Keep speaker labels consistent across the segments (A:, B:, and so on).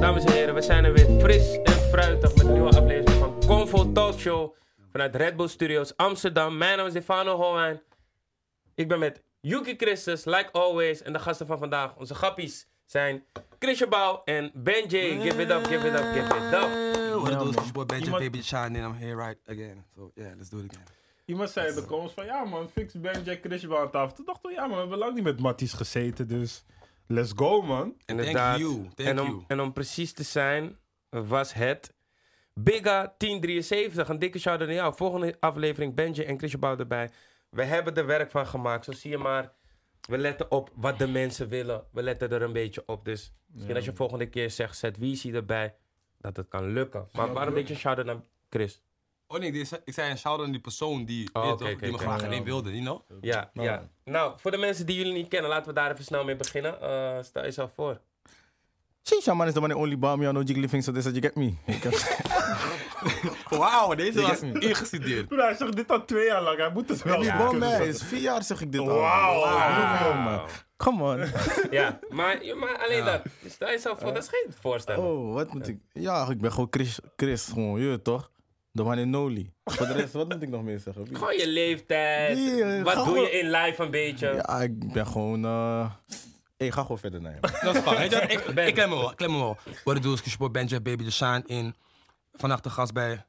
A: dames en heren, we zijn er weer fris en fruitig met een nieuwe aflevering van Convo Talk Show vanuit Red Bull Studios Amsterdam. Mijn naam is Stefano Holwijn. Ik ben met Yuki Christus, like always, en de gasten van vandaag, onze grappies, zijn Chrisje Bouw en Benji. Give it up, give it up, give it up.
B: What it do is
C: man.
B: your boy Benja
C: Iemand-
B: Baby Shine and I'm here right again. So yeah, let's do it again.
C: Iemand zei in de comments van ja man, fix Ben Jack Christian aan tafel. Toen dachten we ja man, we hebben lang niet met Matties gezeten, dus let's go man.
A: Inderdaad.
B: Thank you, thank
A: en, om,
B: you.
A: en om precies te zijn, was het Bigga 1073. Een dikke shout-out naar jou. Volgende aflevering Benji en Christian Bouw erbij. We hebben er werk van gemaakt. Zo zie je maar. We letten op wat de mensen willen. We letten er een beetje op. Dus misschien als je volgende keer zegt, zet wie is hier erbij. Dat het kan lukken. Maar
C: Snap
A: maar een
C: je?
A: beetje shout-out naar Chris.
B: Oh nee, die- ik zei een shout-out aan die persoon die,
A: Oh,
B: weet
A: oké,
B: toch,
A: oké,
B: die me
A: oké.
B: graag
C: Ja.
B: alleen wilde, you know?
A: Ja,
C: Nou.
A: ja. Nou, voor de mensen die jullie niet kennen, laten we daar even snel mee beginnen. Eh, stel jezelf voor.
D: Shisha man is the one that only bought me on no jiggly thing, so this is you get me.
B: Wauw, deze
D: Je
B: was
D: kent
B: ingestudeerd.
C: Toen hij zegt dit al twee jaar lang, hij moet het wel Dus
D: Die
C: kunnen
D: bom mij is
C: zetten.
D: vier jaar zeg ik dit al.
C: Wauw.
D: Geloof me, man. Come on.
A: Ja, maar, ja, maar alleen dat. Dus Stel jezelf
C: Eh,
A: voor, dat is geen voorstel.
D: Oh, wat moet ik... Ja, ik ben gewoon Chris, Chris gewoon, je weet toch? De man in Noli. Voor de rest, wat moet ik nog meer zeggen?
A: Gewoon je leeftijd.
D: Ja,
A: wat
D: ga
A: doe
D: gewoon-
A: je in life een beetje?
D: Ja, ik ben gewoon... eh Ik ga gewoon verder naar hem.
B: Dat is fijn. Weet je wat, ik,
A: Ben.
B: ik klem hem wel, ik klem hem wel. What it do is your boy Benja Baby Shine in. Vannacht de gast bij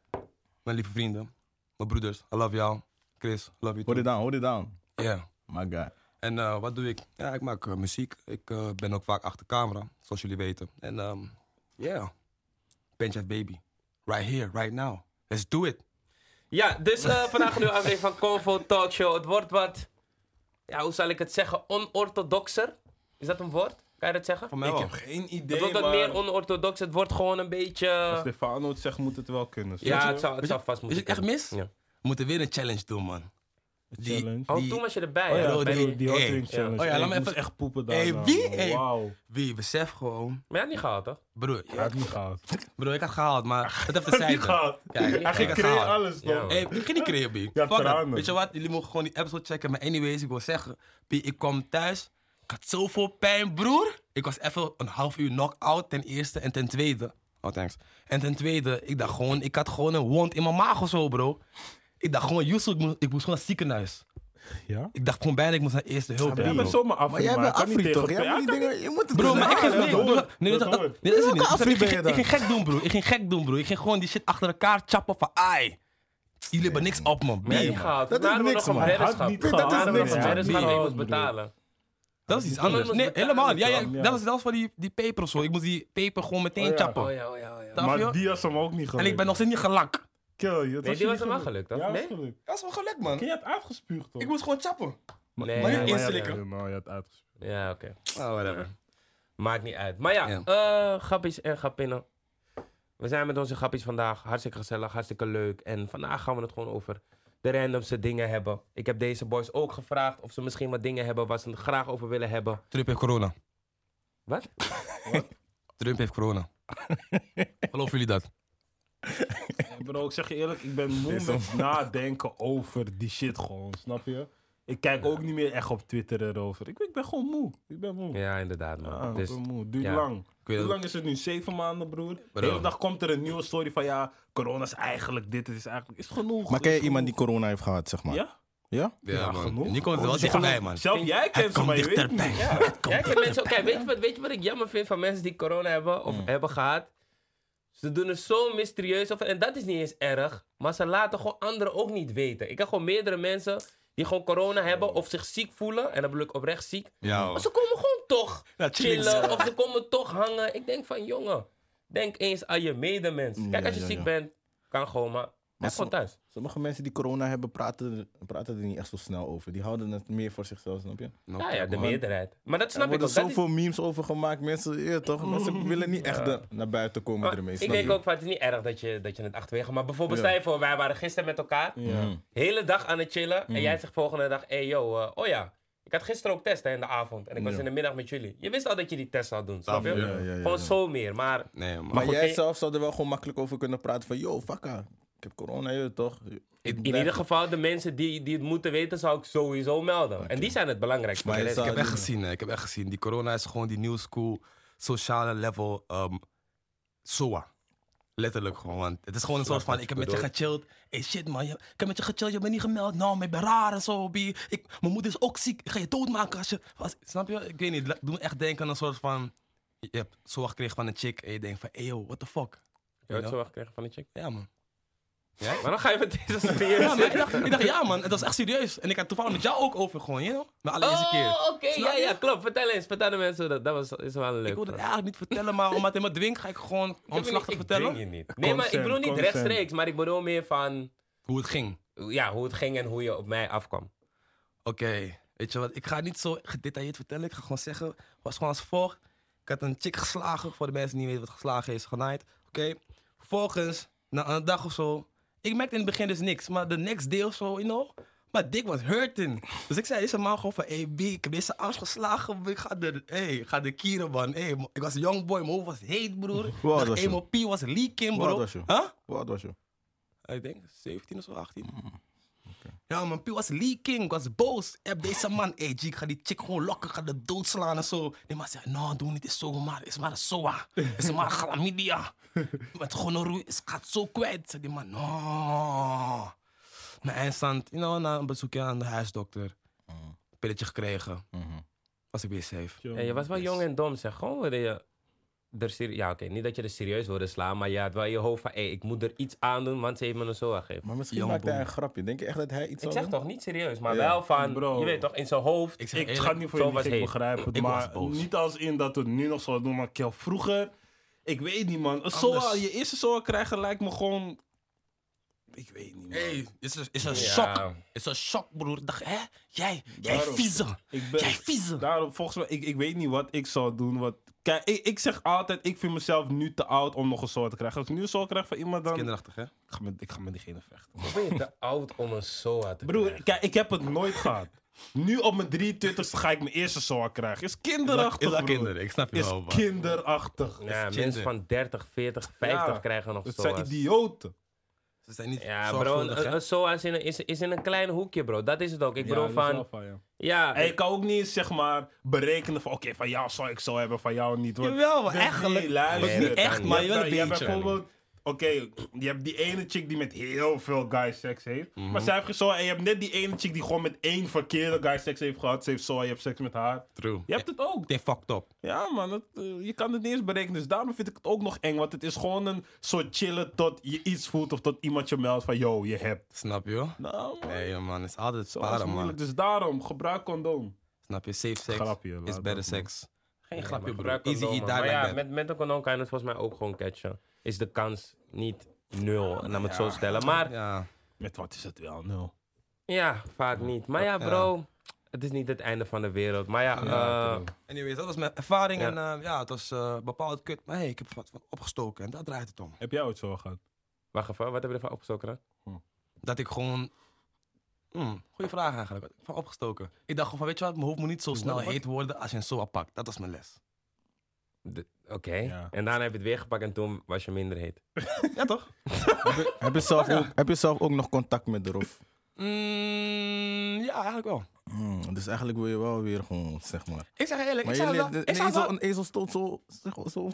B: mijn lieve vrienden, mijn broeders. I love y'all. Chris, love you
D: Hold
B: too.
D: it down, hold it down.
B: Yeah.
D: My guy.
B: En eh, wat doe ik? Ja, ik maak eh, muziek. Ik eh, ben ook vaak achter camera, zoals jullie weten. En ehm yeah, Benja Baby. Right here, right now. Let's do it.
A: Ja, dus eh, vandaag een nieuwe aflevering van Convo Talk Show. Het wordt wat, ja, hoe zal ik het zeggen, onorthodoxer. Is dat een woord? Kan je dat zeggen?
B: Voor mij wel.
C: Geen
A: Het
C: idee
A: wordt wat
C: maar
A: meer onorthodox. Het wordt gewoon een beetje...
C: als Stefano het zegt moet het wel kunnen. snap
A: Ja,
C: je?
A: het zou, het zou vast
B: Is
A: moeten
B: het echt
A: kunnen.
B: mis?
A: Ja.
B: We moeten weer een challenge doen, man. Die-
C: Challenge.
A: Oh,
B: Die-
A: toen was je erbij.
C: Oh
A: hè?
C: ja,
B: Bro,
A: Bij
C: die,
A: die-
C: die hot
B: Hey.
C: drink
A: Ja.
C: challenge.
B: Oh ja,
C: Hey,
B: laat me
C: ik moest
B: even-
C: echt poepen daar.
B: Hey,
C: nou,
B: wie?
C: man.
B: Hey.
C: Wauw.
B: Wie, besef gewoon.
A: Maar je had niet gehaald, toch?
B: Broer,
C: Hij had niet gehaald.
B: broer ik had gehaald, maar het heeft de
C: Niet
B: zijde.
C: gehaald.
B: Kijk, ik
C: Hij
B: had
C: ging creëren
B: gehaald.
C: alles
A: Ja,
C: nog.
A: man.
B: Hey, ik ging niet creëren, B.
C: Ja,
B: Fuck it.
C: tranen.
B: Weet je wat? Jullie mogen gewoon die episode checken. Maar anyways, ik wil zeggen, B, ik kwam thuis. Ik had zoveel pijn, broer. Ik was even een half uur knock-out ten eerste en ten tweede. Oh, thanks. En ten tweede, ik dacht gewoon, ik had gewoon een wond in mijn maag of zo, bro. Ik dacht gewoon, Yusuf, ik moest, ik moest gewoon naar het ziekenhuis.
C: Ja?
B: Ik dacht gewoon bijna, ik moest naar eerste hulp.
C: Jij
B: bro.
C: bent zomaar af.
D: Maar jij bent Afri toch? Jij moet die dingen... Je moet het
B: Bro,
D: doen.
B: maar ik ging
C: dat
B: nee,
C: hoort.
B: broer, Nee,
C: Dat
B: dat, dat,
C: hoort.
B: nee, dat is het
D: Welke
B: niet.
D: Afri
B: Ik
D: ben je
B: ging,
D: dan?
B: ik ging gek doen, broer. Ik ging gek doen, broer. Ik ging gewoon die shit achter elkaar chappen van, ai. Jullie hebben niks op, man.
A: Maar je had
B: B,
A: niet
B: man.
A: gehaald.
D: Dat
A: Toen
D: is
A: hadden we
D: niks,
A: nog een
D: man. Hij
C: had
A: reddenschap.
C: niet
A: Toen
C: gehaald.
A: hadden we nog
D: Dat is
A: een
D: niks,
A: reddenschap
C: man.
A: die je moest
C: Nee.
A: betalen.
B: Dat is iets
A: Iemand
B: anders.
A: moest
B: Nee,
A: betalen,
B: helemaal. Ja, ja,
A: man,
C: ja.
B: dat, was, dat was van die, die peper zo. Ik moest die peper gewoon meteen
C: Oh ja.
B: chappen.
A: Oh ja, oh ja, oh ja.
B: Snap je?
C: Maar die was hem ook niet
B: En
C: gelukt.
B: ik ben nog steeds niet gelak.
C: Kill je.
A: Nee, die was hem wel gelukt, toch?
C: Ja, was
A: Nee?
C: gelukt.
B: Dat is wel geluk, man.
C: Je had uitgespuugd, toch?
B: moest gewoon chappen.
A: Nee,
B: maar
A: ja,
B: niet
A: ja,
B: inslikken.
C: Ja, maar je had uitgespuugd.
A: Ja, oké.
B: Oh, whatever.
A: Maakt niet uit. Maar ja,
B: Ja.
A: eh, grappies en grappinnen. We zijn met onze grappies vandaag. Hartstikke gezellig, hartstikke leuk. En vandaag gaan we het gewoon over de randomste dingen hebben. Ik heb deze boys ook gevraagd of ze misschien wat dingen hebben waar ze het graag over willen hebben.
B: Trump heeft corona.
A: Wat?
B: Trump heeft corona. Geloven jullie dat?
C: Bro, ik zeg je eerlijk, ik ben moe met nadenken over die shit gewoon, snap je? Ik kijk ook niet meer echt op Twitter erover. Ik, ben- ik ben gewoon moe. Ik ben moe.
A: Ja, inderdaad, man.
C: Ja,
A: dus,
C: ik ben moe. Duurt
A: ja.
C: lang.
B: weet
C: Hoe
B: het.
C: lang is het nu? Zeven maanden, broer.
B: Bro.
C: De hele dag komt er een nieuwe story van ja, corona is eigenlijk dit, het is eigenlijk... Is genoeg.
D: Maar ken je
C: is
D: iemand die
C: genoeg.
D: corona heeft gehad, zeg maar?
C: Ja?
D: Ja?
C: Ja, genoeg. Oh,
B: En die komt er wel dichtbij, man.
C: Zelf jij
B: Het
C: kent ze,
B: komt
C: maar je weet
B: dichterbij.
C: niet.
B: Het komt
A: Ja, ik heb mensen ook. Kijk, weet je, wat, weet je wat ik jammer vind van mensen die corona hebben of hebben gehad? Ze doen het zo mysterieus over. En dat is niet eens erg. Maar ze laten gewoon anderen ook niet weten. Ik heb gewoon meerdere mensen die gewoon corona hebben of zich ziek voelen. En dan bedoel ik oprecht ziek.
B: Ja,
A: Maar ze komen gewoon toch
B: Ja, chillen.
A: chillen. Of ze komen toch hangen. Ik denk van jongen, denk eens aan je medemens. Kijk,
D: Ja,
A: als je
D: ja,
A: ziek
D: ja.
A: bent, kan gewoon maar. Blijf
D: zo-
A: gewoon thuis.
D: Sommige mensen die corona hebben, praten, er- praten er niet echt zo snel over. Die houden het meer voor zichzelf, snap je?
A: Ja, ja, de meerderheid. Maar dat
D: Er
A: snap ik
D: worden
A: ook. Dat is-
D: zoveel memes over gemaakt, mensen, ja, toch? Maar ze willen niet echt de- naar buiten komen
A: Maar
D: ermee.
A: Ah, ik denk ook, van, het is niet erg dat je, dat je het achterwege... Maar bijvoorbeeld,
D: Ja.
A: stel je voor, wij waren gisteren met elkaar...
C: Ja.
A: hele dag aan het chillen...
D: Mhm.
A: en jij zegt volgende dag, hey yo, eh, oh ja... ik had gisteren ook test hè, in de avond... en ik was
D: Ja.
A: in de middag met jullie. Je wist al dat je die test zou doen, snap je?
B: Ja, ja,
D: ja, ja,
A: Gewoon
D: ja.
A: zo meer, maar...
B: Nee, man.
D: Maar
A: goed,
D: jij
A: ik-
D: zelf zou er wel gewoon makkelijk over kunnen praten van, yo, fakka, ik heb corona, je weet toch?
A: In ieder geval, de mensen die, die het moeten weten, zou ik sowieso melden. En die zijn het belangrijkste.
D: Maar je
A: Oké,
D: zou-
B: Ik heb echt gezien, hè. ik heb echt gezien. Die corona is gewoon die new school sociale level ehm, soa. Letterlijk gewoon. want Het is gewoon een soort van, ik heb met je gechilled. Hey shit man, je- ik heb met je gechilled, je bent niet gemeld. Nou, maar ik ben raar en zo. bi. Ik, mijn moeder is ook ziek, ik ga je doodmaken als je... als- snap je? Ik weet niet, la- doe me echt denken aan een soort van... Je hebt zorg gekregen van een chick en je denkt van, eeuw, what the fuck?
A: Je
B: You
A: hebt
B: know?
A: zorg gekregen van die chick.
B: Ja man.
A: Maar dan ga je met deze serieus
B: Ja, maar ik
A: zitten.
B: dacht, ik dacht, ja man, het was echt serieus. En ik had toevallig met jou ook over gewoon, you know? Mijn allereerste keer.
A: Oh, oké.
B: Snap
A: Ja,
B: je?
A: ja, klopt. Vertel eens. Vertel de mensen dat. Dat was, is wel een leuk.
B: Ik wil het
A: verhaal.
B: eigenlijk niet vertellen, maar omdat hij me dwingt, ga ik gewoon omslachtig
A: Ik dwing
B: vertellen
A: je niet. Nee, maar ik
C: Consent,
A: bedoel niet
C: consent.
A: rechtstreeks, maar ik bedoel meer van
B: hoe het ging.
A: ja, hoe het ging en hoe je op mij afkwam.
B: Oké, weet je wat? Ik ga het niet zo gedetailleerd vertellen. Ik ga gewoon zeggen, het was gewoon als volgt. Ik had een chick geslagen, voor de mensen die niet weten wat geslagen is, genaaid. Oké, vervolgens, na een dag of zo, ik merkte in het begin dus niks. Maar de next day of zo, you know, mijn dik was hurting. Dus ik zei deze man gewoon van, hey B, ik heb deze arm geslagen. Ik ga de, hey, ik ga de kieren, man. Hey, ik was een young boy, mijn hoofd was heet, broer.
D: oud
B: Dag
D: was je?
B: MOP was leaking,
D: Hoe
B: bro.
D: oud was je?
B: Huh?
D: Hoe oud was je?
B: Ik denk 17 of zo, 18. Ja, mijn pie was leaking, ik was boos. Heb deze man, hey G, ik ga die chick gewoon lokken, ik ga de doodslaan en zo. Die man zei, nou, doe niet, is zomaar, is maar een soa. Is maar een chlamydia. Met gonorroe, is gaat zo kwijt. Zei die man, no. Mijn eindstand, you know, na een bezoekje aan de huisdokter. Pilletje gekregen, was ik weer safe.
A: Ja, je was wel jong en dom, zeg. Gewoon wilde je er serieus... Ja, oké, niet dat je er serieus wilde slaan, maar je had wel in je hoofd van... Hé, ik moet er iets aan doen, want ze heeft me een zo gegeven.
D: Maar misschien
B: Young
D: maakte hij
B: boy.
D: een grapje. Denk je echt dat hij iets
A: Ik
D: zou
A: zeg
D: doen?
A: toch, niet serieus, maar
D: Ja.
A: wel van...
C: Bro.
A: Je weet toch, in zijn hoofd...
B: Ik zeg
C: Ik
B: eerlijk,
C: ga het niet voor
A: zo
C: jullie
A: was
C: ik
A: hij.
C: begrijp het,
B: Ik was
C: maar
B: boos.
C: niet als in dat we het nu nog zouden doen, maar Kel, vroeger, ik weet niet man. Een Soa, je eerste Soa krijgen lijkt me gewoon, ik weet niet man.
B: Hey, is een, is een
A: Ja.
B: shock. Is een shock, broer. Ik dacht, hè? Jij, jij
C: Daarom.
B: vieze.
C: Ik ben,
B: Jij vieze.
C: Daarom, volgens mij, ik, ik weet niet wat ik zou doen. Wat, kijk, ik, ik zeg altijd, ik vind mezelf nu te oud om nog een soort te krijgen. Als ik nu een soort krijg van iemand, dan... Ik
B: Kinderachtig, hè?
C: ga, met, ik ga met diegene vechten.
A: Ben je te oud om een soa te
C: Broer, kijk, ik heb het nooit gehad. Nu op mijn 23ste ga ik mijn eerste soa krijgen. Is kinderachtig,
B: Is dat
C: broer.
B: kinderen? Ik snap je
C: Is
B: wel, man.
C: kinderachtig.
A: Ja, mensen
B: ginder.
A: van 30, 40, 50
C: Ja,
A: krijgen nog
C: Het zijn
A: soa's.
C: idioten.
B: Ze zijn niet
A: Ja, bro,
B: zorgvuldig,
A: een,
B: hè?
A: een soa is in, een, is, is in een klein hoekje, bro. Dat is het ook. Ik bedoel
C: Ja, dat is wel
A: van...
C: fijn, ja.
A: Ja,
C: En je kan ook niet, zeg maar, berekenen van... Oké, van jou zou ik zo hebben, van jou niet. want-
B: Jawel, maar
C: Nee,
B: eigenlijk-
C: nee, luister.
A: Nee, dat kan niet.
B: Maar je wel een
C: hebt
B: beetje.
C: bijvoorbeeld... Oké, je hebt die ene chick die met heel veel guy seks heeft.
B: Mhm.
C: Maar zij heeft geen zo. En je hebt net die ene chick die gewoon met één verkeerde guy seks heeft gehad. Ze heeft zo, je hebt seks met haar.
B: True.
C: Je hebt het ook.
B: They fucked up.
C: Ja, man, dat, eh, je kan het niet eens berekenen. Dus daarom vind ik het ook nog eng. Want het is gewoon een soort chillen tot je iets voelt of tot iemand je meldt van, yo, je hebt.
B: Snap je?
C: Nou, man,
B: Nee, man. Het is altijd
C: dat is
B: sparen,
C: moeilijk.
B: man.
C: Dus daarom, gebruik condoom.
B: Snap je? Safe sex
C: Grapje, laat
B: is
C: dat,
B: better
C: man.
B: sex. Geen grapje,
A: maar
B: bro.
A: gebruik
B: Easy
A: condoom,
B: eat, die
A: man. Maar ja,
B: like that.
A: met, met een condoom kan je het volgens mij ook gewoon catchen. Is de kans niet nul, laat me het zo stellen. Maar
B: Ja.
C: Met wat is het wel, nul.
A: ja, vaak niet. Maar ja, bro, het is niet het einde van de wereld. Maar ja, eh,
B: Anyways, dat was mijn ervaring.
A: Ja.
B: En eh, ja, het was eh, bepaald kut. Maar hey, ik heb wat wat opgestoken. En daar draait het om.
C: Heb jij ooit zo gehad?
A: wacht even, wat heb je ervan opgestoken? dan?
B: Dat ik gewoon... Hmm, goeie vraag eigenlijk. Van opgestoken. Ik dacht gewoon van, weet je wat? Mijn hoofd moet niet zo snel heet worden als je een soa pakt. Dat was mijn les.
A: De- Oké,
C: Ja.
A: en daarna heb je het weer gepakt en toen was je minder heet.
B: Ja, toch?
D: Heb je, zelf ook, heb je zelf ook nog contact met de rof?
B: Mm, ja, eigenlijk wel.
D: Hmm, dus eigenlijk wil je wel weer gewoon, zeg maar.
B: Ik zeg eerlijk,
D: Maar
B: ik
D: je
B: zou
D: leert,
B: wel...
D: een,
B: Ik zou
D: ezel,
B: wel...
D: een ezel stoot zo. Zeg, maar zo.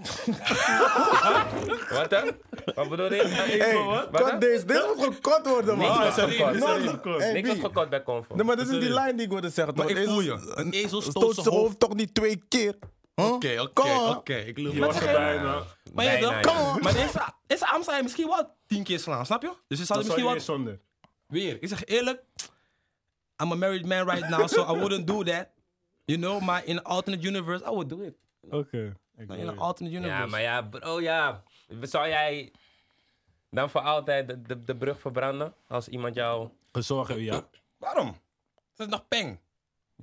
A: Wat dan? Wat bedoel je? Wat dan?
D: Cut deze. Dit moet gewoon kort worden, man.
A: Niks wordt
D: Hey,
A: gekort.
D: no,
C: sorry.
D: no, hey,
A: Niks wordt
D: B.
A: gekort bij Convo.
D: Nee, maar dit is die lijn die ik wilde zeggen.
B: Maar
D: toch?
B: ik
D: Een
B: voel
D: ezel-
B: je. Een ezel
D: Stoot zijn hoofd
B: hoofd.
D: toch niet twee keer? Huh?
B: Oké,
D: Kom
B: oké,
D: on.
B: oké. Ik loop
C: Je was er bijna.
B: Maar ja,
A: Bijna,
B: dan,
A: ja.
B: kom Maar deze, deze arm zou je misschien wel tien keer slaan, snap je? Dus je zou
C: Dat
B: er
C: zou
B: misschien wel...
C: je weer zonder.
B: Weer. Ik zeg eerlijk, I'm a married man right now, so I wouldn't do that. You know, maar in an alternate universe, I would do it.
C: Oké.
B: Maar in an alternate universe.
A: Ja, maar ja, bro, ja. Zou jij dan voor altijd de, de, de brug verbranden als iemand jou...
C: Gezorgen, ja.
B: Waarom? Dat is nog peng.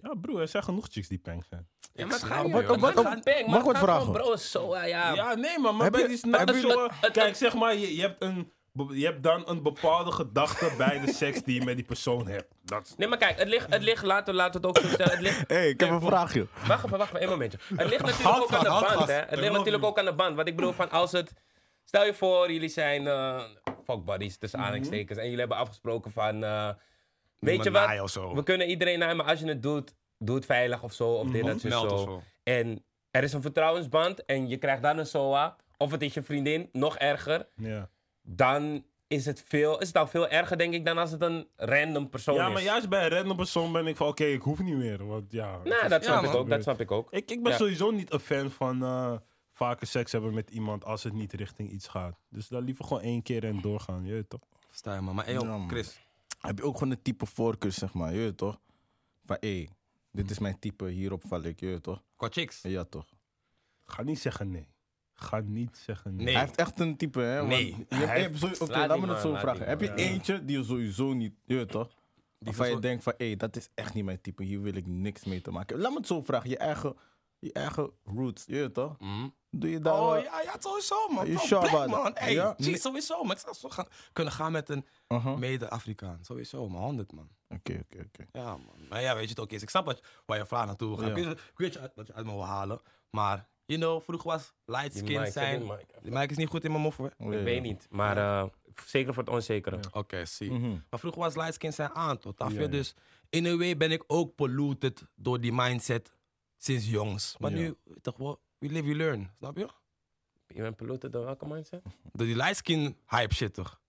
C: Ja, broer, er zijn genoeg chicks die pank zijn.
A: Ja,
B: Ik
A: maar het
B: snap
A: gaat
B: je,
A: niet
B: joh.
A: om-
B: Wat-
A: het gaat
D: wat-
A: niet om peng,
D: mag
A: maar
D: ik
A: het
D: wat
A: gaat gewoon,
D: vragen?
A: Bro, zo, ja, ja.
C: Ja, nee, man. Maar
D: Heb
C: bij
D: je-
C: die snap-
D: heb je-
C: zo-
A: het-
C: Kijk, zeg maar, je, je, hebt een, be- je hebt dan een bepaalde gedachte bij de seks die je met die persoon hebt. Dat is...
A: Nee, maar kijk, het ligt, het ligt laten, we- laten we het ook zo stellen. Het ligt,
D: Hé, ik heb een vraagje.
A: wacht even, wacht even, één momentje. Het ligt natuurlijk ook aan
B: vast,
A: de
B: houd
A: band,
B: vast.
A: hè.
B: I
A: Het
B: love
A: ligt natuurlijk ook aan de band. Want ik bedoel van, als het... Stel je voor, jullie zijn eh fuckbuddies, tussen
B: Mhm.
A: aanhalingstekens. En jullie hebben afgesproken van... eh, weet
B: maar
A: je wat?
B: naaien of zo.
A: We kunnen iedereen naaien, maar als je het doet, doe het veilig of zo. Of dit, dat,
B: Mhm. meld
A: zo.
B: of
A: zo.
B: zo.
A: En er is een vertrouwensband en je krijgt dan een SOA. of het is je vriendin, nog erger,
C: Ja.
A: dan is het, veel, is het al veel erger, denk ik, dan als het een random persoon
C: ja,
A: is.
C: maar juist bij een random persoon ben ik van, oké, ik hoef niet meer. Want ja... het
A: Nou,
C: is-
A: dat
B: Ja,
A: snap
B: man.
A: ik ook, dat snap ik ook.
C: Ik, ik ben
A: Ja.
C: sowieso niet een fan van eh, vaker seks hebben met iemand als het niet richting iets gaat. Dus dan liever gewoon één keer en doorgaan, je weet toch?
B: Sta je man. Maar hey,
D: Ja,
B: joh,
D: man.
B: Chris.
D: Heb je ook gewoon een type voorkeur, zeg maar, je weet toch? Van, hé, dit is mijn type, hierop val ik, je weet toch?
B: Qua chicks.
D: Ja, toch?
C: Ga niet zeggen nee. Ga niet zeggen nee.
B: Nee.
D: Hij heeft echt een type, hè? want
B: Nee.
D: je hebt- je
A: Hij
D: hebt sowieso- Oké,
A: Laat
D: laat
A: die
D: me dat
A: man,
D: zo
A: laat
D: vragen.
A: die
D: Heb je
A: man, ja.
D: eentje die je sowieso niet, je weet toch? Waarvan je
B: zo-
D: denkt van, hé, dat is echt niet mijn type, hier wil ik niks mee te maken. hebben. Laat me het zo vragen, je eigen, je eigen roots, je weet toch?
B: Mhm.
D: Doe je daar...
B: Oh
D: eh,
B: ja, ja, sowieso man.
D: Je
B: Bro,
D: sure
B: black,
D: about
B: man.
D: that?
B: Hey,
D: Ja?
B: gee, sowieso. Maar ik zou zo gaan, kunnen gaan met een
D: aha.
B: mede-Afrikaan. Sowieso, maar 100 man.
D: Oké, oké, oké.
B: Ja, man. Maar ja, weet je het ook eens. Ik snap wat, waar je vraag naartoe gaat.
D: Ja.
B: Ik weet- Ik weet je uit- wat je uit me wil halen. Maar, you know, vroeger was light
A: Die
B: skin
A: mic,
B: zijn.
A: die mic.
B: Die mic is niet goed in mijn mof hoor.
D: Oh,
A: Ik
D: ja,
A: weet
D: ja.
A: niet, maar eh, zeker voor het onzekere.
B: Oké, zie.
D: Mhm.
B: Hm. Maar vroeger was light skin zijn aan, tot af
C: Ja,
B: je?
C: ja.
B: Dus in een way ben ik ook polluted door die mindset sinds jongs. Maar
C: Ja.
B: nu, toch wel, we live, we learn. Snap je?
A: Je bent piloten door welke mindset?
B: Door die light skin hype shit toch?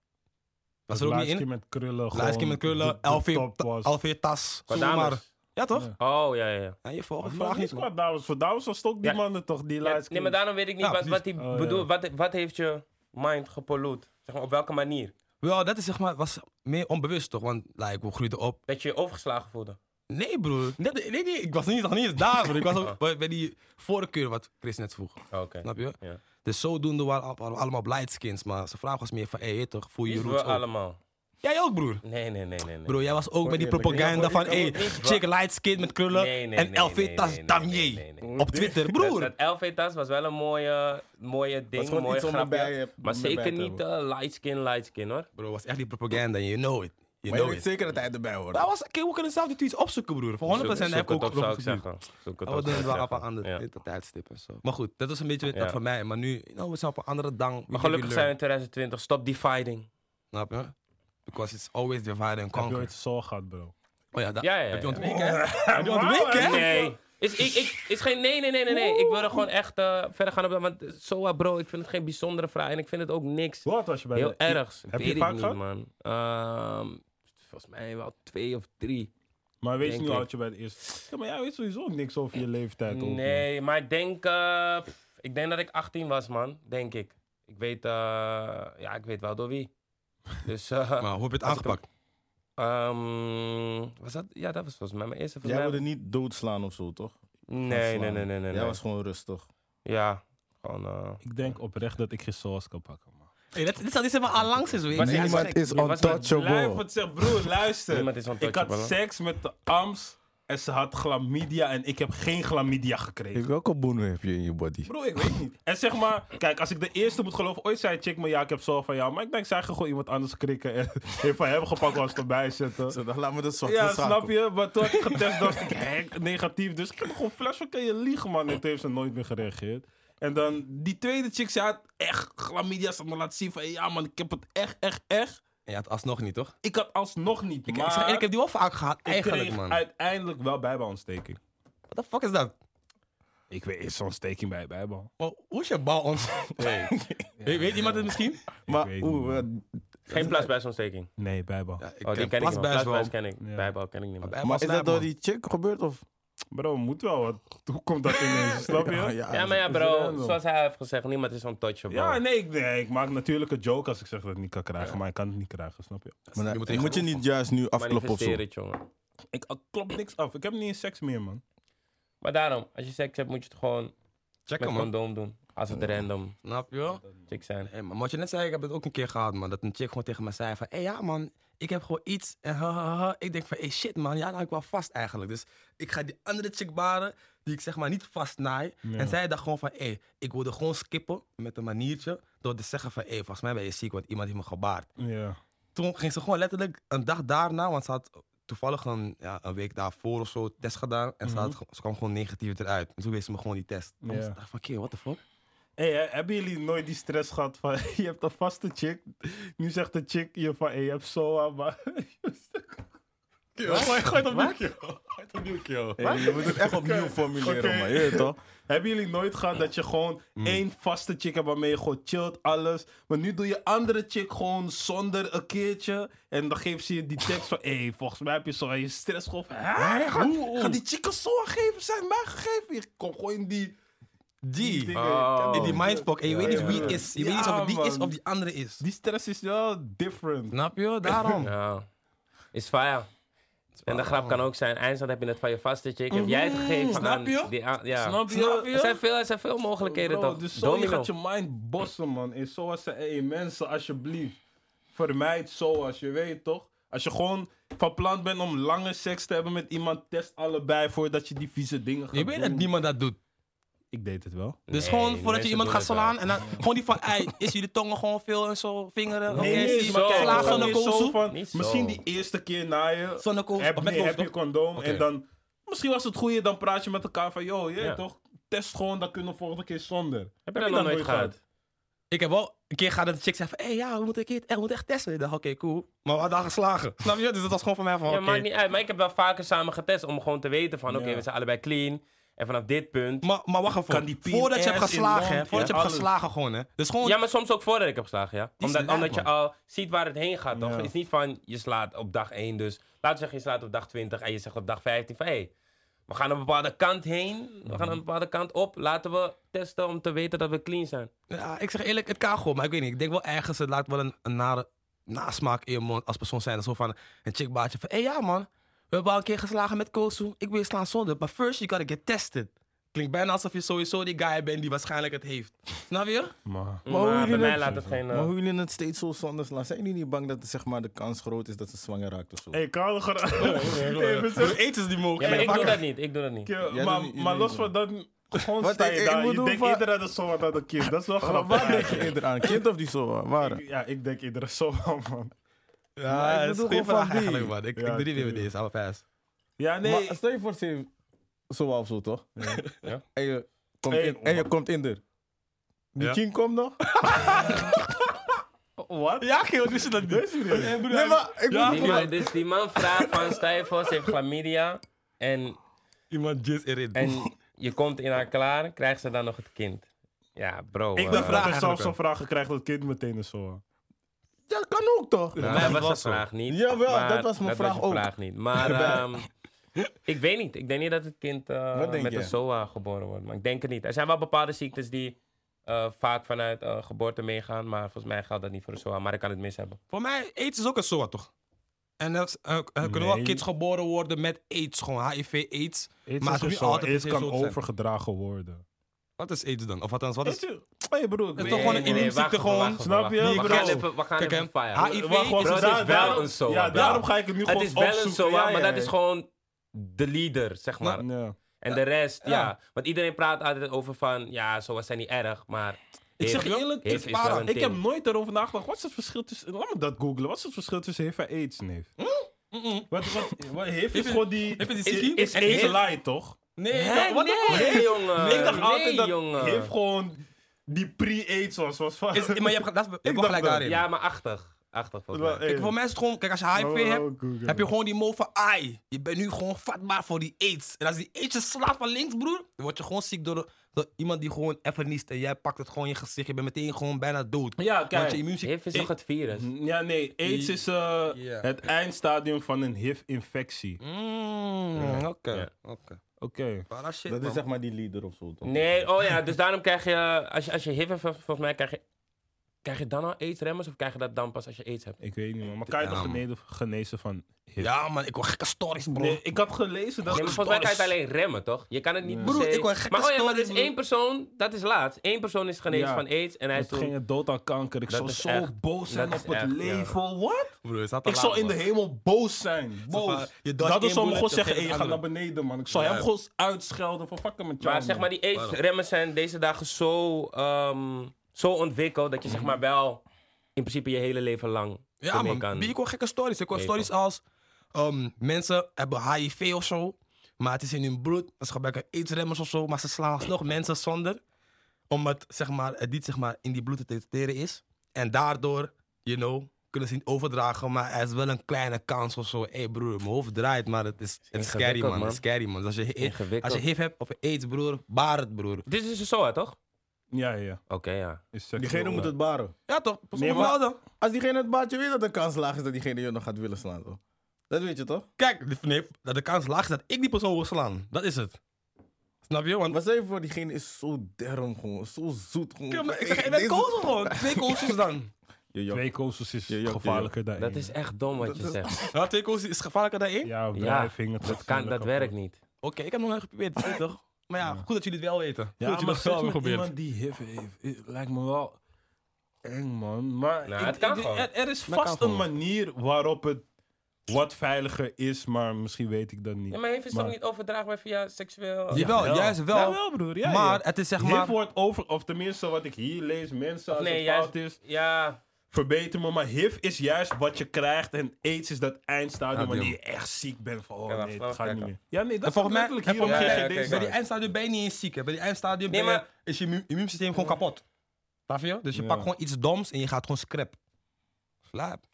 B: Was er ook niet
C: Laatste keer
B: in?
C: met krullen.
B: Light skin
C: gewoon
B: met
C: de-
B: krullen,
C: de
B: elf uur
C: top was.
B: ta- elf uur tas.
A: Qua
B: Zoem maar.
A: dames?
B: Ja toch?
C: Ja.
A: Oh, ja, ja, ja.
B: Ja, je volgt
C: Maar
B: de
C: vraag
B: vraag
C: niet
B: niet man.
C: kwaad, dames. nou, Voor dames was het ook die
A: Ja.
C: mannen toch, die
A: Ja,
C: laatste
A: nee, maar daarom weet ik niet
B: Ja,
A: wat, wat hij
C: precies. Oh,
A: bedoelt. Wat, wat heeft je mind gepolluut? Zeg maar, op welke manier?
B: Wel, dat is zeg maar, was meer onbewust toch? Want like, we groeiden op.
A: Dat je je overgeslagen voelde?
B: Nee, broer. Net- nee, nee, ik was niet, nog niet eens daar, broer. Ik was ook bij, bij die voorkeur wat Chris net vroeg.
A: Oh, Oké.
B: Snap je?
A: Ja.
B: Dus zodoende waren al- al- allemaal blijdskins. Maar zijn vraag was meer van, hé, hey, weet toch, voel je je
A: Wie
B: roots
A: we
B: ook?
A: allemaal.
B: Jij ook, broer.
A: Nee, nee, nee, nee. nee.
B: Broer, jij was ook bij die
D: eerlijk,
B: propaganda
D: ja,
B: van,
D: broer, ik
B: hé,
A: kan ook niet,
B: chick light skin met krullen
A: Nee, nee,
B: en
A: nee,
B: LV
A: nee,
B: tas
A: nee, nee,
B: damier.
A: nee, nee, nee.
B: Op Twitter, broer.
A: Dat, dat LV-tas was wel een mooie, mooie
D: Dat
A: ding,
D: is gewoon
A: mooie
D: iets om
A: grapje.
D: erbij, eh,
A: maar
D: om erbij
A: zeker
D: te
A: niet eh, light skin, light skin hoor.
B: Bro, was echt die propaganda, you know it. You
D: Maar je
B: know
D: weet
B: it.
D: zeker dat hij erbij hoort.
A: Nou,
B: Dat was, kijk, we kunnen zelf die tweets opzoeken, broer. Voor 100%
A: Zoek-
B: heb ik
A: zoek het
B: ook
A: op, zou ik
B: gevoeld.
A: zeggen. Zoek het
B: Oh,
A: op,
B: we doen
A: zou ik
B: het wel op
A: zeggen.
B: een ander
A: Ja.
B: dit- dat tijdstip en zo. Maar goed, dat was een beetje dat
A: Ja.
B: van mij. Maar nu, nou, we zijn op een andere dang.
A: Maar gelukkig zijn we in 2020. Stop dividing.
B: Snap je? Because it's always divide and
C: Heb je
B: conquer.
C: ooit zo gehad, bro?
B: Oh ja, dat
A: Ja, ja, ja.
B: heb je ontweken, hè? Heb je ontweken, hè?
A: Nee. Is, ik, ik, is geen, nee, nee, nee, nee, nee. Ik wil er gewoon echt eh, verder gaan op. dat, Want eh, Soa, bro, ik vind het geen bijzondere vraag. En ik vind het ook niks
C: Hoe oud was je bij
A: heel
C: de-
A: ergs.
C: Heb je
A: Weet ik
C: vaak
A: niet,
C: gehad?
A: man. Ehm, volgens mij wel twee of drie.
C: Maar weet je
A: Denk
C: niet hoe
A: ik.
C: oud je bij de eerste... Ja, maar jij weet sowieso niks over je leeftijd. ook, man.
A: Nee, maar ik denk, eh, pff, ik denk dat ik 18 was, man. Denk ik. Ik weet, eh, ja, ik weet wel door wie. Dus, eh,
B: Maar hoe heb je het
A: Als ik
B: aangepakt?
A: ehm, was dat? Ja, dat was volgens mij mijn eerste.
D: Jij
A: Volgens
D: wilde
A: mij...
D: niet doodslaan of zo, toch?
A: nou- Nee, nee,
D: Slaan.
A: nee, nee, nee.
D: Jij
A: nee.
D: was gewoon rustig.
A: Ja, gewoon. eh,
C: Ik denk oprecht dat ik geen zoals kan pakken, man.
B: Hey, dat, dit is dit is wel allangs is, weet je.
A: Niemand
D: is
C: Blijf wat zeggen, broer, luister.
A: Niemand is
C: Ik had
A: untouchable.
C: seks met de Ams en ze had chlamydia en ik heb geen chlamydia gekregen.
D: Welke boenen heb je in je body?
C: Bro, ik weet niet. En zeg maar, kijk, als ik de eerste moet geloven, ooit zei chick me, ja, ik heb zo van jou. Maar ik denk, zij gaan gewoon iemand anders krikken en heeft van hem gepakt was erbij zitten.
D: Zo, dan laat me dat zwart
C: Ja, snap je? Maar toen had ik getest, dacht ik, hé, negatief. Dus ik heb gewoon flash van, kan je liegen, man? En toen heeft ze nooit meer gereageerd. En dan, die tweede chick, ze had echt chlamydia. Ze had me laten zien van, ja man, ik heb het echt, echt, echt.
B: Ja, het alsnog niet, toch?
C: Ik had alsnog niet,
B: Ik,
C: maar...
B: ik, zeg, eerlijk, ik heb die wel vaak gehad,
C: Ik
B: eigenlijk,
C: kreeg
B: man.
C: uiteindelijk wel bijbalontsteking.
B: What the fuck is dat?
C: Ik weet, is zo'n ontsteking bij bijbal?
B: Maar Hoe is je bal ons? Hey. Weet, weet iemand het misschien?
D: Maar
C: weet
D: oeh, eh,
A: Geen plasbuisontsteking.
C: Nee, bijbal.
B: Ja, ik
A: Oh, die ken ik wel.
B: best wel.
A: Plasbuis ken ik.
C: Ja.
A: Bijbal ken ik niet meer.
D: eh, maar is dat door die chick gebeurd of?
C: Bro, moet wel. Wat, hoe komt dat ineens? Snap je? Ja,
A: Ja, maar ja,
C: Is
A: bro.
C: random.
A: Zoals hij heeft gezegd, niemand is untouchable.
C: nee, ik, nee, ik maak natuurlijk een joke als ik zeg dat ik het niet kan krijgen, maar ik kan het niet krijgen, snap je?
D: Maar dan-
B: Je moet
D: moet,
B: er
D: je niet juist nu afkloppen of zo?
A: Manifesteer het, jongen.
C: Ik ik klop niks af. Ik heb niet eens seks meer, man.
A: Maar daarom, als je seks hebt, moet je het gewoon met
B: Check hem, man.
A: condoom doen. Als het random
B: Snap je?
A: chick zijn.
B: Hey, maar wat je net zei, ik heb het ook een keer gehad, man. Dat een chick gewoon tegen mij zei van... Hé, ja, man, ik heb gewoon iets. En ha, ha, ha. Ik denk van, hé, shit, man. Ja, dan hou ik wel vast eigenlijk. Dus ik ga die andere chick baren, die ik zeg maar niet vastnaai. En zij dacht gewoon van, hé, ik wilde gewoon skippen met een maniertje. Door te zeggen van, hé, volgens mij ben je ziek, want iemand heeft me gebaard.
C: Ja.
B: Toen ging ze gewoon letterlijk een dag daarna... Want ze had toevallig een, ja, een week daarvoor of zo test gedaan. En ze, had, ge- ze kwam gewoon negatief eruit. En toen wees ze me gewoon die test.
C: Ja.
B: Dus ik dacht van, oké, what the fuck?
C: Hey, hè, hebben jullie nooit die stress gehad van je hebt een vaste chick? Nu zegt de chick je van hey, je hebt SOA, maar.
E: joh. Gooi, gooi het opnieuw, joh. Gooi het opnieuw, joh.
D: Hey, je moet het echt opnieuw formuleren,
E: Oké.
D: man. Je weet toch?
C: Hebben jullie nooit gehad dat je gewoon
B: Mm.
C: één vaste chick hebt waarmee je gewoon chillt, alles. Maar nu doe je andere chick gewoon zonder een keertje. En dan geeft ze je die tekst van, hé, hey, volgens mij heb je zo aan je stress gehad. Hè? Gaat, gaat die chick een zoen geven? Zijn mij gegeven? Je komt gewoon in die...
B: Die.
C: dingen.
A: Oh.
B: In die mindfuck. En je weet niet wie het is. Je weet niet
C: Ja,
B: of het die is
C: man.
B: of die andere is.
C: Die stress is wel different.
B: Snap je? Daarom.
A: Ja. Is fire. En de grap kan ook zijn, eindstand heb je het van je vaste chick. Heb jij het gegeven
B: Snap
A: aan
B: je?
A: die aan- ja.
C: Snap Mhm. je?
A: Er zijn veel, er zijn veel mogelijkheden
C: Bro,
A: toch?
C: Dus zo je
A: Domino.
C: gaat je mind bossen, man. En zoals ze, hey, mensen, alsjeblieft. Vermijd zoals, je weet toch? Als je gewoon van plan bent om lange seks te hebben met iemand, test allebei voordat je die vieze dingen gaat
B: Je weet dat
C: doen.
B: niemand dat doet.
C: Ik deed het wel.
B: Dus
A: Nee,
B: gewoon
A: die
B: voordat je
A: mensen
B: iemand
A: doen
B: gaat
A: het wel.
B: slaan en dan gewoon die van, ei, is jullie tongen gewoon veel en zo, vingeren, oké,
A: nee,
B: zie
A: nee,
B: je,
A: maar kijk,
B: slaan
A: gewoon
B: zonder
C: is zo
B: koolzoek.
C: van,
A: Niet zo.
C: Misschien die eerste keer na je,
B: Zonder koolzoek,
C: heb,
B: of met
C: nee, heb
B: koolzoek.
C: je condoom
B: Oké.
C: en dan... Misschien was het goeie, dan praat je met elkaar van, yo, je
A: Ja.
C: toch? Test gewoon, dan kunnen we volgende keer zonder.
A: Heb je dat nog nooit gehad?
B: Ik heb wel een keer gehad dat de chick zei van, hé hey, ja, we moeten, een keer, eh, we moeten echt testen. Ik dacht, oké, cool. Maar we hadden al geslagen. Snap je? Dus dat was gewoon van mij van,
A: Ja,
B: oké.
A: maakt niet uit. Maar ik heb wel vaker samen getest om gewoon te weten van, oké,
C: Ja.
A: we zijn allebei clean. En vanaf dit punt.
B: Maar, maar wacht even.
C: Kan die pien
B: voordat je hebt
C: ass in
B: geslagen, hè.
C: mond,
B: Voordat
C: ja,
B: je hebt
C: alles.
B: geslagen gewoon, hè. Dus gewoon,
A: Ja, maar soms ook voordat ik heb geslagen, ja.
B: Die is
A: Omdat,
B: laag,
A: omdat je
B: man.
A: al ziet waar het heen gaat, toch?
C: Ja.
A: Het is niet van, je slaat op dag 1, dus... Laten we zeggen, je slaat op dag 20 en je zegt op dag 15 van... Hey, we gaan een bepaalde kant heen, we gaan een bepaalde kant op. Laten we testen om te weten dat we clean zijn.
B: ja, ik zeg eerlijk, het kan gewoon. Maar ik weet niet, ik denk wel ergens, het laat wel een, een nare nasmaak in je mond als persoon zijn. Zo van, een chick baatje van, hé hey, ja man, we hebben al een keer geslagen met koolzoek. Ik wil je slaan zonder. Maar first, you gotta get tested. Klinkt bijna alsof je sowieso die guy bent die waarschijnlijk het heeft. Snap je?
C: Maar...
A: Maar,
D: hoe jullie
A: bij mij
D: dat-
A: laat het geen... eh,
D: Maar hoe jullie het steeds zo zonder slaan, zijn jullie niet bang dat zeg maar, de kans groot is dat ze zwanger raakt of zo?
A: Eh,
C: Hé, hey, Karel, ga- Hey, we zijn-
B: Dus eten ze die mogen.
A: ja, maar ik doe dat niet, ik doe dat niet.
C: Ja,
D: Jij
C: maar,
D: doet
C: maar
D: niet- jullie
C: los van
D: doen.
C: dat, gewoon
D: Wat
C: sta je
D: ik- ik
C: daar.
D: moet
C: je
D: doen
C: denkt
D: van-
C: iedere dat het zo wat aan een kind. Dat is wel
D: Waar-
C: grappig.
D: Waar denk je
C: eigenlijk.
D: eerder aan? Kind of die zo? Waar?
C: Ja, ik denk iedere zo wel, man.
D: Maar ik
B: Ja, dat is
D: bedoel
B: een goede
D: gewoon
B: vraag
D: van die.
B: eigenlijk, man. Ik,
C: Ja,
B: ik doe die weer met
C: tuurlijk.
B: deze, oude pass.
C: Ja, nee.
D: Maar stel je voor, ze zo of zo, toch?
A: Ja.
D: En je komt,
C: Hey,
D: in, en je komt in er. Die
B: Ja.
D: king komt nog?
C: Wat?
B: Ja, Geel, dus je dat niet?
D: Nee, maar ik
B: Ja.
D: bedoel-
A: Die man, dus die man vraagt van, stel je voor, ze heeft chlamydia. En,
B: Iemand just erin.
A: en je komt in haar klaar, krijgt ze dan nog het kind? Ja, bro.
C: Ik
A: eh,
C: dacht dat
B: vraag
C: er zelfs
B: eigenlijk
C: zo'n vraag krijgt dat kind meteen een zo.
D: Dat kan ook, toch?
A: Voor
B: Ja,
A: mij
B: dat
A: was
B: was
A: dat
B: zo.
A: vraag niet.
D: Jawel,
A: maar
D: dat was mijn vraag
A: je
D: ook.
A: vraag niet. Maar ehm, ik weet niet. Ik denk niet dat het kind eh,
D: Wat denk
A: met
D: je?
A: een SOA geboren wordt. Maar ik denk het niet. Er zijn wel bepaalde ziektes die eh, vaak vanuit eh, geboorte meegaan. Maar volgens mij geldt dat niet voor een SOA. Maar ik kan het mis hebben.
B: Voor mij, aids is ook een soort, toch? En er, is- er- er kunnen
C: Nee.
B: wel kids geboren worden met aids, gewoon HIV, aids. Maar
C: maar
B: het hoeft niet
C: zo.
B: altijd
C: Aids
B: per se
C: kan
B: zo te zijn.
C: overgedragen worden.
B: Wat is aids dan? Of althans, wat is...
C: Hé, broer.
B: Het is
C: ik-
B: toch gewoon
A: Nee,
B: een
A: nee,
B: immuunziekte
A: wacht even,
B: gewoon.
A: wacht even,
C: Snap
A: wacht
C: je?
A: even.
B: Die
A: We gaan
B: bro.
A: even, we gaan
B: Kijk,
A: even
B: hè.
A: fire.
B: HIV
C: Wacht, wacht,
A: Bro,
B: is
A: het
C: daar-
A: is wel
C: daarom-
A: een SOA.
C: Ja,
A: bro.
C: daarom ga ik het nu
A: Het
C: gewoon
A: is wel een
C: opzoeken.
A: SOA,
C: Ja, ja,
A: maar dat
C: ja.
A: is gewoon de leader, zeg maar.
C: Ja.
A: En de rest, ja. Want iedereen praat altijd over van, ja, SOA's zijn niet erg, maar...
C: Ik zeg
A: HIV-
C: je eerlijk,
A: HIV
C: het
A: is
C: is para.
A: wel een
C: ik heb
A: ding.
C: nooit erover nagedacht. Wat is het verschil tussen... Laat me dat googlen. Wat is het verschil tussen HIV en AIDS, neef?
B: Mm-mm.
C: Wat, wat, wat, HIV is
B: Heeft-
C: gewoon die...
B: Heb je die
A: Is-
B: ziekte?
A: is-
C: En AIDS
A: Heeft-
C: lie, toch?
B: Nee,
A: Hè?
B: dat- wat de fuck?
A: nee, jongen.
C: ik dacht altijd dat
A: Eh, jongen.
C: heeft gewoon die pre-AIDS was. was van,
B: Is, maar je hebt, dat, je hebt wel
C: dacht
B: gelijk
C: dat.
B: daarin.
A: Ja, maar 80. 80 volgens mij.
C: Wel, eh,
B: Kijk, voor mij is het gewoon... Kijk, als je
C: maar
B: HIV
C: we
B: hebt,
C: ook googlen.
B: heb je gewoon die mo van... Ai, je bent nu gewoon vatbaar voor die aids. En als die aids je slaat van links, broer... Dan word je gewoon ziek door, door iemand die gewoon even niest. En jij pakt het gewoon in je gezicht. Je bent meteen gewoon bijna dood.
C: Ja, kijk.
B: Want je Eh, immuunsysteem...
A: HIV is toch het virus?
C: Ja, nee. AIDS is eh,
B: Ja.
C: het eindstadium van een HIV-infectie.
B: Mm,
A: Ja.
B: Oké, oké.
C: Oké.
B: Para shit,
D: Dat is
B: man.
D: zeg maar die leader of zo, toch?
A: Nee, oh ja, dus daarom krijg je... Als je, als je HIV hebt, vol- volgens mij krijg je... Krijg je dan al aidsremmers of krijg je dat dan pas als je aids hebt?
C: Ik weet niet, man. Maar kan je
B: Ja,
C: toch
B: man.
C: genezen, genezen van HIV?
B: Ja, man, ik hoor gekke stories, bro.
C: Nee, ik had gelezen dat...
A: Oh. Nee, maar volgens mij kan je het alleen remmen, toch? Je kan het niet per
B: Broer,
A: se-
B: ik hoor gekke
A: Maar oh ja, maar
B: stories,
A: er is
B: broer.
A: één persoon, dat is laatst. Eén persoon is genezen
C: Ja.
A: van aids en hij is
C: Het
A: toen...
C: ging dood aan kanker. Ik
A: Dat
C: zou
A: is
C: zo
A: echt-
C: boos zijn
A: dat is
C: op het
A: echt, ja.
C: leven. Wat?
B: Broer, is dat te
C: Ik
B: laat,
C: zou in de
B: man?
C: hemel boos zijn. Boos.
B: je dodgt
C: Dat
B: één
C: is om
B: bullet,
C: gewoon
B: je
C: zeggen,
B: geeft
C: hey, ga
B: andere.
C: naar beneden, man. Ik zou
B: Ja.
C: hem gewoon uitschelden van fucking met jou.
A: Maar zeg
C: man.
A: maar, die aidsremmers zijn deze dagen zo, ehm, zo ontwikkeld dat je zeg maar wel in principe je hele leven lang
B: Ja,
A: ermee
B: man.
A: kan.
B: Ik hoor gekke stories. Ik hoor
A: Nee,
B: stories als... ehm, mensen hebben HIV of zo. Maar het is in hun bloed. Ze gebruiken aidsremmers of zo. Maar ze slaan alsnog mensen zonder. Omdat zeg maar, het niet zeg maar, in die bloed te detecteren is. En daardoor, you know, kunnen ze niet overdragen, maar er is wel een kleine kans of zo. Hé hey broer, mijn hoofd draait, maar het is, het is scary
A: Ingewikkeld,
B: man. Het is scary man. Dus als je, als
A: Ingewikkeld.
B: je HIV hebt of AIDS broer, baar het broer.
A: Dit is dus een SOA, toch?
C: Ja, ja, ja.
A: Oké, ja.
C: Is seksueel,
D: Diegene moet
C: eh,
D: het baren.
B: Ja toch? Pas
C: Nee,
B: op,
C: maar-
B: melden.
D: Als diegene het baartje weet dat de kans laag is dat diegene je nog gaat willen slaan, toch? Dat weet je toch?
B: Kijk, de- nee, dat de kans laag is dat ik die persoon wil slaan. Dat is het. Snap je? Want
D: Maar stel je voor, diegene is zo derm gewoon, zo zoet gewoon.
B: Ja, maar ik
D: Hey,
B: zeg, je bent
D: deze-
B: kozen gewoon. Twee kozels dan.
D: Je jok.
C: Twee koosjes is
D: Ja, ja, ja, ja.
C: gevaarlijker dan
A: Dat
C: één.
A: is echt dom wat je zegt.
B: Ja, twee kozels is gevaarlijker dan één.
C: Ja,
A: Ja,
C: wrijving. het
A: dat,
C: is
A: kan, dat
C: moeilijk
A: werkt niet.
B: Oké, ik heb nog nooit geprobeerd, weet je toch? Maar ja, goed dat jullie het wel weten. Goed dat
C: Ja,
B: jullie
C: maar
B: het wel
C: seks
B: hebben
C: met
B: geprobeerd.
C: iemand die HIV heeft, eh, lijkt me wel eng, man. Maar
A: Nou,
C: ik-
A: het kan
C: ik-
A: gewoon.
C: er, er is
A: kan
C: vast een
A: gewoon.
C: manier waarop het wat veiliger is, maar misschien weet ik dat niet.
A: Ja, maar heeft is toch
C: Maar-
A: niet overdraagbaar via seksueel...
B: Jawel, juist wel.
C: Jawel, broer. Ja,
B: maar
C: ja.
B: het is zeg
C: HIV
B: maar...
C: wordt over, of tenminste wat ik hier lees, mensen als
A: nee,
C: het
A: juist-
C: fout is,
A: Ja,
C: verbeter me. Maar HIV is juist wat je krijgt en AIDS is dat eindstadium
B: Ah,
C: wanneer
B: damn.
C: je echt ziek bent van, oh
A: Ja, wacht,
C: nee,
A: laat
C: dat gaat
A: kijken.
C: niet meer. Ja, nee, dat
B: En
C: is
B: volgens mij-
C: letterlijk
B: en
C: hier op
B: volgens mij-
A: ja, oké,
C: GGD.
B: Bij
A: kijk.
B: die eindstadium ben je niet eens ziek. Hè. Bij die eindstadium
A: Nee,
B: ben je-
A: maar-
B: is je immuun- immuunsysteem gewoon kapot. Snap je? Dus je
C: Ja.
B: pakt gewoon iets doms en je gaat gewoon scrap. Slaap.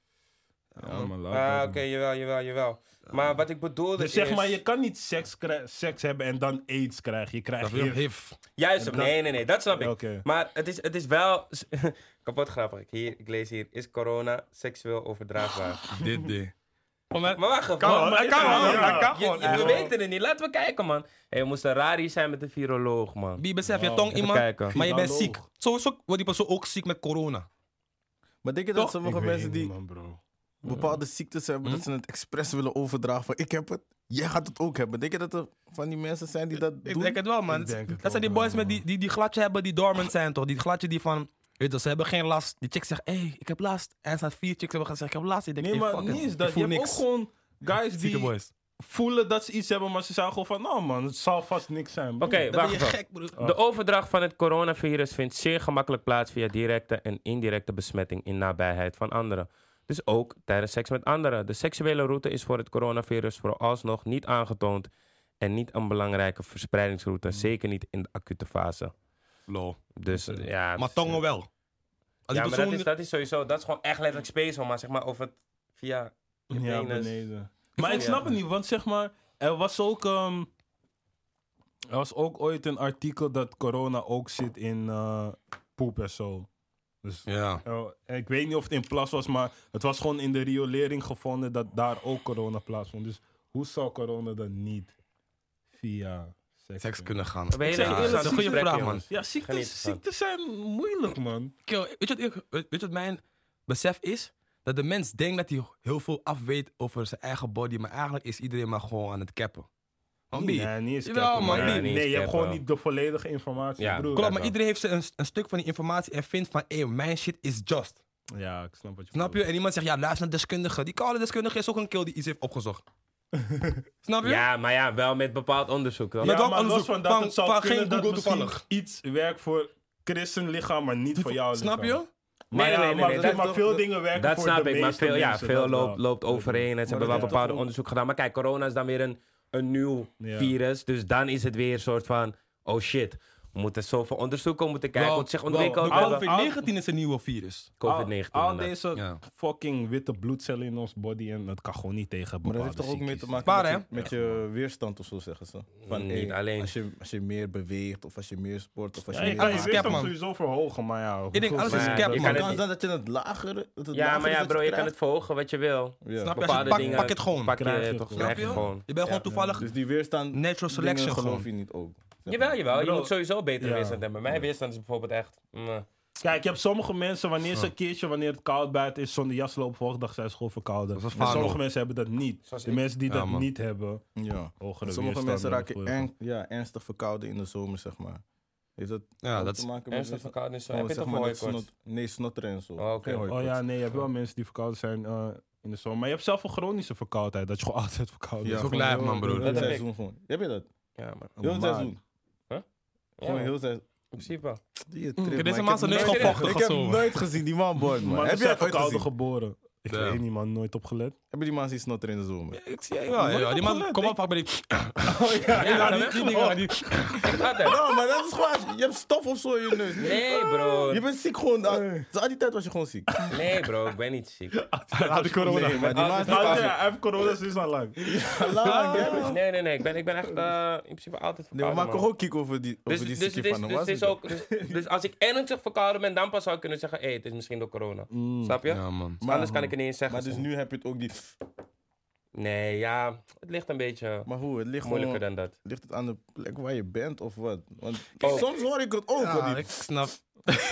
C: Ja, maar laat
A: ah,
C: dat
A: oké, jawel, jawel, jawel. Maar wat ik bedoelde
C: Dus zeg
A: is-
C: maar, je kan niet seks, krij- seks hebben en dan aids krijgen. Je krijgt
B: Dat wil
C: HIV.
B: HIV.
A: Juist, nee, nee, nee, dat snap ik.
C: Oké.
A: Maar het is, het is wel... Kapot grappig. Hier, ik lees hier. Is corona seksueel overdraagbaar?
B: Dit ding.
A: maar wacht even.
B: Kan
A: man.
B: wel, dat kan
C: Ja,
B: wel,
C: ja.
B: dat kan
A: Je-
B: gewoon.
A: je- we weten het niet. Laten we kijken, man. Hey, we moesten rari zijn met de viroloog, man.
B: Wie besef, je tong
A: Even
B: iemand,
A: kijken.
B: maar je bent ziek.
C: Viroloog.
B: Sowieso wordt die persoon ook ziek met corona.
D: Maar denk je dat
B: Toch?
D: sommige mensen die
C: bro.
D: Mhm. bepaalde ziektes hebben, dat ze het expres willen overdragen van ik heb het, jij gaat het ook hebben. Denk je dat er van die mensen zijn die dat
B: Ik
D: doen?
B: denk het wel, man.
C: Ik denk het
B: dat zijn die
C: ook wel,
B: boys met die, die, die gladje hebben die dormant zijn, toch? Die gladje die van, weet je, ze hebben geen last. Die chick zegt, hé, hey, ik heb last. En er staan vier chicks hebben gezegd, ik heb last. Ik denk,
C: Nee,
B: hey,
C: maar
B: fuck it.
C: niet
B: Ik
C: eens dat. Je
B: voel
C: hebt ook
B: niks.
C: gewoon guys
B: Zieke
C: die
B: boys.
C: voelen dat ze iets hebben, maar ze zijn gewoon van, nou man, het zal vast niks zijn. bro.
A: Oké,
B: Dan ben
A: wacht
B: je
A: even.
B: gek, broer.
A: De overdracht van het coronavirus vindt zeer gemakkelijk plaats via directe en indirecte besmetting in nabijheid van anderen. Dus ook tijdens seks met anderen. De seksuele route is voor het coronavirus vooralsnog niet aangetoond en niet een belangrijke
B: Mm.
A: verspreidingsroute, zeker niet in de acute fase.
B: Lol.
A: Dus eh, ja.
B: Maar
A: het is-
B: tongen wel. Als die
A: Ja, maar dat
B: persoon-
A: is, dat is sowieso, dat is gewoon echt letterlijk special, maar zeg maar of het via je
C: Ja,
A: penis-
C: beneden. Maar ik
A: Ja.
C: snap het niet, want zeg maar, er was ook... ehm, er was ook ooit een artikel dat corona ook zit in eh poep en zo. Dus
B: Ja.
C: eh, ik weet niet of het in plas was, maar het was gewoon in de riolering gevonden dat daar ook corona plaatsvond. Dus hoe zou corona dan niet via seks...
B: Seks
C: gaan?
B: kunnen gaan.
A: We hebben hele
B: Ja, dat is
A: interessante
B: een goede
A: gesprekken,
B: vraag, man.
A: jongens.
C: Ja,
A: Geniet
C: ziektes,
A: ervan.
C: ziektes zijn moeilijk, man.
B: Kill, weet, je wat, ik- weet je wat mijn besef is? Dat de mens denkt dat hij heel veel af weet over zijn eigen body, maar eigenlijk is iedereen maar gewoon aan het cappen. Want wie?
C: Nee, niet eens
B: Jawel,
C: cappen,
B: man,
C: man.
A: niet.
C: Nee,
A: Niet eens
C: je hebt
A: cappen.
C: gewoon niet de volledige informatie,
A: Ja,
C: broer.
B: Klopt, maar iedereen heeft een, een stuk van die informatie en vindt van, hé, mijn shit is just.
C: Ja, ik snap wat je
B: Snap je?
C: bedoelt.
B: En iemand zegt, ja, luister naar deskundige. Die koude deskundige is ook een kill die iets heeft opgezocht. Snap je?
A: Ja, maar ja, wel met bepaald onderzoek. hoor.
B: Ja. Met
C: ja,
B: welk
C: maar los
B: onderzoek?
C: van dat,
B: Van-
C: het zou
B: van
C: kunnen
B: geen
C: dat
B: Google
C: misschien
B: toevallig.
C: iets werkt voor christenlichaam, maar niet voor jou. dus
B: Snap je?
C: Maar,
A: Nee,
C: ja,
A: nee, nee,
C: maar,
A: nee,
C: maar
A: dat-
C: veel dingen werken
A: Dat
C: voor
A: snap
C: de
A: ik, maar
C: meeste
A: veel, ja,
C: mensen,
A: veel
C: dat wel.
A: loopt, loopt overeen. En ze hebben wel
C: dat is
A: bepaald
C: toch ook-
A: onderzoek gedaan. Maar kijk, corona is dan weer een, een nieuw
C: Ja.
A: virus. Dus dan is het weer een soort van, oh shit. We moeten zoveel onderzoeken, we moeten kijken
B: Wel,
A: hoe het zich
B: wel,
A: ontwikkelt.
B: de
A: We hebben
B: COVID-19 is een nieuwe virus.
A: COVID-19.
C: Al, al
A: inderdaad.
C: deze
B: Ja.
C: fucking witte bloedcellen in ons body en dat kan gewoon niet tegen
D: Maar dat
C: bepaalde
D: heeft toch ook mee te
C: ziektes.
D: maken
B: Spaar,
D: met,
B: hè?
D: je, met je weerstand of zo, zeggen ze. Van,
A: Niet
D: hey,
A: alleen.
D: Als je, als je meer beweegt, of als je meer sport, of als
C: Ja,
D: je
C: je
D: meer...
C: kan je
B: Scap,
C: weerstand
B: man.
C: sowieso verhogen, maar ja.
B: Ik denk, alles is
A: Maar
B: een
A: je
B: cap,
A: kan
B: man.
D: de
A: het
D: kans
A: niet-
D: dan dat je het lager... Dat het
A: Ja,
D: lager
A: maar
D: is
A: ja,
D: dat
A: bro, je kan het
D: krijgt.
A: verhogen wat je wil.
D: Ja.
B: Snap je? Als je
A: Bepaalde
B: pak-
A: dingen
B: pak het gewoon.
A: Pak
C: Krijg je
A: je
C: het
A: toch
C: gewoon.
A: krijg je gewoon.
B: Je bent gewoon toevallig...
D: Dus die weerstand...
B: Natural
D: dingen
B: selection
D: geloof
B: gewoon.
D: je niet ook. zeg
A: Jawel,
D: maar.
A: jawel. Je
C: Bro.
A: moet sowieso beter
C: Ja.
A: weerstand hebben. Mijn weerstand is bijvoorbeeld echt... mm.
C: Kijk, je hebt sommige mensen, wanneer ze een keertje, wanneer het koud buiten is, zonder jas lopen, volgende dag zijn ze gewoon verkouden.
B: Dat is
C: En
B: een falen.
C: sommige mensen hebben dat niet.
A: Zoals
C: de
A: ik.
C: mensen die
B: Ja,
C: dat
B: man.
C: niet hebben,
D: Ja.
C: hogere
D: Sommige
C: weerstand
D: mensen
C: en
D: raken
C: gevoel.
D: eng- ja, ernstig verkouden in de zomer, zeg maar. Heeft dat
B: Ja,
D: ook
B: dat
D: te
B: is...
D: maken met...
A: Ernstig verkouden is zo.
D: gewoon,
A: Heb je
D: Oh, zeg
A: toch
D: maar
A: mooi
D: dat snot- Nee, snotteren en zo.
A: Oh, oké.
D: Geen
C: Oh
D: hooikoorts.
C: ja, nee, je hebt wel mensen die verkouden zijn eh, in de zomer. Maar je hebt zelf een chronische verkoudheid, dat je gewoon altijd verkouden
D: Ja,
C: bent.
B: ook
D: gewoon
B: lijp,
D: heel-
B: man, broer.
D: heel
A: Dat
D: het
A: heb ik.
D: seizoen gewoon. Heb je dat?
A: Ja, maar...
D: Heel het
C: Maar-
D: seizoen.
A: Ja,
D: Gewoon
A: man.
D: heel seizoen.
A: In principe. wel.
D: Die
B: Deze
D: trip, maar ik
B: man
D: heb
B: zijn neus
D: nooit-
B: gewoon vochtig
D: Ik
B: of
D: heb
B: zo.
D: nooit gezien die man boord, man.
C: Maar
D: Heb
C: heb
D: jij
C: je
D: het ooit
C: verkouden
D: gezien?
C: geboren? Ik
B: Damn.
C: weet niet, man. Nooit opgelet.
D: Hebben die man iets snotter in de zomer?
B: Ik zie je wel.
C: Nooit
B: ja, Die man,
C: opgelet,
B: kom op, pak bij die... ja, die- die
A: Oh,
B: dingen, die-
A: Altijd.
D: Ja, Nou, maar dat is gewoon... Je hebt stof of zo in je neus.
A: Nee, bro.
D: Je bent ziek gewoon. Al al die tijd was je gewoon ziek.
A: Nee, bro, ik ben niet
D: Oh.
A: ziek.
C: Had ik corona.
D: Nee, maar die man is niet
C: Ah,
D: pas-
C: ja, Hij heeft corona sinds al lang.
D: Lang, hè?
A: dus Nee, nee, nee. Ik ben, ik ben echt eh, in principe altijd
D: Nee, we
A: verkouden.
D: maken
A: man.
D: gewoon kiek over die, over
A: Dus,
D: die
A: dus,
D: ziekte
A: het is,
D: van hem.
A: dus,
D: was
A: het is
D: het?
A: ook, dus, dus als ik ernstig verkouden ben, dan pas zou ik kunnen zeggen: hé, het is misschien door corona. Snap je?
B: Ja, man.
A: Maar Anders kan ik het niet eens zeggen.
D: Mm. Maar dus
A: zo.
D: nu heb je het ook die...
A: Nee, ja, het ligt een beetje
D: Maar hoe, het ligt
A: moeilijker
D: gewoon-
A: dan dat.
D: Ligt het aan de plek waar je bent of wat? Want
A: Oh.
D: soms hoor ik het ook.
B: Ja,
D: wel die-
B: ik snap.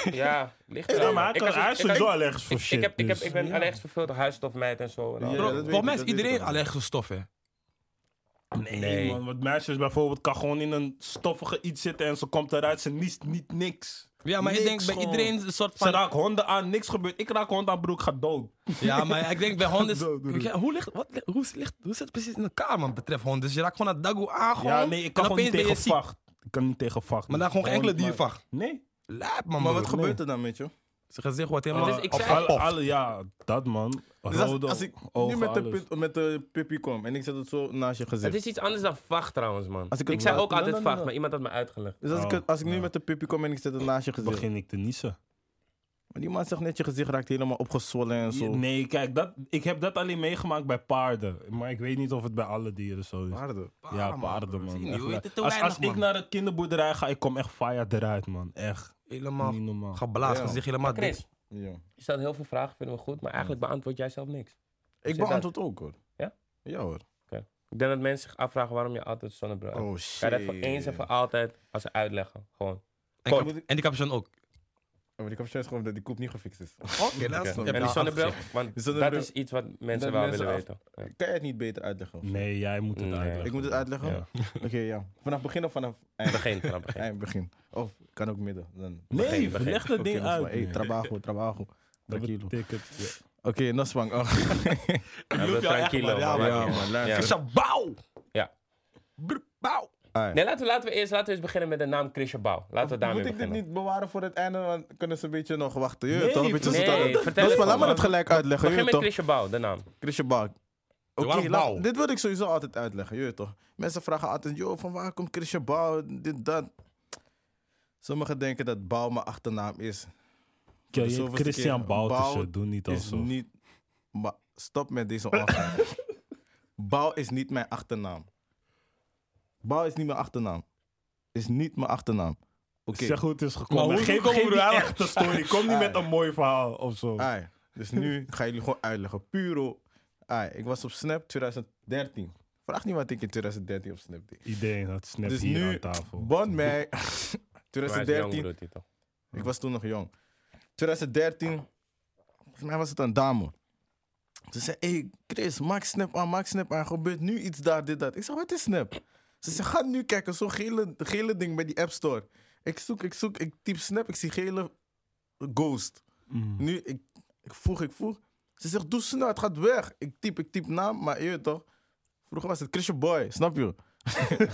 A: Ja, het ligt
C: Ja,
A: eraan.
C: maar hij
A: Ik
C: kan
A: was-
C: hij
A: ik-
C: is sowieso
A: ik-
C: allergisch voor
A: Ik, ik,
C: shit.
A: heb, ik, heb,
C: dus-
A: ik ben allergisch voor veel huisstofmeid en zo. en al.
D: Ja,
B: Bro,
D: dat weet
B: volgens
D: ik,
B: mij is
D: dat weet ik
B: iedereen
D: ook.
B: allergisch voor stoffen.
A: Nee.
C: Nee, man. Want meisjes bijvoorbeeld kan gewoon in een stoffige iets zitten en ze komt eruit, ze niest niet niks.
B: Ja, maar ik
C: Niks
B: denk bij
C: gewoon.
B: iedereen een soort
C: Ze
B: van...
C: raakt honden aan, niks gebeurt. Ik raak hond aan, broek ga dood.
B: Ja, maar ik denk bij honden.
C: Dood, dood, dood.
B: Ja, hoe, ligt, wat, hoe, ligt, hoe zit het precies in elkaar, man? Betreft honden. Dus je raakt gewoon naar Dagoe aan. Gewoon,
C: Ja, nee, ik kan
B: en
C: gewoon
B: opeens
C: niet
B: ben je
C: tegen
B: ziek.
C: vacht. Ik kan niet tegen vacht.
B: Maar dan gewoon geen enkele dier vacht.
C: Nee.
B: Lijp, man.
D: Maar
B: broer.
D: wat gebeurt er dan met je?
B: Zijn gezicht wordt helemaal.
A: Dus ik
C: Of
A: zei-
C: alle, alle- ja, dat man.
D: Dus als,
C: Rode
D: als ik nu
C: ogen,
D: met de,
C: alles.
D: pip- met de pippie kom en ik zet het zo naast je gezicht.
A: Het is iets anders dan vacht trouwens, man.
D: Als ik
A: Ik,
D: het
A: zei
D: laat-
A: ook
D: Nee,
A: altijd
D: nee,
A: vacht,
D: nee.
A: maar iemand had me uitgelegd.
D: Dus als, ik,
C: Oh,
D: het- als ik nu
C: ja.
D: met de pippie kom en ik zet het naast je gezicht.
C: begin ik te niezen.
D: Maar die man zegt net, je gezicht raakt helemaal opgezwollen en zo.
C: Nee, kijk, dat, ik heb dat alleen meegemaakt bij paarden. Maar ik weet niet of het bij alle dieren zo is.
D: Waarde.
C: ja,
B: broer.
C: paarden,
B: Zie je
C: man.
B: niet,
C: Echt
B: hoe
C: waar.
B: heet het? Te
C: als
B: weinig,
C: als ik
B: man.
C: naar de kinderboerderij ga, ik kom echt fire eruit, man. Echt.
B: Helemaal
C: Niet normaal.
B: geblazen,
D: Ja.
B: gezicht helemaal dik.
A: Chris,
D: Ja.
A: je stelt heel veel vragen, vinden we goed, maar eigenlijk beantwoord jij zelf niks.
D: Ik
A: Zit uit.
D: beantwoord ook hoor.
A: Ja?
D: Ja hoor.
A: Ik denk dat mensen zich afvragen waarom je altijd zonnebril hebt.
D: Oh
A: Ga
D: shit.
A: dat voor eens en voor altijd als ze uitleggen. Gewoon.
B: En
A: Kort.
B: kap- En die capuchon ook.
D: Oh, maar ik heb juist gewoon dat die koep niet gefixt is.
B: Oké, dat is
D: Oké.
A: En die zonnebril, want
D: Die zonnebril-
A: dat is iets wat mensen
D: Dat
A: wel
D: mensen
A: willen
D: af-
A: weten. Ja.
D: Kan je het niet beter uitleggen? of zo?
C: Nee, jij moet het
A: Nee.
C: uitleggen.
D: Ik moet het uitleggen?
C: Ja.
D: Oké, ja. Vanaf begin of vanaf eind?
A: Begin, vanaf begin.
D: eind begin. Of kan ook midden. Dan
C: Nee,
A: Begin, begin.
C: leg dat
D: Oké,
C: ding
D: dat is
C: uit.
D: wel- Hey,
C: man.
D: trabajo, trabajo.
C: dat
D: Tranquilo. Oké,
C: betekent... Ja.
D: Noswang. Oh.
A: Ja,
B: loop
A: we-
B: jou echt,
A: tranquilo,
B: man. Ja,
A: man.
B: man.
A: Ja, man.
D: luister.
A: Ja.
B: Chris, bouw!
A: Ja.
B: Brr, Bouw!
D: Alright.
A: Nee, laten we, laten, we eerst, laten we eens beginnen met de naam Chrisje Bouw. Laten we daarmee
D: Moet ik dit
A: beginnen.
D: niet bewaren voor het einde? Want kunnen ze een beetje nog wachten. Je
C: Nee,
D: toch? Een beetje
A: nee,
D: zo'n-
A: vertel
D: Dus
A: het
D: maar laat
A: gewoon,
D: me het
A: man.
D: gelijk uitleggen.
A: Begin
D: Je weet
A: met
D: toch?
A: Chrisje Bouw, de naam.
D: Chrisje Baak. Oké,
B: waren
D: laat-
B: Bouw.
D: dit wil ik sowieso altijd uitleggen. Je weet toch? Mensen vragen altijd, joh, van waar komt Chrisje Bouw? Dit, dat. Sommigen denken dat Bouw mijn achternaam is.
C: Ja,
D: de
C: je
D: zoveelste
C: Christian
D: keer.
C: Boutersen,
D: Bout
C: doe niet
D: is
C: alsof.
D: niet. Maar stop met deze ongein. Bouw is niet mijn achternaam. Bouw is niet mijn achternaam. Is niet mijn achternaam. Oké.
C: Zeg hoe het is gekomen.
B: Maar hoe is het
C: geef
B: gekomen,
C: geef die
B: broer? Hij-
C: echte story. Kom niet met een mooi verhaal of zo.
D: Ai, Dus nu ga jullie gewoon uitleggen. Puro. Ai, ik was op Snap 2013. Vraag niet wat ik in 2013 op Snap deed.
C: Iedereen had snap
D: dus
C: hier
D: nu,
C: aan tafel.
D: bond mij.
A: Maar hij is jong,
D: 2013.
A: bedoelt hij toch?
D: Ik was toen nog jong. 2013, volgens mij was het een dame. Ze zei, hey Chris, maak snap aan, maak snap aan. Gebeurt nu iets daar, dit, dat. Ik zei, wat is snap? Ze zei, ga nu kijken, zo'n gele, gele ding bij die App Store. Ik zoek, ik zoek, ik typ snap, ik zie gele ghost. Nu, ik, ik vroeg, ik vroeg. Ze zegt, doe snel, het gaat weg. Ik typ, ik typ naam, maar je weet toch. Vroeger was het Chrisje Boy, snap je?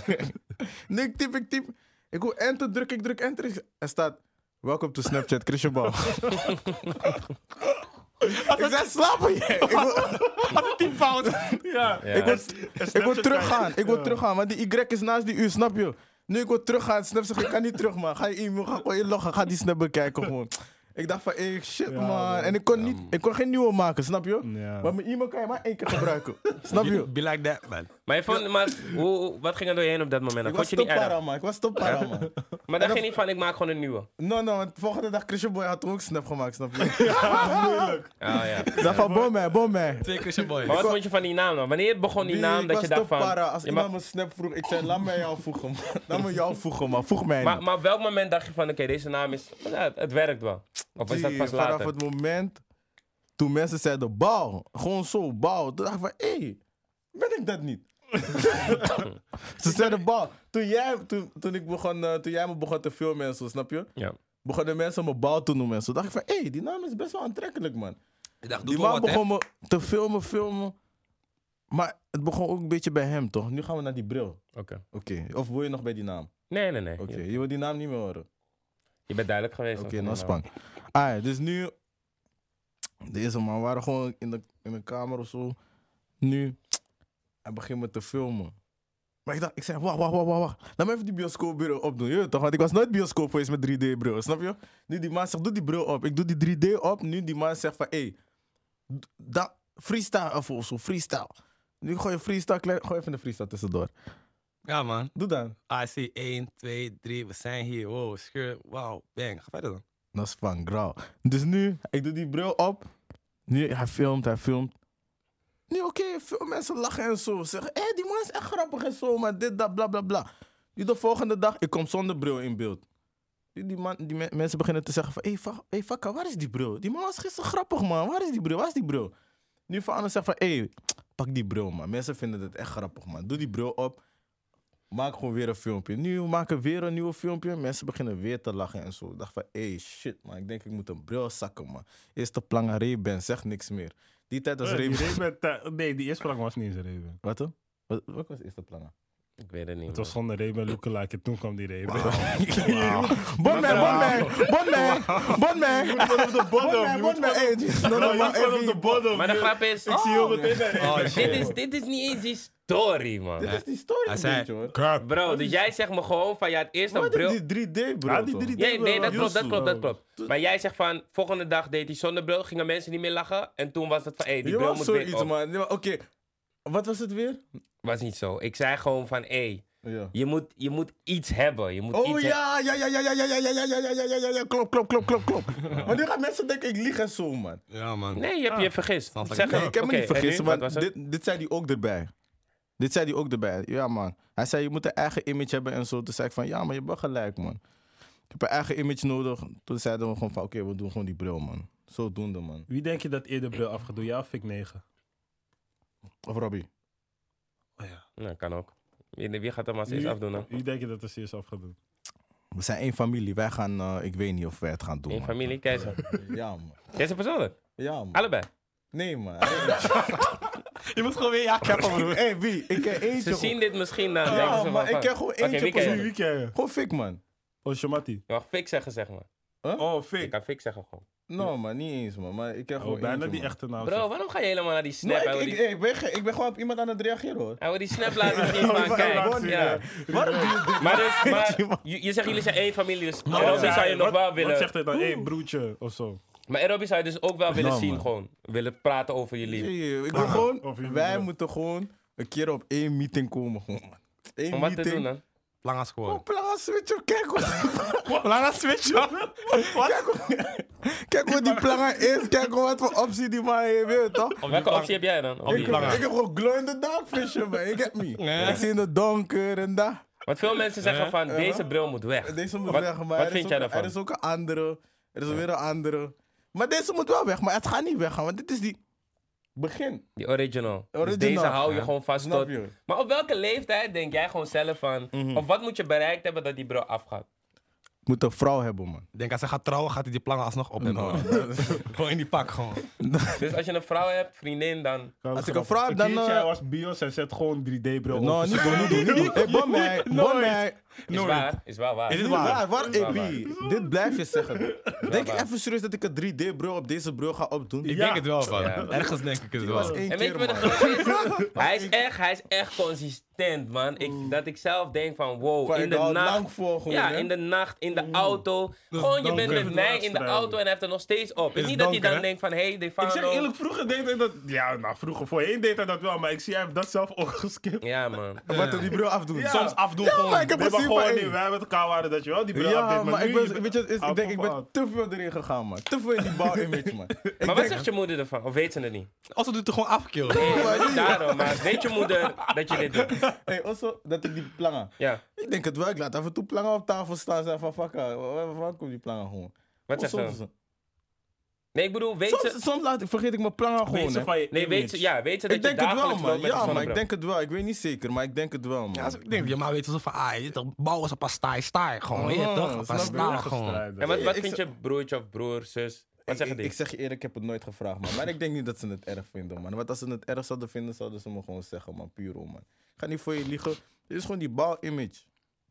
D: nu, ik typ, ik typ. Ik hoor enter, druk, ik druk enter. Ik- Er staat, welkom to Snapchat, Chrisje Boy. ik zei, slapen jij? Ik wil,
B: Die fout!
C: Ja,
A: Ja.
D: ik wil, ik wil teruggaan, ik wil teruggaan, want die Y is naast die U, snap je? Nu, ik wil teruggaan, Snap zegt, ik kan niet terug, man. Ga je e-mail, ga gewoon inloggen, ga die Snap bekijken gewoon. Ik dacht van, eh, shit, man.
C: man.
D: En ik kon, niet, ik kon geen nieuwe maken, snap je?
C: Ja.
D: Maar mijn e-mail kan je maar één keer gebruiken. Snap je?
B: Be like that, man.
A: Maar, je vond, maar hoe, hoe- wat ging er door je heen op dat moment? Dan
D: Ik
A: vond
D: was
A: je niet erg.
D: toppara, man. Ik was toppara, man.
A: Maar daar ging niet van, ik maak gewoon een nieuwe.
D: No, no, want de volgende dag Christian Boy had toen ook snap gemaakt, snap je?
A: Ah ja.
D: Dat van, bom mij, bom mij.
B: Twee Christian
A: Maar
B: boys.
A: wat vond je van die naam dan? Wanneer begon die
D: Die-
A: naam dat
D: ik
A: je
D: was
A: dacht van...
D: toppara. Als
A: Ja, maar,
D: iemand me snap vroeg, ik zei, laat mij jou voegen, man. Laat me jou voegen, man. Voeg mij nou."
A: maar,
D: niet.
A: maar op welk moment dacht je van, oké, deze naam is... ja, het, het werkt wel. Of is dat
D: Die-
A: pas
D: vanaf
A: later?
D: het moment toen mensen zeiden, bouw. Gewoon zo, bouw. Toen dacht ik van, hé, ben ik dat niet? Ze zeiden, bouw. Toen, jij, toen, toen, ik begon, eh, toen jij me begon te filmen en zo, snap je?
A: Ja.
D: Begonnen mensen me bouw te noemen en zo. dacht ik van, hé, die naam is best wel aantrekkelijk, man.
B: Ik dacht, doe
D: Die
B: toch
D: man
B: wat, hè?
D: begon me te filmen, filmen. Maar het begon ook een beetje bij hem, toch? Nu gaan we naar die bril.
A: Oké.
D: Oké, of wil je nog bij die naam?
A: Nee, nee, nee.
D: Oké,
A: Je,
D: je wil die naam niet meer horen.
A: je bent duidelijk geweest.
D: Oké,
A: over die
D: nou
A: naam.
D: span. Ah, dus nu Deze man we waren gewoon in de, in de kamer of zo. Nu, hij begint me te filmen. Maar ik dacht, ik zei, wacht, wacht, wacht, wacht, wacht. Laat me even die bioscoopbril opdoen. Je weet toch, want ik was nooit bioscoop geweest met 3D-bril, snap je? Nu die man zegt, doe die bril op. Ik doe die 3D op. Nu die man zegt van, hé, hey, d- dat freestyle even of zo, freestyle. Nu gooi je freestyle, klein, gooi even een freestyle tussendoor.
B: Ja, man.
D: Doe dan.
B: Ah, ik zie 1, 2, 3, we zijn hier. Wow, scheur. Wauw, bang. Ga verder dan.
D: Dat is van grauw. Dus nu, ik doe die bril op. Nu, hij filmt, hij filmt. Nu, oké, veel mensen lachen en zo. Zeggen, hé, die man is echt grappig en zo, maar dit, dat, bla, bla, bla. Nu, de volgende dag, ik kom zonder bril in beeld. Nu, die man, die me- mensen beginnen te zeggen van, hé, hey, hey, Fakka, waar is die bril? Die man was gisteren grappig, man. Waar is die bril? Waar is die bril? Nu, van anderen zegt van, hé, pak die bril, man. Mensen vinden het echt grappig, man. Doe die bril op. Maak gewoon weer een filmpje. Nu we maken weer een nieuw filmpje. Mensen beginnen weer te lachen en zo. Ik dacht van, hey, shit man. Ik denk ik moet een bril zakken man. Eerste plange Ray-Ban, zeg niks meer. Die tijd was
C: Eh, die
D: Ray-Ban...
C: Ray-Ban tij- Nee, die eerste prank was niet eens een Ray-Ban.
D: Wat dan? Wat, wat was de eerste plange?
A: Ik weet het niet.
C: Het was gewoon een Ray-Ban lookalike en toen kwam die Ray-Ban.
D: Bon man, bon man, bon man, bon man. Je moet op de
E: bottom, je moet
D: Bon man, hey, het is normaal,
E: gewoon
D: hey,
E: op de bottom.
A: maar de
E: joh.
A: grap is,
E: Ik zie heel meteen
B: Oh,
E: een
A: dit,
B: shit.
A: is, dit is niet eens die story,
D: Dit
A: man.
D: is die story
B: Hij
D: een
B: zei-
D: beetje hoor.
A: Bro, dus jij zegt me gewoon van, ja, het eerste
D: Wat
A: bril...
D: is die 3D bro
C: Ja, die
D: toch?
C: 3D
A: Nee, nee, dat
C: Yuzu.
A: klopt, dat klopt, dat klopt. Maar jij zegt van, volgende dag deed hij zonder bril, gingen mensen niet meer lachen. En toen was het van, hé, hey, die
D: Je
A: bril
D: was
A: moet weer
D: zoiets
A: op.
D: man. Nee, maar Oké, wat was het weer?
A: Was niet zo. Ik zei gewoon van, hé, hey,
D: Ja.
A: je, moet, je moet iets hebben. Je moet
D: Oh
A: iets
D: ja, ja, ja, ja, ja, ja, ja, ja, ja, ja, ja, ja, ja, ja, ja, klop, klop, klop, klop, klop. Want nu gaan mensen denken, ik lieg en zo, man.
B: Ja, man.
A: Nee, je hebt je vergist.
B: Snap ik.
A: Zeg
D: Ah. Nee,
A: het.
D: ik heb
A: Oké,
D: me niet
A: en nu?
D: vergist,
A: Wat
D: maar
A: was het?
D: dit, dit zei hij ook erbij. Dit zei hij ook erbij, ja, man. Hij zei, je moet een eigen image hebben en zo. Toen zei ik van, ja, maar je bent gelijk, man. Ik heb een eigen image nodig. Toen zeiden we gewoon van, oké, we doen gewoon die bril, man. Zodoende, man.
C: Wie denk je dat eerder bril af gaat doen? Ja of Fik 9?
D: Of Robbie?
A: Nou, kan ook. Wie, wie gaat hem als eerst afdoen dan?
C: Wie denk je dat de CS af gaat doen?
D: We zijn één familie. Wij gaan, eh, ik weet niet of wij het gaan doen,
A: In
D: man.
A: familie, keizer.
D: Ja, man.
A: Deze persoonlijk.
D: Ja, man.
A: Allebei.
D: Nee, man.
B: Je moet gewoon weer ja kappen, broer.
D: Hé, wie? Ik ken eentje.
A: Ze zien dit misschien dan. denken ze
D: Ja,
A: van,
D: maar ik
A: van-
D: ken gewoon
A: Oké,
D: eentje.
A: wie ken je?
D: persoonlijk.
C: Wie ken je?
D: Gewoon fik, man.
C: Oh, Shamati.
A: Mag fik zeggen, zeg maar.
C: Oh,
A: Ik
C: Fik.
A: kan fik zeggen gewoon.
D: No, maar niet eens, man. Maar ik krijg
C: Oh,
D: gewoon
C: bijna
D: eentje,
C: die
D: man.
C: echte naam.
A: Bro, waarom ga je helemaal naar die snap?
D: No,
A: Hij wil
D: Nou, ik, ik,
A: die-
D: ik ben, ge- ik ben gewoon op iemand aan het reageren, hoor.
A: hij wil die snap laten zien van,
D: maar-
A: kijk.
D: maar-
A: ja.
D: Waarom doe je dit?
A: Maar, dus, maar je, je zegt jullie zijn één familie, dus
C: Maar
A: Aerobi zou je nog wel
C: Wat
A: willen...
C: zegt hij dan? Hé, broertje of zo.
A: Maar Aerobi zou je dus ook wel willen
D: Nou,
A: zien
D: man.
A: gewoon. Willen praten over jullie.
D: Nee, Ik wil
C: Of je
D: gewoon...
C: moet
D: Wij
C: doen.
D: moeten gewoon een keer op één meeting komen, gewoon, man. Eén
A: Om wat te
D: meeting.
A: doen dan?
B: Lang als gewoon.
D: Op lange switch, kijk hoe...
B: Lang switch, man.
D: kijk, hoe kijk hoe die plangen is. Kijk hoe wat voor optie die man heeft, weet je toch?
A: Welke optie heb jij dan? Op die
D: Ik,
A: plannen?
D: ik heb gewoon glow in the dark vision, man. Ik heb me. Ik zie in het donker en daar.
A: Want veel mensen zeggen van, deze bril moet weg.
D: Eh, Deze moet
A: Wat-
D: weg, maar
A: Wat
D: er,
A: vind
D: is
A: jij
D: ook, er is
A: daarvan?
D: ook een andere. Er is weer een andere. Maar deze moet wel weg, maar het gaat niet weggaan, want dit is die begin.
A: Die original. Dus
D: Original.
A: deze hou je
D: Ja.
A: gewoon vast
D: Snap
A: tot...
D: je?
A: Maar op welke leeftijd denk jij gewoon zelf van... Of wat moet je bereikt hebben dat die bril afgaat?
D: Moet een vrouw hebben, man. Nou.
B: Ik denk, als hij gaat trouwen, gaat hij die plangen alsnog op hebben. man. Gewoon in die pak, gewoon.
A: Dus als je een vrouw hebt, vriendin, dan...
D: Als ik een vrouw heb, dan,
C: Een keertje
D: eh,
C: was Bios en zet gewoon 3D-bril
D: No,
C: op.
D: Nou, niet doen, niet doen, niet doen. Hey, bon mij, bon mij.
A: Is waar, is wel waar.
B: Is
D: Dit
B: het
D: is
B: waar?
D: waar, waar,
A: waar,
D: ik wie? Dit blijf je zeggen. Denk je
A: waar.
D: even serieus dat ik een 3D-bril op deze bril ga opdoen?
B: Ik
D: Ik
B: denk het wel, van.
A: Ja.
B: Ergens denk ik het
D: was
B: wel.
D: één
A: En weet je
D: keer,
A: wat de
D: man.
A: grap is? Hij is echt, hij is echt consistent, man. Ik, dat ik zelf denk van, wow,
D: Van,
A: in
D: ik
A: de
D: hou het
A: nacht...
D: lang vol gewoon,
A: ja,
D: hè?
A: in de nacht, in de auto. Gewoon, je
B: donker.
A: bent met
C: Het
A: mij
C: laatste
A: in de
C: eigenlijk.
A: auto en hij heeft er nog steeds op.
B: Is
A: En
B: het
A: niet dat hij
B: donker,
A: dan
B: hè?
A: denkt van, hey, Defano...
C: Ik zeg eerlijk, vroeger deed hij dat... Ja, nou, vroeger voorheen deed hij dat wel, maar ik zie hij heeft dat zelf ook geskipt.
A: Ja, man.
D: Wat er die bril afdoen.
B: Soms afdoen
D: Ja,
B: gewoon.
D: maar ik heb
C: Nee, maar
D: gezien van...
C: gewoon
D: hey,
C: niet, wij met elkaar waren dat je wel die bril afdeed,
D: Ja, maar
C: nu
D: ik ben, weet je, wat het is? ik
C: Af
D: denk, ik
C: of aan.
D: ben te veel erin gegaan, man. Te veel in die bouw-image, man. Ik
A: Maar wat
D: denk-
A: zegt je moeder ervan? Of weet ze het niet?
B: Also doet hij gewoon af, kill.
A: Nee, daarom. Maar weet je moeder dat je dit doet?
D: Hey, also, dat ik die plangen.
A: Ja.
D: Ik denk het wel, ik laat af en toe plangen op tafel staan en zeggen van, fakka, wa- wa- waar komt die plangen gewoon?
A: Wat
D: Oh,
A: zegt ze?
D: soms,
A: dan? Nee, ik bedoel, weet
D: soms,
A: ze...
D: soms laat, ik- vergeet ik mijn plangen
C: Weet
D: gewoon,
C: ze
D: hè.
C: van je
A: Nee,
C: image.
A: weet ze, ja, weet ze dat
D: Ik
A: je
D: denk het wel,
A: dagelijks
D: man.
A: loopt met
D: Ja,
A: een
D: maar ik
A: zonnebril?
D: denk het wel. Ik weet niet zeker, maar ik denk het wel, man.
B: Ja, dus ik denk, ja, maar weet je, zo van, ah, je toch, bouwen ze pas staai, staai. Gewoon, weet je
D: Oh,
B: toch?
D: snap
B: Pas
D: je?
B: staai,
C: Echt
B: gewoon.
C: strijden.
A: En wat, wat
D: Ik
A: vind je broertje of broer, zus? Wat
D: ik,
A: zeggen
D: ik,
A: die?
D: ik zeg je eerlijk, ik heb het nooit gevraagd, man. Maar ik denk niet dat ze het erg vinden, man. Want als ze het erg zouden vinden, zouden ze me gewoon zeggen, man. Puur, om, man. Ik ga niet voor je liegen. Dit is gewoon die bouw-image.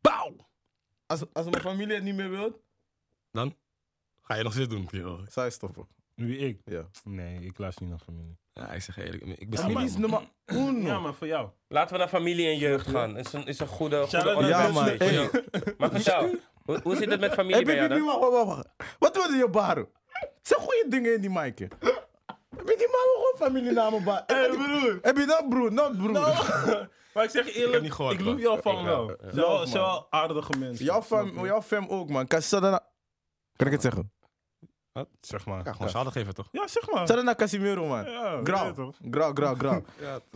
B: Bouw!
D: Als, als mijn familie het niet meer wil,
B: Dan ga je nog steeds doen, kill.
D: zou je stoppen.
C: Wie ik?
D: Ja.
C: Nee, ik luister niet naar familie.
B: Ja, ik zeg je eerlijk, ik ben
D: Familie is nummer uno.
C: Ja, maar voor jou.
A: Laten we naar familie en jeugd gaan. Is een, is een goede, goede
C: out
D: Ja,
A: onderwerp.
D: man.
A: Voor jou.
D: Hey.
A: Maar vertel, hoe, hoe zit het met familie
D: Hey,
A: bij jou
D: baby,
A: dan?
D: wacht, wacht, wacht. Wat worden je baro? Zeg goede dingen in die mic. hè. Heb je die mama gewoon familienamen ba? Heb je die- Heb je dat broer? Nou broer.
C: Maar ik zeg je eerlijk,
E: heb
C: ik,
E: niet gehoord,
C: loef
E: man.
C: jou van wel. Ze zijn wel-
D: eh, man.
C: ze zijn wel aardige mensen.
D: Jouw
A: Nou,
D: fam, jouw fam ook man. Kan, Sadana... kan ik het zeggen?
E: Zeg maar. Ja,
D: gewoon
E: gewoon schade geven, toch?
C: Ja, zeg maar.
D: Sadana Casimiro man.
C: Ja, je weet
D: Grauw.
C: toch.
D: Grauw, grauw, grauw.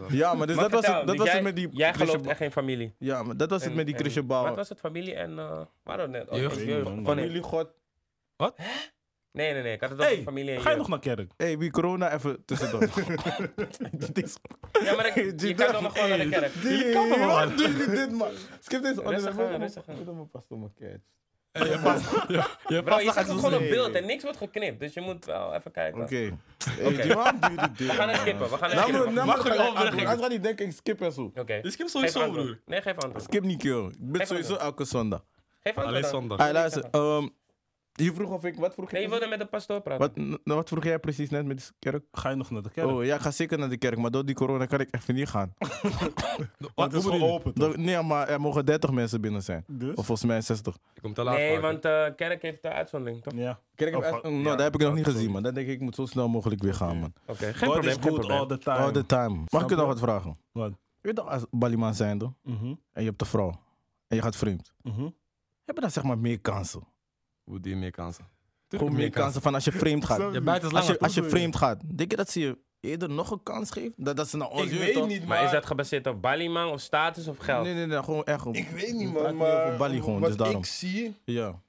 D: Ja, maar dus
A: Maar
D: dat
A: vertel,
D: was het, dat
A: dus
D: was
A: jij,
D: het met die
A: Jij
D: Christian
A: gelooft
D: Ba-
A: echt geen familie.
D: Ja, maar dat was het
A: En-
D: met die
A: en-
D: Christian
A: Wat
D: Bauer.
A: was het, familie en... eh waarom net? Oh,
B: Jeugd.
C: Jeugd.
A: Oh, nee.
D: Familie God.
A: nee, nee, nee. Ik had het over
C: Hey,
A: familie en
C: ga je
A: jeugd.
C: nog naar kerk?
D: hey, wie corona even tussendoor. Dit is-
A: Ja, maar ik, je kan dan gewoon naar de kerk.
D: Die kan wel. Wat doen jullie dit man? Skip deze onderwerp.
A: aan, rustig aan.
D: Ik doe mijn pas op mijn catch.
A: Bro, je zet
D: zo
A: ook gewoon een
D: zeggen.
A: beeld en niks wordt geknipt. Dus je moet wel even kijken.
D: Oké. Hey, die man doet het dit.
A: We gaan het skippen, we gaan het
D: Nou,
A: skippen.
D: maar- nou, maar
B: Mag ik
D: ga
B: een
D: je
B: overweging?
D: antwoorden. Anders gaat hij denken, ik skip en zo.
C: nou-
A: Oké.
B: Dus ik heb
A: Geef
B: sowieso,
A: antwoord.
B: broer.
A: Nee, geef antwoord.
D: Skip niet, joh. Ik ben
A: Echt
D: sowieso
A: niet.
D: elke zondag.
A: Geef antwoord
B: Alleen
A: dan.
B: zondag.
D: Hey, luister. ehm, je vroeg of ik, wat vroeg
A: Nee, je
D: ik?
A: wilde met de pastoor praten.
D: Wat, nou, wat vroeg jij precies net met de kerk?
C: Ga je nog naar de kerk?
D: Oh, ja, ik ga zeker naar de kerk, maar door die corona kan ik even niet gaan.
B: Wat
C: het is gewoon open. toch?
D: Door- nee, maar er mogen 30 mensen binnen zijn.
C: Dus?
D: Of volgens mij 60.
B: Ik kom te laat.
A: Nee,
B: vaker.
A: want eh kerk heeft de uitzondering, toch?
C: Ja.
D: Kerk
A: Oh,
C: Of-
D: heeft- nou,
C: ja,
D: dat heb ik nog niet
C: sorry.
D: gezien, man. Dan denk ik, ik moet zo snel mogelijk weer gaan, man.
A: Oké, geen
C: God
A: probleem,
C: is
A: geen
C: good all
A: probleem.
C: the time.
D: All the Oh, time. Mag ik je nog wat vragen?
C: Wat?
D: Je weet toch, als Baliman zijnde
C: Mhm,
D: en je hebt een vrouw en je gaat vreemd,
C: mhm.
D: heb je dan zeg maar meer kansen?
B: Hoe doe je meer kansen?
D: Gewoon meer kansen van als je vreemd gaat.
B: Je buiten is
D: Als je,
B: langer.
D: als je vreemd gaat, denk je dat ze je eerder nog een kans geeft? Dat, dat ze naar ons jeugd, Oh, toch?
C: niet,
A: Maar is dat gebaseerd op Baliman of status of geld?
D: Nee, nee, nee, gewoon echt. op-
C: Ik weet niet,
D: praat
C: man.
D: niet over
C: Maar
D: Bali gewoon,
C: wat
D: dus daarom.
C: ik zie...
D: Ja.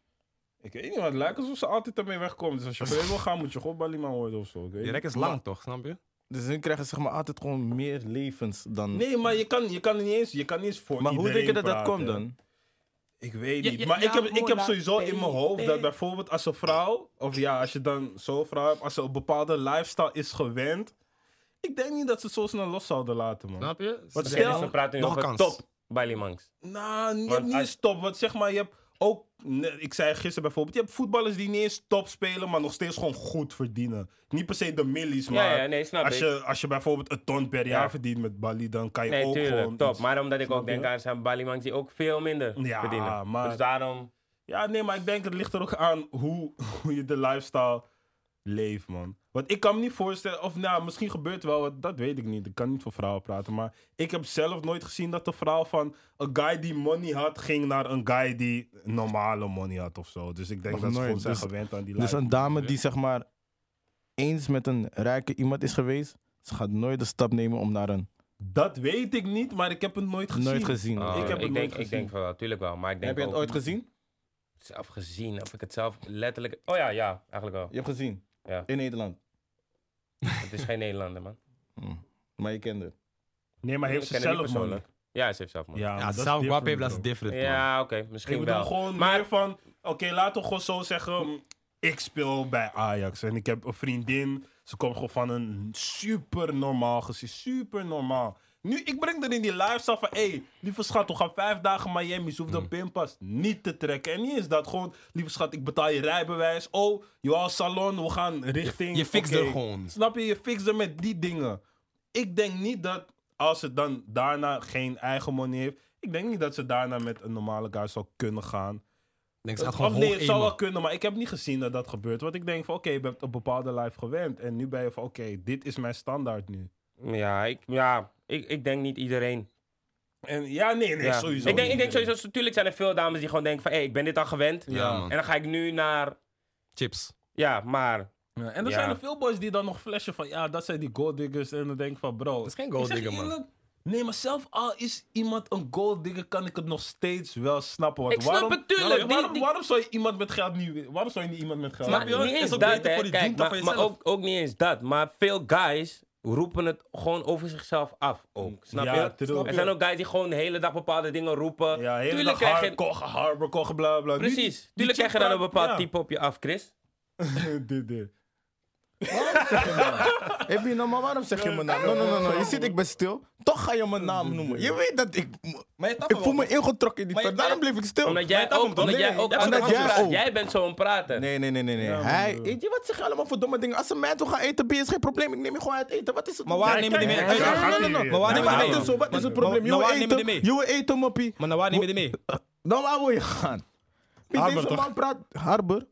C: Ik weet niet, maar het lijkt alsof ze altijd ermee wegkomen. Dus als je vreemd wil gaan, moet je gewoon Bali man worden of zo. ik weet
B: Die
C: niet.
B: rek is lang, toch? Snap je?
D: Dus hun krijgen zeg maar altijd gewoon meer levens dan...
C: Nee, maar je kan, je kan niet eens, je kan niet eens voor
D: maar hoe denk je
C: iedereen
D: dat dat
C: praten.
D: komt dan?
C: Ik weet
B: Ja,
C: niet.
B: ja,
C: maar
B: ja,
C: ik, heb, ik heb
B: Mola,
C: sowieso in mijn hoofd dat
B: baby.
C: bijvoorbeeld als een vrouw, of ja, als je dan zo'n vrouw hebt, als ze een bepaalde lifestyle is gewend, ik denk niet dat ze het zo snel los zouden laten, man.
B: Snap je?
C: Wat
B: Ze
C: stel-
B: zeggen,
A: dus we praten nu
B: nog een
A: over
B: kans.
A: top Balimans.
C: Nou, je
A: Want
C: hebt niet
A: als-
C: eens top. Want zeg maar, je hebt ook. nee, Ik zei gisteren bijvoorbeeld, je hebt voetballers die niet eens top spelen, maar nog steeds gewoon goed verdienen. Niet per se de millies, maar.
A: ja, nee, snap
C: als
A: ik.
C: je, als je bijvoorbeeld een ton per jaar verdient met Bali, dan kan je
A: Nee,
C: ook
A: tuurlijk,
C: gewoon.
A: top.
C: iets-
A: Maar omdat ik
C: Snap
A: ook denk
C: je?
A: aan zijn Balimans die ook veel minder
C: Ja,
A: verdienen.
C: maar-
A: Dus daarom...
C: Ja, nee, maar ik denk het ligt er ook aan hoe, hoe je de lifestyle leeft, man. Want ik kan me niet voorstellen, of nou, misschien gebeurt wel, wat, dat weet ik niet. Ik kan niet voor vrouwen praten, maar ik heb zelf nooit gezien dat de vrouw van een guy die money had, ging naar een guy die normale money had of zo. Dus ik denk
D: Nog
C: dat ze
D: nooit,
C: gewoon zijn
D: dus-
C: gewend aan die
D: Dus
C: lifestyle.
D: een dame die zeg maar eens met een rijke iemand is geweest, ze gaat nooit de stap nemen om naar een...
C: Dat weet ik niet, maar ik heb het nooit gezien.
D: Nooit gezien.
A: Oh,
C: heb het
A: ik,
C: nooit
A: denk, ik
C: gezien.
A: denk van wel, tuurlijk wel. Maar ik denk
D: Heb je het
A: ook-
D: ooit gezien?
A: Zelf gezien, heb ik het zelf letterlijk... Oh ja, ja, eigenlijk wel.
D: Je hebt gezien?
A: Ja.
D: In Nederland.
A: Het is geen Nederlander, man.
D: Maar je kende het.
C: Nee, maar heeft
A: Ik
C: ze
A: ken hem niet
C: zelf money?
A: persoonlijk. Ja, ze heeft zelf man. Ja,
C: maar
B: Ja,
C: dat is
B: Sao
C: different,
B: Guape, dat is
C: bro.
B: different. man.
A: oké, misschien
C: Ik bedoel
A: wel.
C: gewoon
A: Maar-
C: meer van... Oké, laten we gewoon zo zeggen... mm, Ik speel bij Ajax en ik heb een vriendin. Ze komt gewoon van een super normaal gezin. Super normaal. Nu, ik breng er in die lifestyle van... Hé, hey, lieve schat, we gaan vijf dagen Miami. Ze hoeft
B: Mm.
C: een pinpas niet te trekken. En niet eens dat. Gewoon, lieve schat, ik betaal je rijbewijs. Oh, je wou een salon. We gaan richting...
B: Je fixt
C: Oké.
B: er gewoon.
C: Snap je? Je fixt er met die dingen. Ik denk niet dat als ze dan daarna geen eigen money heeft. Ik denk niet dat ze daarna met een normale guy zou kunnen gaan.
B: Denk, ze gaat
C: of
B: gewoon
C: nee,
B: hoog
C: het zou wel
B: aimen.
C: kunnen, maar ik heb niet gezien dat dat gebeurt. Want ik denk van, oké, je bent een bepaalde life gewend. En nu ben je van, oké, dit is mijn standaard nu.
A: Ja, ik, ja ik, ik denk niet iedereen.
C: En ja, nee, nee,
A: Ja.
C: sowieso.
A: Ik denk, ik denk
C: niet.
A: sowieso, natuurlijk zijn er veel dames die gewoon denken van... hé, ik ben dit al gewend.
B: Ja, man.
A: En dan ga ik nu naar...
B: Chips.
A: Ja, maar...
C: Ja, En er
A: Ja.
C: zijn er veel boys die dan nog flashen van, ja, dat zijn die gold diggers. En dan denk ik van, bro.
B: Dat is geen
C: Ik
B: gold
C: zeg je
B: digger, man.
C: eerlijk, Nee, maar zelf al is iemand een gold digger, kan ik het nog steeds wel snappen. Want
A: Ik snap
C: waarom,
A: het, tuurlijk.
C: Waarom,
A: Die-
C: waarom,
A: die-
C: waarom zou je iemand met geld niet... Waarom zou je niet iemand met geld...
A: Maar
B: je?
A: niet
B: Is
A: eens
B: ook
A: dat,
B: beter
A: hè.
B: voor die
A: Kijk,
B: doelgroep
A: maar,
B: van
A: maar
B: jezelf.
A: ook, ook niet eens dat. Maar veel guys roepen het gewoon over zichzelf af ook. Snap
C: Ja,
A: je?
C: true.
A: Er zijn ook guys die gewoon de hele dag bepaalde dingen roepen.
C: Ja, hele
A: Tuurlijk
C: dag
A: krijg je-
C: hard, kochen, harbor, kochen, bla bla. Nu-
A: Precies.
C: die
A: Tuurlijk krijg je
C: chick
A: dan een
C: praat-
A: bepaald
C: ja.
A: type op je af, Chris.
C: dit, dit.
D: Waarom zeg je mijn naam? Hé, Bino, maar waarom zeg je mijn naam? No, no, no, no. Je ziet, ik ben stil. Toch ga je mijn naam noemen. Je weet dat ik...
B: Maar je snapt
D: Ik
B: wel.
D: voel me ingetrokken in die
B: Maar je-
D: tijd. Daarom bleef ik stil.
A: Omdat jij
B: dat
A: ook,
B: komt toch?
A: omdat jij
D: Oh. Nee,
A: ook, Oh.
D: dat
A: altijd
D: komt
A: praat.
D: ook.
A: jij bent zo'n prater.
D: Nee, nee, nee, nee. nee. Hij, weet je, wat zeg je allemaal voor domme dingen? Als een meid wil gaan eten, ben je is geen probleem. Ik neem je gewoon uit eten. Wat is Ah, het?
B: Maar waar
D: Nee,
B: nemen die mee?
E: kijk,
B: uit?
E: ja, gaat
D: nee, nee,
E: hij
D: nee,
E: weer.
D: nee.
B: Maar waar
D: Nee,
B: nemen
D: maar
B: die
D: dat is zo.
B: mee?
D: Wat is het
B: Maar-
D: probleem? Je
B: maar
D: wil
B: waar nemen die mee?
D: eten, je wil eten, moppie.
B: Maar naar waar nemen die mee?
D: Dan waar wil je gaan? Wie
C: Harbour,
D: deze
C: toch?
D: man praat... Harbour?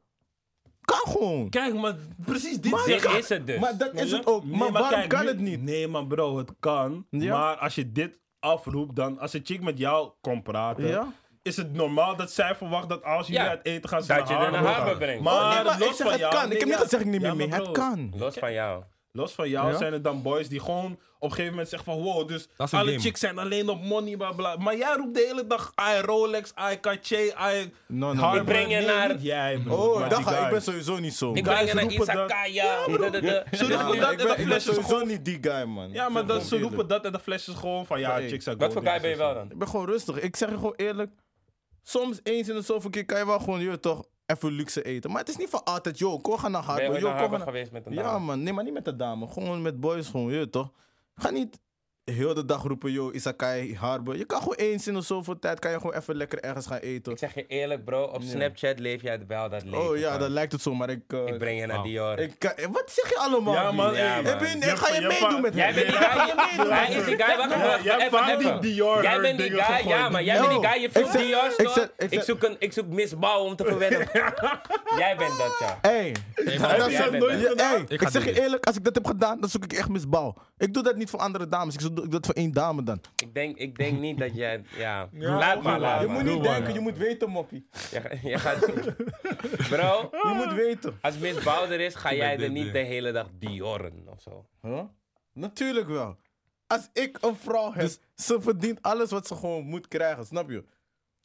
D: Kan gewoon.
C: Kijk, maar precies dit
D: Maar-
C: zeg
A: Dit
C: ik.
A: is het dus.
D: Maar dat is
C: Ja?
D: het ook.
C: Nee,
D: maar waarom
C: kijk,
D: kan
C: nu-
D: het niet?
C: Nee, maar bro, het kan.
D: Ja.
C: Maar als je dit afroept, dan als een chick met jou komt praten,
D: Ja.
C: is het normaal dat zij verwacht dat als jullie
A: Ja,
C: uit eten gaan, ze
A: dat je haar naar
C: gaan.
A: Harbour brengt.
C: Maar,
D: Oh, nee, maar
C: los
D: ik zeg,
C: Ah, van
D: het
C: jou,
D: kan.
C: nee,
D: ik heb
C: ja.
D: niet gezegd, ik neem
C: Ja,
D: je mee.
C: maar
D: Het
C: bro,
D: kan.
A: Los van jou.
C: Los van jou
D: Ja.
C: zijn er dan boys die gewoon op een gegeven moment zeggen van wow, dus
B: Dat is een
C: alle
B: game.
C: chicks zijn alleen op money, bla bla. Maar jij roept de hele dag, I Rolex, I Cartier, I
D: No,
C: Harbour.
A: Ik breng je
C: Nee,
A: naar-
C: niet jij, bro.
D: Oh,
C: maar
D: dan
C: die
D: ga ik.
C: guy.
D: Ik ben sowieso niet zo.
A: Ik
D: Ja,
A: breng
C: guys
A: je naar
C: roepen dat-
A: Izakaya. de- de- de-
C: Zo roepen
D: ik
C: dat en
D: ben-
C: dat
D: ik ben
C: flesje is
D: sowieso
C: gewoon...
D: niet die guy, man.
C: Ja, maar dat, ze
D: Gewoon
C: roepen
D: eerlijk.
C: dat en de fles is gewoon van ja,
D: Hey,
C: chicks zijn
A: Wat voor
C: golden,
A: guy ben je
C: chicks
A: wel
C: zijn-
A: dan?
D: Ik ben gewoon rustig. Ik zeg je gewoon eerlijk. Soms eens in de zoveel keer kan je wel gewoon, joh, toch even luxe eten. Maar het is niet van altijd, joh, kom gaan naar
A: Ben je
D: Harbour.
A: ooit naar
D: Ah, Joh, kom
A: Harbour
D: gaan naar...
A: geweest met een
D: Ja,
A: dame?
D: man. Nee, maar niet met de dame. Gewoon met boys, gewoon, joh, toch. Ga niet heel de dag roepen, joh, Isakai, Harbour. Je kan gewoon eens in de zoveel tijd, kan je gewoon even lekker ergens gaan eten.
A: Ik zeg je eerlijk bro, op Snapchat leef jij het wel dat leven.
D: Oh ja,
A: van,
D: dat lijkt het zo, maar ik... eh,
A: Ik breng je naar
E: Wauw.
A: Dior.
D: Ik kan- eh, wat zeg je allemaal?
C: Ja,
A: Ja,
C: man. hey.
A: man.
D: Ik ben-
C: Je-
D: ik ga je
C: je-
D: meedoen met
A: Jij
D: hem.
A: bent die guy, hij is die guy, wacht even, wacht
C: Jij
A: even,
C: hebt
A: even.
C: die Dior
A: Jij bent die
C: dingen
A: guy,
C: gegooid.
A: ja, maar jij bent die
D: Yo,
A: guy, je
D: ik
A: vroeg
D: zeg-
A: Dior
D: ik
A: store.
D: zeg- ik
A: Ik
D: zeg-
A: zoek een, ik zoek misbouw om te verwennen. Jij bent dat, ja.
D: Hey,
B: maar
D: dat
A: jij
D: zou
A: bent
D: nooit
A: het.
D: gedaan. Hey, ik,
B: Ik ga
D: zeg je
B: dit doen.
D: eerlijk, als ik dat heb gedaan, dan zoek ik echt misbouw. Ik doe dat niet voor andere dames, ik zo- doe ik doe dat voor één dame dan.
A: Ik denk, ik denk niet dat jij, ja. Laat maar, laat
D: je moet
A: maar.
D: niet denken, je moet weten, moppie.
A: Je, je gaat, bro,
D: Je moet weten.
A: als misbouw er is, ga jij
B: dit
A: er niet
B: weer.
A: de hele dag Dioren of zo.
D: Huh? Natuurlijk wel. Als ik een vrouw heb,
A: Dus-
D: ze verdient alles wat ze gewoon moet krijgen, snap je?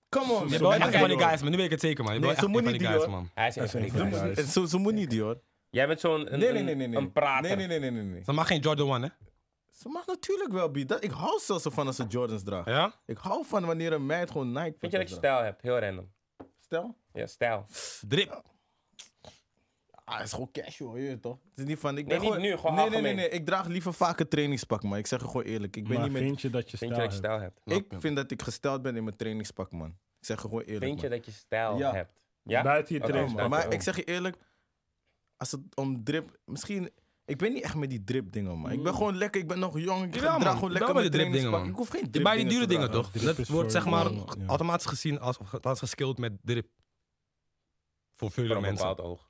D: Come on,
B: Je
D: man.
B: bent wel echt een
A: Kijk,
B: van die guys, man. Nu weet ik het zeker, man. Je bent
D: Nee,
B: wel echt
D: ze
B: een
D: moet
B: van
D: niet
B: die guys,
D: die, hoor.
B: man.
A: Hij is echt een
D: Ze
A: guy.
D: moet niet- Ze ze moet niet, die, hoor.
A: Jij bent zo'n een,
D: Nee, nee, nee, nee.
A: een-
D: nee.
A: een prater.
D: Nee, nee, nee, nee, nee, nee.
B: Ze mag geen Jordan 1, hè?
D: Ze mag natuurlijk wel bieden. Ik hou zelfs ervan als ze Jordans draagt.
B: Ja?
D: Ik hou van wanneer een meid gewoon Nike
A: Vind je dat je
D: draagt.
A: stijl hebt? Heel random.
D: Stel?
A: Ja, stijl.
B: Drip.
D: Ah, het is gewoon casual, je weet toch? Het is niet van, ik
A: Nee,
D: ben
A: niet
D: gewoon...
A: nu, gewoon
D: nee, nee, nee,
A: algemeen.
D: nee, ik draag liever vaak een trainingspak, man. Ik zeg het gewoon eerlijk. Ik ben
C: Maar
D: niet met...
C: vind je dat je
A: Vind je dat
C: stijl
A: je
C: hebt?
A: stijl hebt?
D: Ik vind dat ik gesteld ben in mijn trainingspak, man. Ik zeg het gewoon eerlijk,
A: Vind je
D: man.
A: dat je stijl
D: Ja.
A: hebt? Ja? Oh,
C: Buiten je
A: Oké,
D: Ja,
A: dat-
D: man.
C: trainingspak.
D: Maar
A: dat-
D: ik zeg je eerlijk, als het om drip... Misschien... Ik ben niet echt met die drip dingen, man. Ik ben gewoon lekker, ik ben nog jong. Ik
B: Hmm. Jawel, man.
D: draag gewoon
B: Ik
D: lekker
B: ben
D: met
B: wel met die drip dingen,
D: trainingspak.
B: man.
D: Ik hoef geen drip
B: Je bij die dure
D: te
B: dingen,
D: dragen.
B: toch?
C: Drip
B: Dat
C: is
B: wordt
C: voor
B: zeg maar
C: je- ja.
B: automatisch gezien als, of althans geskild met drip.
A: Voor
B: Voor vele
A: een
B: mensen.
A: bepaald oog.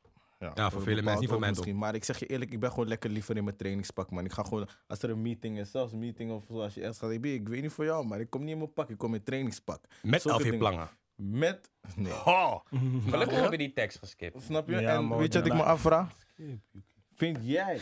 B: Ja, voor vele mensen, niet
D: een
B: voor
D: bepaald
B: mij
D: oog misschien. Maar ik zeg je eerlijk, ik ben gewoon lekker liever in mijn trainingspak, man. Ik ga gewoon, als er een meeting is, zelfs een meeting of zo, als je ergens gaat, ik, ben- ik weet niet voor jou, maar ik kom niet in mijn pak, ik kom in trainingspak.
B: Met
D: Zulke
B: LV
D: dingen.
B: plangen.
D: Met, nee.
A: Gelukkig heb je die tekst geskipt.
D: Snap je?
C: Ja,
D: en
C: maar
D: weet je wat ik me
C: inderdaad.
D: afvraag? Vind jij,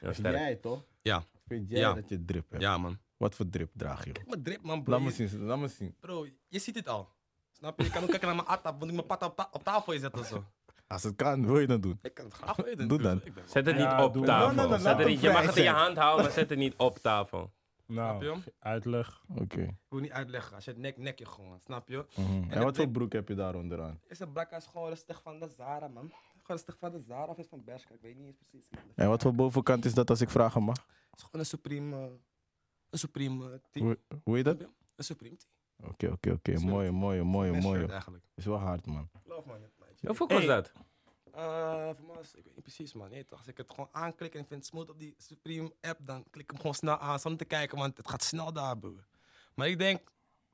A: Ja, sterk.
D: jij toch?
B: Ja.
D: Vind jij
B: Ja.
D: dat je drip hebt?
B: Ja, man.
D: Wat voor drip draag je?
B: Mijn drip, man, bro.
D: Laat me
B: Je-
D: zien, laat me zien.
B: Bro, je ziet het al. Snap je? Je kan ook kijken naar mijn atap, want ik mijn pata op, ta- op tafel je zet of zo.
D: Als het kan, wil je dat doen.
B: Ik kan het graag weten.
D: Doe dan.
B: Ik ben-
A: Zet het
C: Ja,
A: niet op
C: doe
A: tafel.
C: maar. Nee, nee, nee,
A: Zet
C: laat
A: het
D: hem
A: niet, je mag
D: vrij
A: het in je
D: zijn.
A: hand houden, maar zet het niet op tafel.
B: Snap je?
C: Nou, uitleg.
D: Oké.
B: Ik wil niet uitleggen. Als je het nek, nek je gewoon. Snap je?
D: Mhm. En
B: dat
D: wat voor
B: drip-
D: broek heb je daaronder aan?
B: Is een brak is gewoon rustig van de Zara, man. Gewoon rustig van de Zara of is van Bershka. Ik weet niet eens precies, man.
D: En wat voor bovenkant is dat als ik vragen mag?
B: Het is gewoon een Supreme... eh, Een Supreme eh, tee.
D: Hoe, hoe heet dat?
B: Snap je? Een Supreme tee.
D: Oké, oké, oké. Mooie, mooie, mooie,
B: Een
D: mooie.
B: shirt eigenlijk.
D: Is wel hard, man.
B: Love man. het maatje.
A: Hoeveel kost
C: Hey.
A: dat?
B: Eh, voor mij is- ik weet niet precies man. Nee, toch? Als ik het gewoon aanklik en ik vind het smooth op die Supreme app, dan klik ik hem gewoon snel aan zonder te kijken, want het gaat snel daar, broer. Maar ik denk,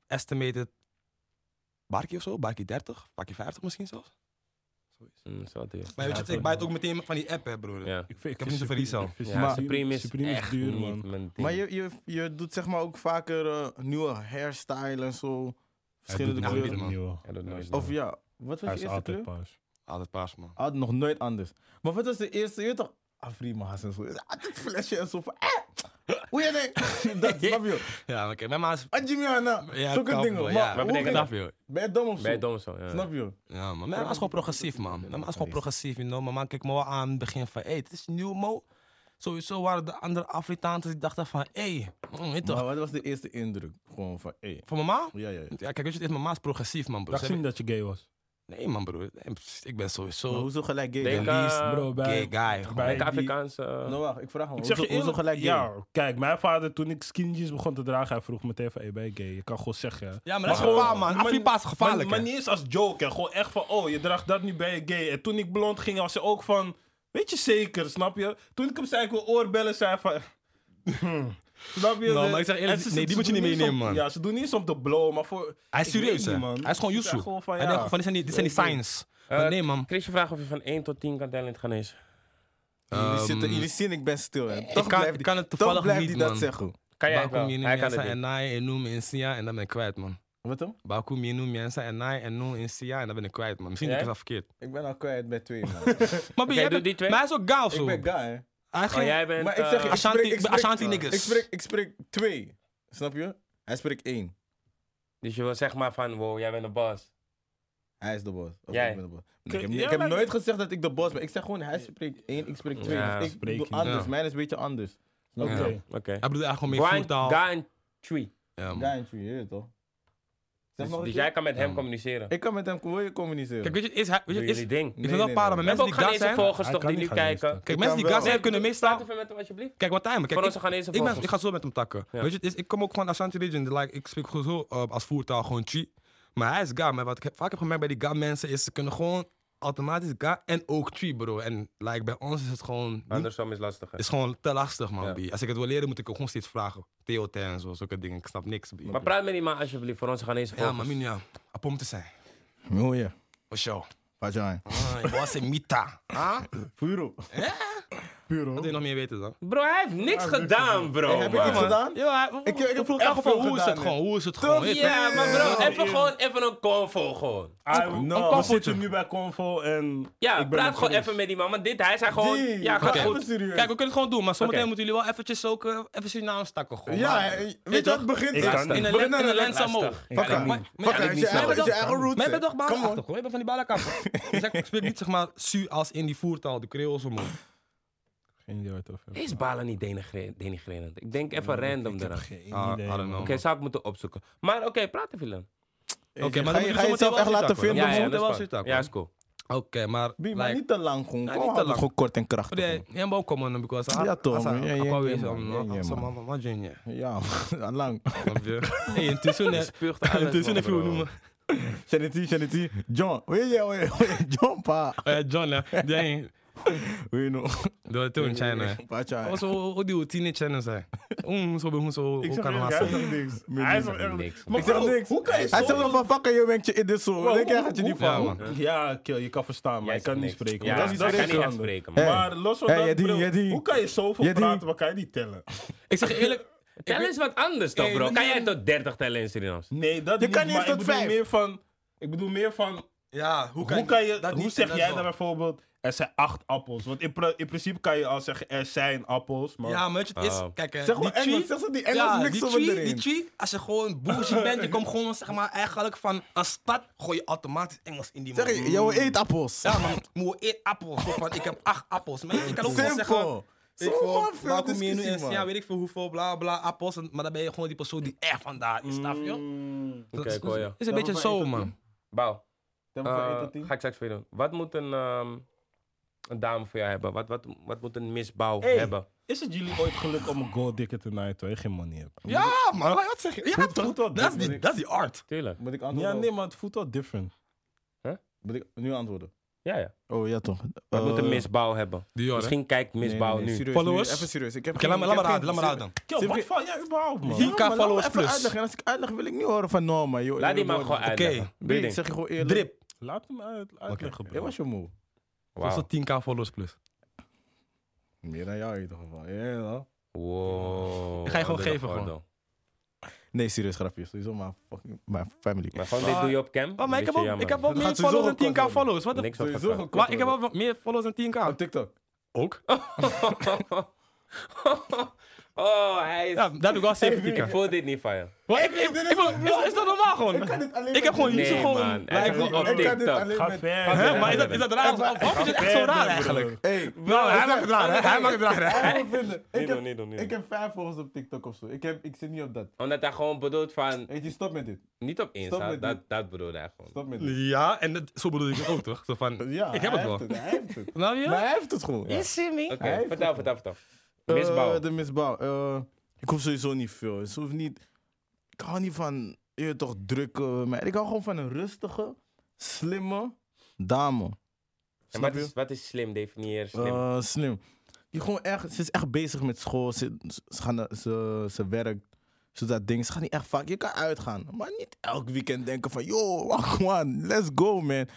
B: estimated, barkie of zo, barkie 30, barkie 50 misschien zelfs. Zoiets.
A: Mm, zo duur.
B: Maar weet je,
C: Ja,
B: wat, ik buy het ook meteen van die app, hè, broer.
A: Ja.
C: Ik, vind, ik
B: heb niet zoveel resell.
A: Ja,
D: Maar-
A: Supreme is,
C: Supreme is
A: echt
C: duur,
A: niet
C: man.
A: mijn ding.
D: Maar je, je, je doet zeg maar ook vaker eh, nieuwe hairstyle en zo. Verschillende
B: doet
D: kleuren.
B: nooit man.
A: Ja, dat nooit
D: Of ja, wat was
C: Hij
D: je
C: is
D: eerste
C: altijd
D: kleur?
C: paars.
B: Altijd paars, man.
D: Had nog nooit anders. Maar wat was de eerste? Je weet toch? Afrima's en zo. Is Altijd flesje en zo. Van, eh, hoe je denkt? Dat snap je.
B: Ja, oké. Mijn maas...
D: Adjimiana.
B: Ja,
D: Zulke
B: kap,
D: dingen.
B: broer.
D: Maar,
B: Ja,
D: hoe
B: maar bedenk
D: ben,
B: dat, joh.
D: ben je dom of zo?
A: Ben je dom zo? Ja.
D: Snap je?
B: Ja, maar mijn ma is gewoon progressief, man. Mijn ma is gewoon progressief, you know. Mijn ma kijkt me wel aan in het begin van, hey, het is nieuw, mo. Sowieso waren de andere Afrikaanse die dachten van, hey, mm, weet toch.
D: Maar wat was de eerste indruk? Gewoon van, hé.
B: Van mijn ma?
D: Ja, ja, ja.
B: Ja, kijk, weet je, het is mijn ma is progressief, man, bro.
C: Ik
B: Ze
C: dacht niet dat je gay was.
B: Nee, man, broer. Nee, pst, Ik ben
D: Maar
B: sowieso
D: hoezo gelijk gay?
B: de
A: Oh. Denk
D: dan?
A: aan-
B: least
A: Bro,
B: Ah, gay guy. gewoon.
C: bij-
A: Ik Afrikaanse. eh,
D: Nou, wacht, ik vraag hem.
C: Ik zeg
D: Hoezo,
C: je
D: hoezo
C: eerlijk,
D: gelijk gay?
C: ja, kijk, mijn vader toen ik skinny jeans begon te dragen, hij vroeg meteen van, hey, ben je gay? Je kan gewoon zeggen.
B: Ja, maar dat is
C: gewoon-
B: gevaar, man.
C: maar-
B: Afrika is gevaarlijk.
C: Maar,
B: hè.
C: maar niet eens als joke, hè. gewoon echt van, oh, je draagt dat nu bij je gay. En toen ik blond ging, was ze ook van, weet je zeker, snap je? Toen ik hem zei, ik wil oorbellen, zei hij van... "Hmm, Snap je?
B: Nou,
C: De-
B: maar ik zeg eerlijk,
C: en ze-
B: nee, die
C: ze
B: moet je
C: doen
B: niet meenemen,
C: om-
B: man.
C: Ja, ze doen niet eens om te blow, maar voor...
B: Hij is
C: ik weet
B: serieus, hè.
C: niet, man.
B: Hij is gewoon
C: Ik zeg
B: Yusu.
C: gewoon van,
B: Hij denkt gewoon
C: ja.
B: van, dit zijn die- dit zijn die signs.
A: eh,
B: Maar nee, man.
A: Chris, je vraagt of je van 1 tot 10 kan tellen in het Ghanese.
D: Jullie,
B: Ehm,
D: zitten, jullie zien, ik ben stil. Hè.
C: Eh,
D: Toch
B: ik kan,
D: blijft
B: ik
D: die-
B: kan het
D: toch
B: toevallig
D: blijft
B: niet,
D: die
B: man.
D: dat zeggen.
A: Kan jij
B: Bakum
A: wel?
B: je
A: Hij kan het
B: Jensa
A: niet.
B: en Nai en Noem in Sia en dan ben ik kwijt, man.
D: Wat dan?
B: Bakum je Noem Jensa en Nai en Noem in Sia en dan ben ik kwijt, man. Misschien
A: Ja?
B: heb ik dat verkeerd.
D: Ik ben al kwijt bij twee, man.
B: Maar ben jij
A: doe
B: bent-
A: die twee.
B: Maar hij is ook gaaf
D: ik
B: zo.
D: ben guy, hè.
B: Hij is
A: Oh,
B: geen-
A: jij bent.
D: Maar ik zeg je,
A: eh,
D: ik
B: Ashanti-
D: spreek, ik
B: ik ben
D: spreek,
B: Ashanti niggas.
D: Ik spreek, ik spreek twee. Snap je? Hij spreekt één.
A: Dus je wil zeg maar van, wow, jij bent een boss.
D: Hij is de boss. Of
A: Jij.
D: ik ben de boss. Nee, ik heb,
C: Ja,
D: ik heb
C: maar-
D: nooit gezegd dat ik de boss ben. Ik zeg gewoon, hij spreekt één, ik spreek twee.
A: Ja,
D: Dus ik
C: spreek
D: doe
C: je.
D: anders.
B: Ja.
D: Mijn is een beetje anders. Snap je?
C: Oké.
B: Ja.
A: Oké.
B: Hij bedoelt eigenlijk gewoon mee
A: Brian
B: voertaal.
A: Gantry.
B: Ja, man.
D: Guy en twee, je weet het toch? Zeg
A: Dus,
D: nog een
A: dus
D: keer.
A: jij kan met hem
B: Ja.
A: communiceren.
D: Ik kan met hem wil je communiceren.
B: Kijk, weet je, is hij... Weet
A: Doe
B: je, is,
A: jullie
B: ik
A: ding.
D: Nee,
B: vind het wel
D: nee,
B: paar,
D: nee.
B: maar
A: We hebben
B: mensen
A: ook
B: die gaaf
A: Ghanese
B: zijn...
A: volgers
E: Hij
A: toch
E: kan
A: die nu
E: niet Ghanese.
A: kijken.
B: Kijk,
D: Ik
B: mensen
D: kan
B: die gaaf
D: wel.
B: zijn kunnen
A: Praat
B: meestal...
A: even met hem alsjeblieft.
B: Kijk, wat timer.
A: Voor
B: Kijk,
A: onze
B: ik,
A: Ghanese
B: ik, ben, ik
A: volgers.
B: ga zo met hem takken.
A: Ja.
B: Weet je, het is, ik kom ook gewoon Ashanti Region. Like, ik spreek gewoon zo eh, als voertaal, gewoon chi. Maar hij is ga. Maar wat ik heb- vaak heb gemerkt bij die ga mensen is... Ze kunnen gewoon automatisch ga en ook chi, bro. En like, bij ons is het gewoon... niet-
A: Andersom is lastiger.
B: is gewoon te lastig, man.
A: Ja.
B: B. Als ik het wil leren, moet ik ook gewoon steeds vragen. TOT en zo, zulke dingen. Ik snap niks. B.
A: Maar praat met die man alsjeblieft voor onze Ghanese
B: ja, maar
A: volgers.
B: Minia, apom te zijn.
D: Mooi, hè.
B: Voor show.
D: Pajaan.
B: Ah, je was een mita. Ah?
D: Puro. Puro.
B: Wat wil je nog meer weten dan?
A: Bro, hij heeft niks gedaan, bro.
D: heb
A: Oh, man.
D: ik iets gedaan?
B: Ja, hij-
D: Ik- ik heb
B: vroeg
D: echt
B: echt van
D: veel
B: hoe is
D: gedaan,
B: het
D: hè.
B: gewoon? Hoe is het gewoon? Weet je?
A: Ja, maar
C: Ja,
A: bro, even
C: ja.
A: gewoon even een convo gewoon.
C: Ah,
D: Oh, no.
C: We zitten nu bij Convo en...
A: Ja,
C: ik ben
A: praat
C: met
A: gewoon
C: Chris.
A: even met die man. Want dit, hij zei gewoon...
D: Jee,
A: Ja, gaat
D: ga
A: goed.
D: even serieus.
B: Kijk, we kunnen het gewoon doen, maar zometeen
A: Oké.
B: moeten jullie wel eventjes ook eh, even Surinaams takken. Gewoon.
D: Ja,
B: Maar-
D: hè, weet je wat begint?
C: Ik
D: Ja,
C: kan
D: het
C: het.
B: in een
D: begint
B: lens,
D: naar
B: in
D: de
B: een lens
D: laatste.
B: omhoog.
D: Fuck
B: Maar- maar-
D: hem.
B: maar-
D: Fuck
B: ja,
D: hem,
B: ik
D: is
B: niet,
D: je
B: maar-
D: eigen- is je
B: maar-
D: eigen roots,
B: Maar je
D: hè.
B: bent toch
D: Come on.
B: balakappig, hoor. Je bent van die balakappig. Dus ik ik spreek niet, zeg maar, su als in die voertaal, de Creoolse man.
C: Geen idee waar het over
A: Is Balen niet denigre- denigrerend? Ik denk even random eraan. Oké,
B: Ah, I don't know.
A: zou ik moeten opzoeken. Maar oké, praat even dan.
B: Oké, maar
D: Ga
B: dan
D: je-
B: moet
D: ga je
B: zometeen
D: jezelf
B: wel
D: echt laten
B: zitten, hoor.
D: vinden?
B: Ja,
D: man?
B: ja,
A: dat
B: dat
A: is
B: was
A: fijn.
B: het ook,
A: Ja,
B: hoor.
A: is cool.
B: Oké, maar...
D: Bi, maar
B: like-
D: niet te lang gewoon.
B: Ja,
D: Kom
B: niet te
D: aan,
B: lang.
D: Gewoon kort en krachtig.
B: Nee, jij bent ook komen, man, because I-
D: Ja, toch,
B: I- I-
D: man. Ja,
B: I- I-
D: ja,
B: always
D: ja,
B: am,
D: man.
B: no?
D: Ja, ja,
B: I'm so-
D: man.
B: man- man, junior.
D: man. Ja, man, lang.
B: Snap je? Hey, intussen, hè.
A: Spuugt alles,
B: Intussen
A: man,
B: even
A: bro.
B: noemen.
D: Shanity, Shanity. John. Weet je, weet je, John, pa.
B: Eh, John, hè. Dang.
D: Weet je nog?
B: Door toen in China. hè.
D: Pa, tja.
B: Wat zo, hoe die teenage China zijn? Hoe zo, hoe zo,
C: Ik
B: hoe
C: zeg
B: kan
C: eerlijk,
B: dat
C: hij
B: zijn?
C: zegt niks.
D: Meer
C: Hij
D: niet.
C: zegt echt
A: Niks.
C: Maar
D: Ik zeg
C: bro,
D: niks.
C: Hoe kan je
D: Hij zegt
C: zo-
D: wel van fuck je bent je in dit zo.
C: Wow,
D: Denk jij
C: hoe-
D: gaat je niet
C: hoe-
B: Ja,
D: van.
B: man.
C: Ja, kill, je kan verstaan, maar
A: Jij
C: je kan
A: zegt
C: niet
A: niks.
C: spreken.
A: Ja,
C: want dat
A: hij
C: is
A: kan niet echt
C: verstandig.
A: spreken, man.
C: Maar los van
D: Hey,
C: dat,
D: Yadin,
C: bro,
D: Yadin.
C: hoe kan je zoveel
D: Yadin.
C: praten, maar kan je niet tellen?
B: Ik zeg eerlijk,
A: Tel eens wat anders toch,
B: Hey,
A: bro? Kan
B: nee.
A: jij tot 30 tellen in Surinaams?
C: Nee, dat
D: Je kan niet
C: niet maar
D: eens
C: ik
D: tot
C: bedoel
D: vijf.
C: meer van... Ik bedoel meer van,
B: ja, hoe kan,
C: hoe, kan je,
B: dat
C: hoe
B: niet
C: zeg
B: en
C: jij
B: wel?
C: dan bijvoorbeeld, er zijn acht appels? Want in, pra- in principe kan je al zeggen, er zijn appels, maar...
B: Ja, maar weet je, het is,
A: Oh.
B: kijk, hè,
D: Zeg
B: die
D: maar Engels.
B: tree,
D: Zeg ze die
B: ja,
D: Engels
B: die
D: mixen we
B: tree, die
D: erin.
B: tree, als je gewoon bougie bent, je komt gewoon, zeg maar, eigenlijk van een stad, gooi je automatisch Engels in die man.
D: Zeg je, yo, eet appels.
B: Ja, man, moe, eet appels. Zo van, ik heb acht appels. Maar je kan ook gewoon zeggen...
D: Simpel.
B: Ik
D: Zo
B: voor
D: veel
B: welkom hier nu
D: discussie,
B: en ja,
D: man.
B: weet ik veel hoeveel, bla bla, appels. en- Maar dan ben je gewoon die persoon die echt vandaar is, snap je?
C: Mm,
B: Dat
A: Oké,
B: is-
A: ik hoor je.
B: is een beetje
D: van één
B: zo,
D: tot
B: man.
A: Bouw,
D: Dan
A: eh,
D: moeten we één tot tien.
A: ga ik straks voor je doen. Wat moet een, ehm, een dame voor jou hebben? Wat, wat, wat moet een misbouw
C: Hey.
A: hebben?
C: Is het jullie ooit geluk om een goal dikker te naaien terwijl je geen money hebt?
B: Ja, man, wat zeg je? Ja, toch?
C: voelt wel
B: Dat is die-
C: different.
B: dat is die art.
A: Tuurlijk.
D: Moet ik
C: Ja,
D: antwoorden?
C: nee, maar het voelt wel different.
D: Moet ik nu antwoorden?
A: Ja, ja.
D: Oh ja, toch.
A: Wat moet een
D: Eh,
A: misbouw hebben?
B: Dior, hè?
A: Misschien kijkt
D: nee,
A: misbouw
D: nee, nee,
A: nu.
D: serieus, nu,
B: Followers?
D: Even serieus. Ik heb
B: Oké, laat me
D: geen-
B: laat
D: ik
B: me
D: heb
B: raden, laat
D: geen-
B: me raden dan.
C: Kill, Oh, wat val jij überhaupt, man?
D: Ja, maar laat me
B: followers
D: even
B: plus.
D: uitleggen. Als ik uitleg wil ik niet horen van no, man. Yo,
A: Laat die man gewoon
B: Oké.
A: uitleggen. Doe je
D: Nee, ik
A: ding.
D: zeg je gewoon eerlijk.
B: Drip.
C: Laat hem uit, uitleggen,
D: Jij
C: bro.
D: was je moe.
B: Wow.
A: Wauw.
B: 10k followers plus.
D: Meer dan jou in ieder geval. Ja, wel.
A: Wow.
B: Ik ga je gewoon
A: Wat een
B: geven, gewoon.
A: gordel.
D: Nee, serieus, grapje. Sowieso mijn fucking mijn family.
A: Maar gewoon dit doe je op cam.
B: Oh, maar ik heb,
A: Beetje
B: ook,
A: jammer.
B: ik heb wel
D: Dat
B: meer
D: gaat sowieso
B: followers dan 10k
D: gekort worden.
B: followers. Wat de
A: Niks wat
D: Sowieso
A: gaat
D: gekort
B: maar ik heb
D: worden.
B: wel wat meer followers dan 10k.
D: Op TikTok.
B: Ook?
A: Oh, hij is...
E: Ja, daar heb ik wel safety
A: ik
E: car.
A: voel dit niet
D: Oh,
A: van je.
E: Wat? Ik- ik- ik- Is is dat normaal gewoon? Ik heb gewoon
A: Nee,
E: YouTube gewoon...
A: man. Hij
E: Like,
A: kan gewoon op
D: Ik kan dit
A: TikTok.
D: alleen
C: Ga
D: met...
C: ver.
E: Hè, maar is dat, is dat raar? Waarom is het echt zo raar eigenlijk?
D: Hey,
E: Nou, hij maakt het raar, hè? Hij maakt het raar, hè?
D: ik moet vinden. Ik
A: Niet doen,
D: heb,
A: niet doen, niet
D: ik
A: doen.
D: heb vijf volgers op TikTok of zo. Ik, heb, ik zit niet op dat.
A: Omdat hij gewoon bedoelt van...
D: Weet je, stop met dit.
A: Niet op
D: Stop
A: Insta,
D: met
A: dat,
D: dit.
A: dat bedoelde hij gewoon.
D: Stop met dit.
E: Ja, en dat, zo bedoel ik het ook, toch? Zo van,
D: Ja,
E: ik heb
D: hij
E: het wel.
D: heeft hij heeft het.
E: Nou
D: Maar
E: ja?
D: hij heeft het gewoon.
A: Oké,
D: Hij heeft
A: vertel,
D: het.
A: vertel, vertel.
D: Eh,
A: Misbouw.
D: de misbouw. Eh, ik hoef sowieso niet veel. Dus hoef niet, ik hou niet van, je weet toch, drukke. maar ik hou gewoon van een rustige, slimme dame.
A: En
D: Snap
A: wat
D: je?
A: is, wat is slim? Definieer
D: Eh,
A: slim.
D: slim. Die gewoon echt, ze is echt bezig met school. Ze, ze, gaan naar- ze, ze werkt. Ze dat ding. Ze gaat niet echt vaak. Je kan uitgaan. Maar niet elk weekend denken van, yo, wacht man, let's go man.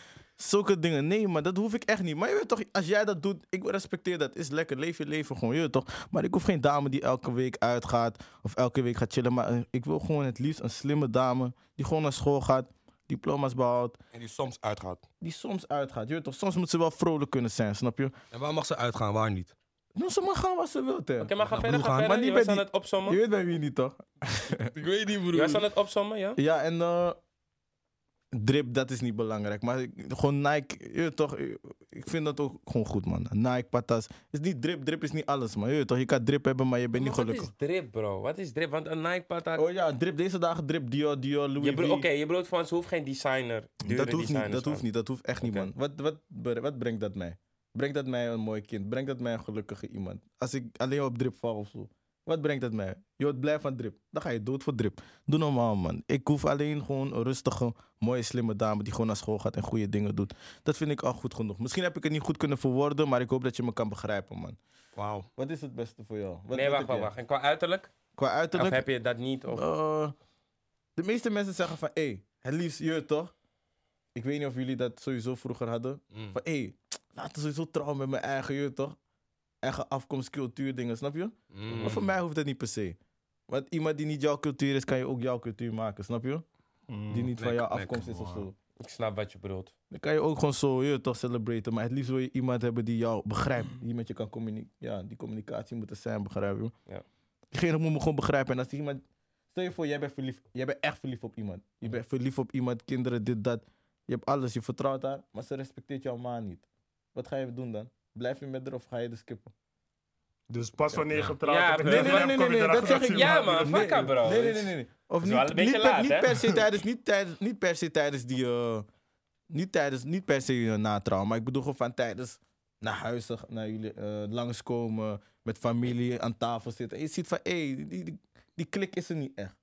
D: Zulke dingen. Nee, maar dat hoef ik echt niet. Maar je weet toch, als jij dat doet, ik respecteer dat. Is lekker. Leef je leven gewoon, je weet toch. Maar ik hoef geen dame die elke week uitgaat. Of elke week gaat chillen. Maar eh, ik wil gewoon het liefst een slimme dame. Die gewoon naar school gaat. Diploma's behoudt.
B: En die soms uitgaat.
D: Die soms uitgaat. Je weet toch, soms moet ze wel vrolijk kunnen zijn, snap je?
B: En waar mag ze uitgaan, waar niet?
D: Nou, ze mag gaan waar ze wil, hè.
A: Oké, maar ga
B: Nou,
A: verder,
B: broer,
A: ga
B: gaan.
A: verder.
D: Maar
A: je
D: niet
A: was
D: bij
A: aan
D: die-
A: het opzommen.
D: Je weet bij wie niet, toch?
B: Ik weet niet,
A: Je was aan
B: broer.
A: het opzommen, ja?
D: Ja, en eh, drip, dat is niet belangrijk. Maar ik- gewoon Nike, je weet toch? Ik ik vind dat ook gewoon goed, man. Nike, patas. is niet drip, drip is niet alles, man. Je weet toch? Je kan drip hebben, maar je bent
A: Maar
D: niet gelukkig.
A: Wat is drip, bro? Wat is drip? Want een Nike-pad...
D: Oh ja, drip. Deze dagen drip, Dior, Dior, Louis
A: Je bedoelt-
D: V.
A: Oké, je bedoelt van ze hoeft geen designer. dure
D: Dat hoeft niet,
A: designers,
D: dat
A: man.
D: hoeft niet, dat hoeft echt niet,
A: Oké.
D: man. Wat, wat, bre- wat brengt dat mij? Brengt dat mij een mooi kind? Brengt dat mij een gelukkige iemand? Als ik alleen op drip val of zo. Wat brengt dat mij? Je wordt blij van drip. Dan ga je dood voor drip. Doe normaal, man. Ik hoef alleen gewoon een rustige, mooie, slimme dame die gewoon naar school gaat en goede dingen doet. Dat vind ik al goed genoeg. Misschien heb ik het niet goed kunnen verwoorden, maar ik hoop dat je me kan begrijpen, man.
B: Wauw.
D: Wat is het beste voor jou? Wat-
A: nee, wacht,
D: wat
A: wacht,
D: heb jij?
A: wacht. En qua uiterlijk?
D: Qua uiterlijk.
A: Of heb je dat niet? Of...
D: Eh, de meeste mensen zeggen van, hé, het liefst je toch? Ik weet niet of jullie dat sowieso vroeger hadden. Van, hé, laten we sowieso trouwen met mijn eigen je toch? Eigen afkomst, cultuur, dingen, snap je? Maar voor mij hoeft dat niet per se. Want iemand die niet jouw cultuur is, kan je ook jouw cultuur maken, snap je? Die niet van
B: nee,
D: jouw
B: nee,
D: afkomst is
B: come
D: of zo.
A: Ik snap wat je bedoelt.
D: Dan kan je ook gewoon zo, je toch, celebraten. Maar het liefst wil je iemand hebben die jou begrijpt. Die met je kan communiceren. Ja, die communicatie moet er zijn, begrijp je?
A: Ja.
D: Diegene moet me gewoon begrijpen. En als die iemand... Stel je voor, jij bent verliefd. Jij bent echt verliefd op iemand. Je bent verliefd op iemand, kinderen, dit, dat. Je hebt alles, je vertrouwt haar. Maar ze respecteert jouw ma niet. Wat ga je doen dan? Blijf je met haar of ga je er skippen?
E: Dus
C: Pas wanneer je getrouwd
A: Ja,
C: hebt,
A: nee, nee,
C: dan kom je erachter
D: dat zeg ik
C: je
A: Ja,
C: maat
A: man,
C: niet-
A: fuck up, bro.
D: Nee, nee, nee, nee. nee. Of
A: is wel
D: niet,
A: een beetje
D: niet, per,
A: laat,
D: niet
A: hè?
D: per se tijdens, niet tijdens, niet per se tijdens die, eh, niet tijdens, niet per se eh, na trouwen, maar ik bedoel gewoon van tijdens naar huis, te gaan, naar jullie eh, langskomen, met familie aan tafel zitten. En je ziet van, hé, die, die, die klik is er niet echt.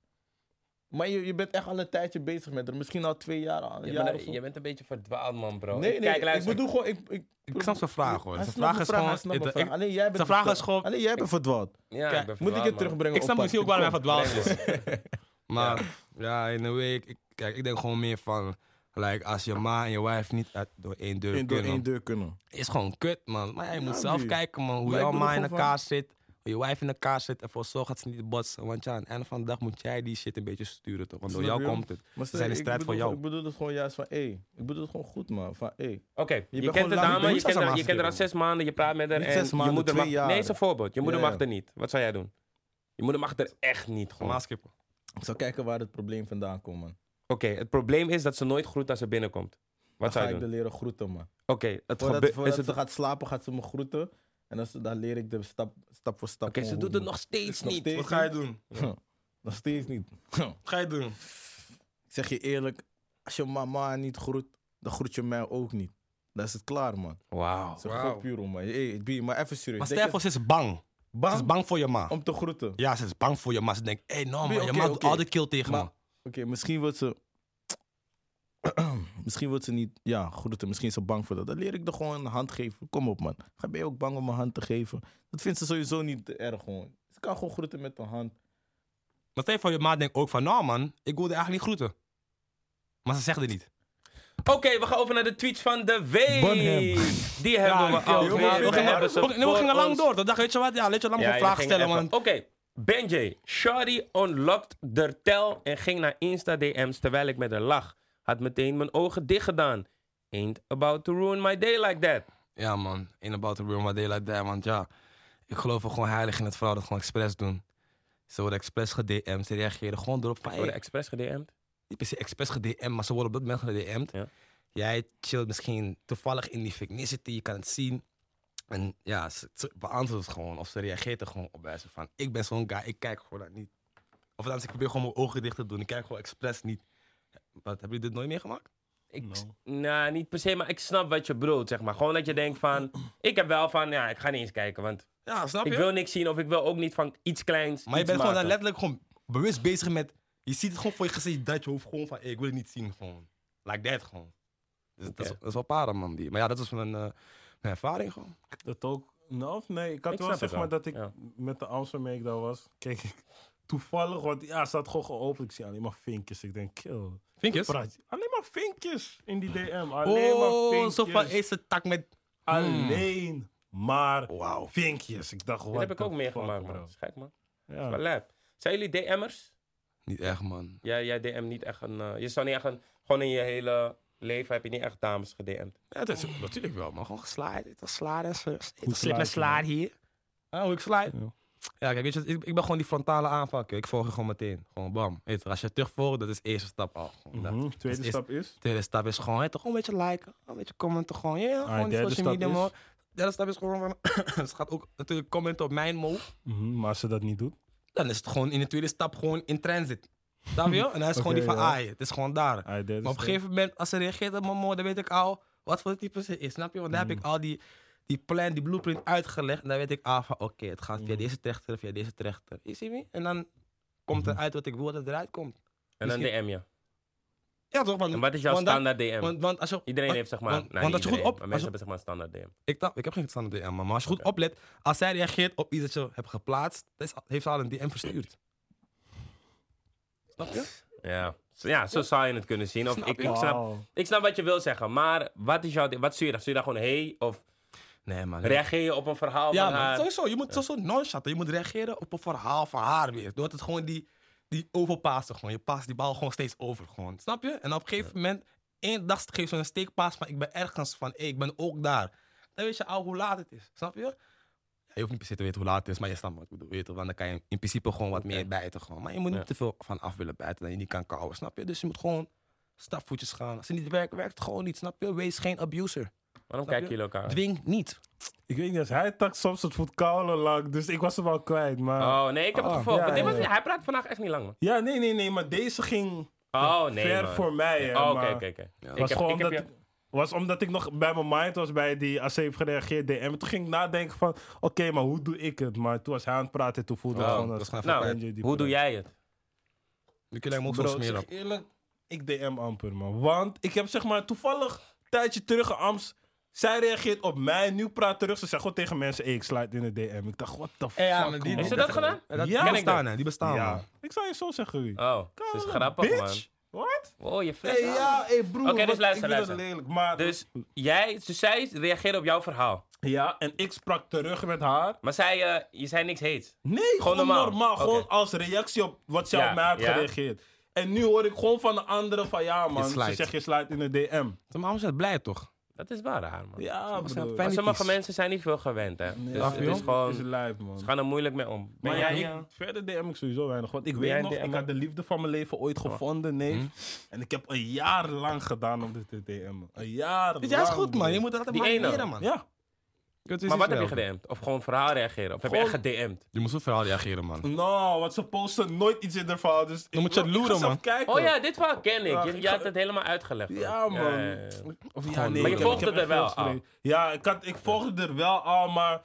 D: Maar je, je bent echt al een tijdje bezig met haar, misschien al twee jaar, al een
A: Je,
D: jaar
A: bent,
D: of zo.
A: je bent een beetje verdwaald, man, bro.
D: nee, nee,
A: Kijk,
D: ik
A: luister.
D: bedoel gewoon, ik... ik
B: Ik snap zijn vraag, hoor.
D: Hij
B: Zijn
D: snapt
B: vraag is
D: mijn hij
B: Ah, gewoon...
D: snapt mijn
B: ik-
D: vraag. Alleen jij bent
B: Zijn vraag is
D: verdwaald.
B: gewoon...
D: Alleen jij bent verdwaald.
A: Ja,
B: Kijk,
A: ik ben
D: Moet ik
A: verdwaald,
D: je
A: man.
D: terugbrengen
B: Ik snap
D: op
B: misschien ook
D: pad?
B: waarom hij verdwaald
A: Kom.
B: is. Maar ja, in een week... ik- Kijk, ik denk gewoon meer van... Like, als je ma en je wife niet uit, door één deur
D: In- Door
B: kunnen...
D: één deur kunnen.
B: is gewoon kut, man. Maar je moet
D: Ja,
B: zelf
D: die.
B: kijken, man. Hoe
D: Maar
B: jouw
D: ik bedoel
B: ma in
D: gewoon
B: elkaar zit. Hoe je wife in elkaar zit. En voor zorg dat ze niet botsen. Want ja, aan het einde van de dag moet jij die shit een beetje sturen, toch? Want door
D: Snap
B: jou
D: je?
B: komt het.
D: Maar
B: Ze zijn in
D: ik
B: strijd voor
D: bedoel-
B: jou.
D: Ik bedoel het gewoon juist van, hé, ik bedoel het gewoon goed, man. Van, hé.
A: Oké, je,
D: bent
A: kent
D: gewoon
A: de
D: lang-
A: dame,
D: je
A: je
D: moet
A: kent
D: pas
A: haar,
D: aan
A: je kent haar al zes maanden, je praat met haar
D: Niet
A: en
D: zes maanden,
A: je moeder
D: twee
A: mag...
D: jaar.
A: Nee, is een voorbeeld. Je moeder
D: Ja,
A: mag
D: ja.
A: er niet. Wat zou jij doen? Je moeder mag er echt niet, gewoon.
B: Normaal
A: Oké,
B: skippen.
D: Ik zou kijken waar het probleem vandaan komt, man.
A: het probleem is dat ze nooit groet als ze binnenkomt. Wat
D: Dan
A: zou
D: ga
A: je
D: ik de
A: doen?
D: leren groeten, man.
A: Oké, het
D: Voordat,
A: gebe-
D: voordat
A: is het-
D: ze gaat slapen, gaat ze me groeten. En dan, dan leer ik de stap, stap voor stap.
A: Oké, ze
D: gewoon
A: doet
D: hoe
A: het nog steeds
D: nog
A: niet.
D: steeds
B: Wat ga je doen?
D: doen. nog steeds niet.
B: Wat ga je doen?
D: Ik zeg je eerlijk, als je mama niet groet, dan groet je mij ook niet. Dan is het klaar, man.
A: Wauw.
D: Zo
B: Wauw.
D: goed puur, man. Hey, B, maar even serieus.
B: Maar
D: Denk
B: Stefan
D: je-
B: ze is bang. Ze is
D: bang
B: bang voor je ma.
D: om te groeten. Oké,
B: Ja, ze is bang voor je ma. Ze denkt, hé, hey, no, man.
D: Nee,
B: je
D: oké,
B: ma doet
D: oké.
B: al de kill tegen
D: Maar-
B: me.
D: misschien wordt ze... Misschien wordt ze niet, ja, groeten. Misschien is ze bang voor dat. Dan leer ik er gewoon een hand geven. Kom op, man. Ga ben je ook bang om een hand te geven? Dat vindt ze sowieso niet erg, gewoon. Ze kan gewoon groeten met een hand.
B: Maar Stefan, je ma denkt ook van, nou, man. Ik wilde eigenlijk niet groeten. Maar ze zegt het niet.
A: Oké, we gaan over naar de tweets van de week.
D: Bon hem.
A: Die hebben we
B: joh,
A: al. weer.
B: maar we
A: We
B: gingen-
A: hebben ze
B: we gingen- we
A: voor
B: gingen lang
A: ons.
B: door. Dan dacht ik, weet je wat? Ja, laat je lang
A: Ja, jullie
B: gewoon vragen
A: gingen
B: stellen,
A: even-
B: man.
A: Oké, Benjay. Shadi unlocked der tel en ging naar Insta DM's terwijl ik met haar lag. Had meteen mijn ogen dicht gedaan. Ain't about to ruin my day like that.
B: Ja, man. In about the room, what they like that. Want ja, ik geloof er gewoon heilig in het verhaal dat gewoon expres doen. Ze worden expres gedm'd. Ze reageren gewoon erop van...
A: Voor de
B: Hey,
A: expres gedm'd.
B: niet per se expres gedm'd, maar ze worden op dat moment gedm'd.
A: Ja.
B: Jij chillt misschien toevallig in die feminicity, je kan het zien. En ja, ze, ze beantwoordt het gewoon. Of ze reageert er gewoon op wijze van... Ik ben zo'n guy, ik kijk gewoon dat niet. Of dan ik probeer gewoon mijn ogen dicht te doen. Ik kijk gewoon expres niet. Wat, hebben jullie dit nooit meegemaakt?
A: Ik, Nou, niet per se, maar ik snap wat je bedoelt, zeg maar. Gewoon dat je denkt van... Ik heb wel van, ja, ik ga niet eens kijken, want
B: Ja, snap je?
A: ik wil niks zien of ik wil ook niet van iets kleins
B: Maar je
A: iets
B: bent gewoon dan
A: maken.
B: letterlijk gewoon bewust bezig met... Je ziet het gewoon voor je gezicht, dat je hoofd gewoon van... "Hey, ik wil het niet zien, gewoon. Like that, gewoon. Dus dat, is,
A: Oké.
B: dat is wel para, man. Die. Maar ja, dat is mijn, eh, mijn ervaring, gewoon.
C: Dat ook. Nou, of nee, ik had
A: Ik
C: wel
A: snap
C: zeg
A: het
C: maar
A: wel,
C: dat ik
A: ja.
C: met de Amsterdam Makedown was. Keek ik toevallig, want ja, ze had gewoon geopend. Ik zie alleen maar vinkjes. Ik denk, kill.
B: Vinkjes?
C: Praat je- Alleen maar vinkjes in die DM. Alleen maar
B: Oh,
C: vinkjes.
B: zo van eerste tak met...
A: hmm.
C: Alleen maar
B: Wauw.
C: vinkjes. Ik dacht,
A: Dit
C: wat
A: heb ik ook meegemaakt, man. Dat is gek, man.
B: Oh.
A: Wel
C: Ja.
A: lijp. Zijn jullie DM'ers?
B: Niet echt, man.
A: Jij, jij DM niet echt een... eh, je zou niet echt een... Gewoon in je hele leven heb je niet echt dames gedm'd.
B: Ja, dat is natuurlijk wel, man. Gewoon geslaaid. Ik was slaaien. Ik slip
C: slaaien,
B: met slaar
C: man?
B: hier. Ah, hoe ik slaai?
C: Ja.
B: Ja, kijk, weet je, wat, ik, ik ben gewoon die frontale aanval. Ik volg je gewoon meteen. Gewoon bam. Weet je, als je terugvolgt, dat is de eerste stap al. Gewoon dat.
C: Mhm. Tweede
B: Dus is-
C: stap is.
B: Tweede stap is gewoon, hè, toch gewoon een beetje liken, een beetje commenten, gewoon, ja, gewoon die
C: derde
B: social media,
C: stap is-
B: man. Derde stap is gewoon van, ze gaat ook natuurlijk commenten op mijn move.
C: Mhm, Maar als ze dat niet doet.
B: Dan is het gewoon in de tweede stap gewoon in transit. Snap je? En dan is het gewoon die
C: Oké,
B: van,
C: ja.
B: ah, het is gewoon daar.
C: Ah, derde
B: maar op een
C: stap.
B: gegeven moment, als ze reageert op mijn move, dan weet ik al wat voor type ze is, snap je? Want dan
C: Mhm.
B: heb ik al die, die plan, die blueprint uitgelegd. En dan weet ik al van, oké, het gaat
C: Mhm.
B: via deze trechter, via deze trechter. Je ziet me? En dan
C: Mhm.
B: komt eruit wat ik wil dat eruit komt.
A: En dan
B: Misschien-
A: DM je.
B: Ja, toch? Want,
A: En wat is jouw
B: want dan-
A: standaard DM?
B: Want, want als je,
A: Iedereen
B: want-
A: heeft zeg maar...
B: Want,
A: nou,
B: want
A: niet
B: als je goed
A: iedereen,
B: op...
A: maar
B: als
A: mensen
B: je-
A: hebben zeg maar standaard DM.
B: Ik, dacht, ik heb geen standaard DM, man. Maar als je goed oplet, als zij reageert op iets dat je hebt geplaatst, dan is- heeft ze al een DM verstuurd. Snap je?
A: Ja. Zo- Ja, zo zou je het kunnen zien. Of
B: Snap
A: ik,
B: je?
A: ik, snap,
C: Wauw.
A: ik snap wat je wil zeggen, maar wat, is jouw, wat stuur je dan? Stuur je dan gewoon hey? Of
B: Nee, man.
A: reageer je op een verhaal
B: Ja,
A: van
B: man.
A: haar?
B: Sowieso, je moet sowieso nonchatten. Je moet reageren op een verhaal van haar weer. Doordat het gewoon die, die overpassen gewoon. Je past die bal gewoon steeds over gewoon. Snap je? En op een gegeven moment, één dag geeft ze een steekpaas van ik ben ergens van, hey, ik ben ook daar. Dan weet je al hoe laat het is. Snap je? Ja, je hoeft niet per se te weten hoe laat het is, maar je snapt wat ik bedoel. Weet je, toch? want dan kan je in principe gewoon wat meer bijten. Gewoon. Maar je moet niet
A: Ja.
B: te veel van af willen bijten dat je niet kan kauwen. Snap je? Dus je moet gewoon stapvoetjes gaan. Als het niet werkt, werkt het gewoon niet. Snap je? Wees geen abuser.
A: Waarom
B: Snap
A: kijken
B: je?
A: jullie elkaar? aan?
B: Dwing niet.
C: Ik weet niet, als hij tak soms het voet koude lang, dus ik was hem al kwijt. Maar...
A: Oh nee, ik heb het
B: Ah,
A: gevolgd.
C: ja,
A: Want dit
C: ja,
A: was-
C: ja.
A: Hij praat vandaag echt niet lang, man.
C: Ja, nee, nee, nee, maar deze ging
A: Oh nee.
C: ver
A: man.
C: voor mij. hè,
A: Oh,
C: maar
A: Oké, oké, oké.
B: Ja.
A: Ik
C: was
A: heb-
C: gewoon
A: ik heb
C: omdat,
A: je-
C: was omdat ik nog bij mijn mind was bij die AC heeft gereageerd DM. En toen ging ik nadenken van, oké, maar hoe doe ik het? Maar toen was hij aan het praten, toen voelde ik
B: Oh,
C: gewoon
B: dat
C: als-
B: is gewoon even
C: Enjoy
A: Nou,
C: die
A: hoe doe
C: praat.
A: jij het?
B: Nu kun je hem ook zo
C: Bro,
B: smeren.
C: zeg eerlijk, ik DM amper, man. Want ik heb zeg maar toevallig een tijdje terug een Ams. Zij reageert op mij, nu praat terug. Ze zegt gewoon tegen mensen, hey, ik sluit in de DM. Ik dacht, what the fuck,
B: Ja, maar
C: man.
A: Heeft ze dat gedaan?
B: dat
C: Ja,
B: die
C: ken ik
B: bestaan, hè? Die bestaan,
C: Ja.
B: man.
C: Ik zou je zo zeggen, Rui.
A: Oh, dat is grappig, man.
C: Bitch, what?
A: Oh, je
C: Hey,
A: fles.
C: ja, hey broer.
A: Oké, dus
C: wat-
A: luister,
C: ik vind
A: luister.
C: het lelijk, maar...
A: Dus jij, dus zij reageerde op jouw verhaal.
C: Ja, en ik sprak terug met haar.
A: Maar zij, eh, je zei niks heets.
C: Nee, gewoon,
A: normaal.
C: normaal.
A: Oké.
C: Gewoon als reactie op wat zij
A: Ja,
C: op mij had
A: ja.
C: gereageerd. En nu hoor ik gewoon van de anderen van, ja man, ze
B: slijt.
C: zegt je sluit in de DM.
B: Zijn mama is blij, toch?
A: Dat is waar, haar, man.
C: Ja,
B: Ze zijn
C: broer.
A: Maar
B: fijn-
A: sommige
B: Vanities.
A: mensen zijn niet veel gewend, hè.
C: Nee,
A: Dus
C: ja,
A: het is
C: is
A: gewoon...
C: lijf, man.
A: Ze gaan er moeilijk mee om.
C: Maar
A: Ben
C: ja,
A: jij,
C: ik-
A: eh,
C: verder DM ik sowieso weinig. Want ik
A: Ben jij
C: weet
A: een
C: nog, ik
A: DM'er?
C: had de liefde van mijn leven ooit gevonden, neef. En ik heb een jaar lang gedaan om dit te DM'en. Een jaar
B: Dit
C: lang.
B: is goed, man. Je
C: broer.
B: moet dat
A: Die
B: maar
A: ene.
B: leren, man.
C: Ja.
A: Maar wat heb je gedm'd? Of gewoon verhaal reageren? Of heb je echt gedm'd?
B: Je moet zo verhaal reageren, man.
C: Nou, want ze posten nooit iets in haar verhaal. Dus
B: Dan moet je
C: ik-
B: het
C: ik ga
B: loeren,
C: zelf
B: man.
C: kijken.
A: Oh ja, dit verhaal ken ik.
C: Ja,
A: Je,
C: ik
A: je
C: ga-
A: had het helemaal uitgelegd.
C: Ja, man.
A: Ja, ja, ja.
C: Of ja,
B: Gewoon
C: nee.
B: Maar je
C: ik heb-
A: volgde
C: ik heb
A: er
C: echt
A: wel
C: veel
A: al.
C: gelezen. Ja, ik, had, ik volgde er wel al, maar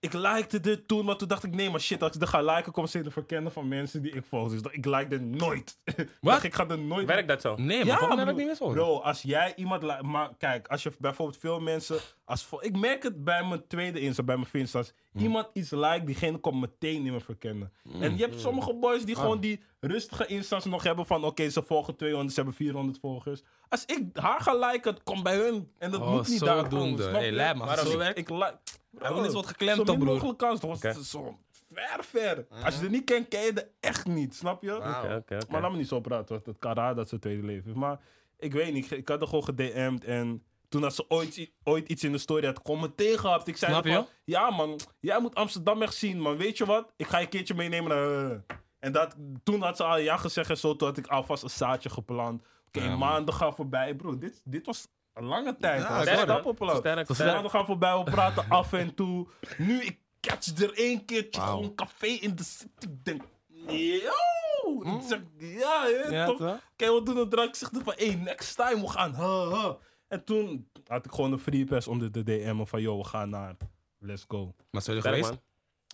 C: ik likte dit toen. Maar toen dacht ik, nee, maar shit, als ik er ga liken, kom ze in de verkennen van mensen die ik volg. Dus ik like dit nooit. Dacht, ik ga er nooit...
A: Werkt dat zo?
B: Nee,
C: Ja,
B: maar volgens mij
C: broer.
B: werkt niet meer zo.
C: Bro, als jij iemand... la- Maar kijk, als je bijvoorbeeld veel mensen... Als vo- ik merk het bij mijn tweede Insta, bij mijn Vince. Als
B: Hm.
C: iemand iets like, diegene komt meteen in me verkennen. En je hebt sommige boys
B: Ah.
C: die gewoon die rustige Insta's nog hebben van... Oké, ze volgen 200, ze hebben 400 volgers. Als ik haar ga liken, het komt bij hun. En dat
B: Oh,
C: moet niet
B: zo
C: daar
B: doen
C: komen,
B: de.
C: snap
B: Hey,
C: je?
B: lijp, man.
C: Waarom
B: Zo
C: ik-
B: werkt-
C: Ik like...
B: Hij wil niet wat geklemd,
C: Zo
B: toch,
C: min
B: broer?
C: mogelijk kans, toch? Want het
A: Oké.
C: is Zo ver, ver. Als je het niet kent, ken je het echt niet, snap
B: Ah.
C: je?
A: Oké, oké, oké.
C: Maar laat me niet zo praten, want het kan raar dat ze tweede leven heeft. Maar ik weet niet, ik had er gewoon gedM'd en toen had ze ooit, i- ooit iets in de story had, kom me tegenhapt. Ik zei
B: Snap
C: van,
B: je?
C: ja man, jij moet Amsterdam echt zien man, weet je wat? Ik ga je een keertje meenemen naar... eh, En dat, toen had ze al ja gezegd en zo, toen had ik alvast een zaadje geplant. Oké,
B: Ja, man.
C: maanden gaan voorbij, bro. Dit, dit was een lange tijd.
B: Ja,
C: Ja,
B: sterk,
C: stappenplan.
A: Sterk, sterk.
C: Maanden gaan voorbij, we praten af en toe. Nu, ik catch er één keertje gewoon café in de city. Ik denk, yo! Ik zeg, Hm? ja, hè,
E: Ja,
C: toch?
E: toch?
C: Kijk, wat doen we drank? Ik zeg dan van, hey, next time, we gaan. ha, ha. En toen had ik gewoon een free pass om de, de DM'en van, yo, we gaan naar, let's go.
B: Maar zijn jullie
A: Sterk,
B: geweest?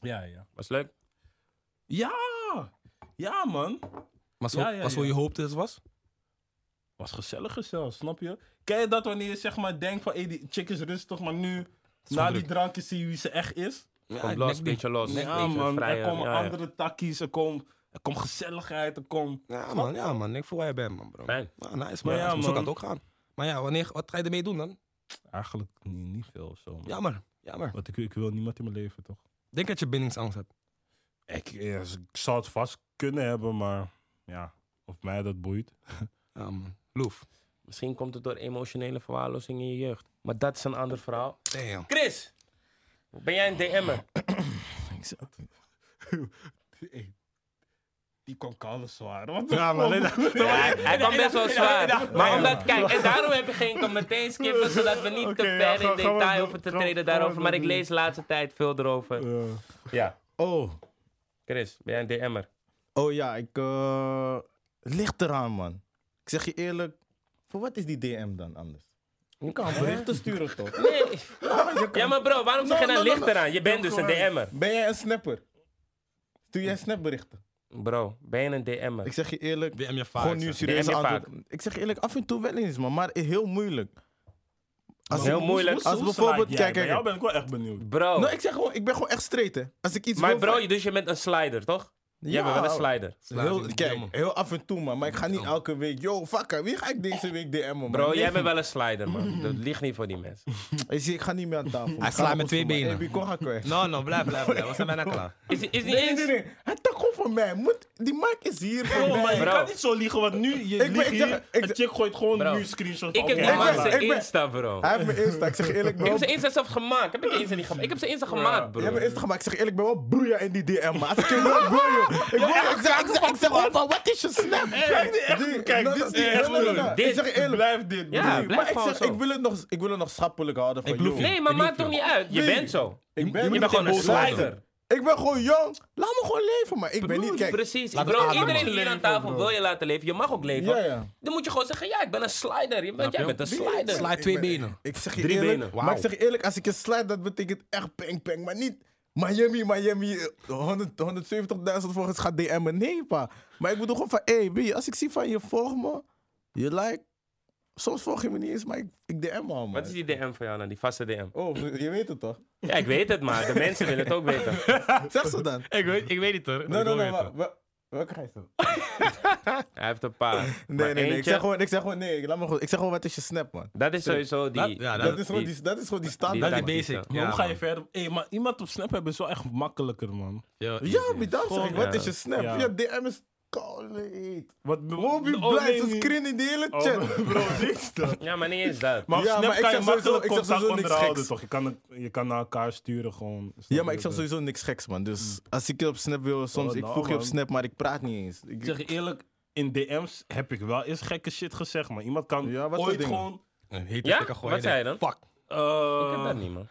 A: man.
C: Ja, ja.
A: Was leuk.
C: Ja! Ja, man.
B: Maar zo,
C: Ja, ja,
B: was hoe
C: ja.
B: je hoopte het was?
C: Was gezelliger zelfs, snap je? Ken je dat wanneer je zeg maar denkt van, hey, die chick is rustig, maar nu, na die
B: druk.
C: drankjes zie je wie ze echt is?
A: Komt los, beetje los.
C: Ah, Ja,
A: beetje
C: man.
A: vrijer,
C: er komen
A: ja, ja.
C: andere takkies, er komt er komt gezelligheid, er komt...
B: Ja, man, ja, man. Ik voel waar je bent, man, bro.
A: Fijn.
B: Ah, nice, man.
C: Maar ja,
B: nice, man. Zo kan
C: man.
B: het ook gaan. Maar ja, wanneer, wat ga je ermee doen dan?
C: Eigenlijk niet, niet veel of zo, man.
B: Jammer, jammer.
C: Want ik, ik wil niemand in mijn leven, toch?
B: Denk dat je bindingsangst hebt.
C: Ik, ja, ik zou het vast kunnen hebben, maar ja, of mij dat boeit.
B: Ja, man. Loef.
A: Misschien komt het door emotionele verwaarlozing in je jeugd. Maar dat is een ander verhaal.
B: Damn.
A: Chris, ben jij een DM'er?
C: Die kon kallen zwaar. Wat
D: Ja, maar alleen
A: Hij- Hij kwam best wel zwaar. Maar omdat, kijk, en daarom heb ik geen commentaar skippen, zodat we niet te
C: Oké, ja,
A: ver
C: ga-
A: in
C: gaan we
A: detail
C: doen,
A: hoeven te
C: gaan we-
A: treden
C: gaan we
A: daarover. Maar
C: doen.
A: ik lees de laatste tijd veel erover. Ja.
D: Oh,
A: Chris, ben jij een DM'er?
D: oh ja, ik. eh ligt eraan, man. Ik zeg je eerlijk, voor wat is die DM dan anders?
A: Je kan
D: Berichten sturen toch?
A: Nee. Ja, maar bro, waarom zeg je
D: No,
A: nou
D: no, no,
A: licht eraan? Je bent dus een DM'er.
D: Ben jij een snapper? Doe jij snapberichten?
A: Bro, ben je een
D: Ik
A: DM'er?
D: zeg je eerlijk,
B: WM je vaak.
D: gewoon nu
B: zeg.
D: serieus
A: DM je
D: antwoord. Ik zeg je eerlijk, af en toe wel eens, man, maar heel moeilijk. Als
A: Heel
D: ik-
A: moeilijk.
D: Als bijvoorbeeld, kijk,
C: Bij
D: kijk.
C: jou ben ik wel echt benieuwd.
A: Bro,
D: Nou, ik zeg gewoon, ik ben gewoon echt straight, hè. Als ik iets
A: maar
D: wil...
A: bro, dus je bent een slider, toch? Jij bent wel een slider.
D: Heel,
B: Slaat je
D: kijk,
B: DM.
D: heel af en toe, man. Maar ik ga niet elke week... Yo, fucker, wie ga ik deze week DM'en, man?
A: Bro,
D: Nee,
A: jij bent wel een slider, man. Dat ligt niet voor die mensen.
D: Ik zie, ik ga niet meer aan tafel.
B: Hij slaat met twee benen.
D: Hey, wie kon gaan kwijt?
B: No, no, blijf, blijf, blijf. We zijn bijna klaar.
A: Is, is niet
D: Nee, nee,
A: eens...
D: nee. Hij tak gewoon van mij. Moet, die mic is hier voor
C: Oh, maar
D: mij.
C: je
A: Bro.
C: kan niet zo liegen, want nu je
D: Ik ben-
C: liegt
D: ik zeg-
C: hier,
D: ik
C: en
D: zeg-
C: chick gooit gewoon
A: Bro.
C: nu screenshot
A: Ik
C: van,
A: heb
C: oké,
A: niet
D: ben-
A: maar
C: laat.
A: zijn
D: ik ben-
A: Insta, bro.
D: Hij heeft mijn Insta. Ik zeg eerlijk,
A: Ik
D: bro.
A: heb zijn Insta zelf gemaakt. Heb ik de Insta niet gemaakt? Ik heb zijn Insta gemaakt,
D: Jij hebt
A: bro.
D: mijn Insta gemaakt. Ik zeg eerlijk, ik ben wel broeia in die DM, maar Als ik je wil, broeia. Ik wil ik zeg, ik zeg, ik zeg gewoon van, wat is je snap?
C: Kijk, die echt-
D: Die-
C: kijk,
D: nou,
C: dit
D: dat
C: is
D: die-
C: die echt
D: no, no, no,
C: lul.
D: no.
A: Dit-
D: Ik zeg je eerlijk.
C: Blijf dit.
A: Ja,
C: broer.
A: blijf
D: Maar ik
A: gewoon
D: zeg,
A: zo.
D: ik wil het nog, ik wil het nog schappelijk houden van
B: Ik loof
D: joh.
B: je.
A: Nee, maar
B: Ik loof
A: maakt
B: je.
A: toch niet uit. Je
D: Nee.
A: bent zo.
D: Ik ben,
A: Je bent gewoon een slider.
D: Ik ben gewoon jong. Laat me gewoon leven, maar ik ben niet, kijk.
A: Precies.
B: Laat
A: Bro,
B: het ademen.
A: iedereen hier aan tafel wil je laten leven. Je mag ook leven.
D: Ja, ja.
A: Dan moet je gewoon zeggen, ja, ik ben een slider. Je bent, jij bent een slider.
B: Slaat twee benen.
D: Ik zeg je
A: Drie
D: eerlijk,
A: benen.
D: maar ik zeg je eerlijk, als ik je sluit, dat betekent echt peng peng. Maar niet Miami, Miami, eh, 100 170.000 volgers gaat DM'en. Nee, pa. Maar ik bedoel gewoon van, hey, B, als ik zie van je volg me, je like, soms volg je me niet eens, maar ik, ik DM al, man.
A: Wat is die DM van jou nou, die vaste DM?
D: Oh, je weet het toch?
A: Ja, ik weet het, maar de mensen willen het ook weten.
D: Zeg ze dan.
B: Ik weet, ik weet niet hoor.
D: Nee, nee, nee, maar wel- welke ga je zo?
A: Hij heeft een paar.
D: Nee, nee,
A: Maar
D: nee. Ik
A: eentje,
D: zeg gewoon, ik zeg gewoon, nee, laat me gewoon, ik zeg gewoon, wat is je snap, man?
A: Dat is sowieso die...
B: ja,
D: Dat is gewoon die, dat is gewoon die
B: Dat
D: standaard.
B: is
A: die-
D: man.
B: basic.
C: Maar hoe ga je verder? Hé, maar iemand op Snap hebben is wel echt makkelijker, man.
D: Ja, maar daarom zeg ik,
A: Gewoon,
D: wat
A: ja.
D: is je snap?
C: Ja.
D: Ja, DM is koud.
C: Wat
D: Robbie
C: oh,
D: blijft
C: nee,
D: ze
C: niet.
D: screenen die hele
C: Oh,
D: chat.
C: bro, dit is dat.
A: Ja, maar niet eens dat.
C: Maar op
D: Ja,
C: Snap
D: maar ik
C: kan je
D: zeg sowieso-
C: makkelijk
D: ik zeg
C: contact
D: sowieso niks
C: onderhouden,
D: geks.
C: toch? Je kan, het- je kan naar elkaar sturen gewoon. Snap
D: Ja,
C: je
D: maar ik zeg
C: dat?
D: sowieso niks geks, man. Dus als ik je op Snap wil, soms,
C: Oh,
D: ik
C: nou,
D: voeg je op
C: man.
D: Snap, maar ik praat niet eens. Ik,
C: Ik zeg je eerlijk, in DM's heb ik wel eens gekke shit gezegd, maar iemand kan
D: Ja, wat voor
C: ooit
D: dingen?
C: gewoon...
A: Ja? Wat zei je dan?
B: Fuck.
C: eh,
A: Ik heb dat niet, man.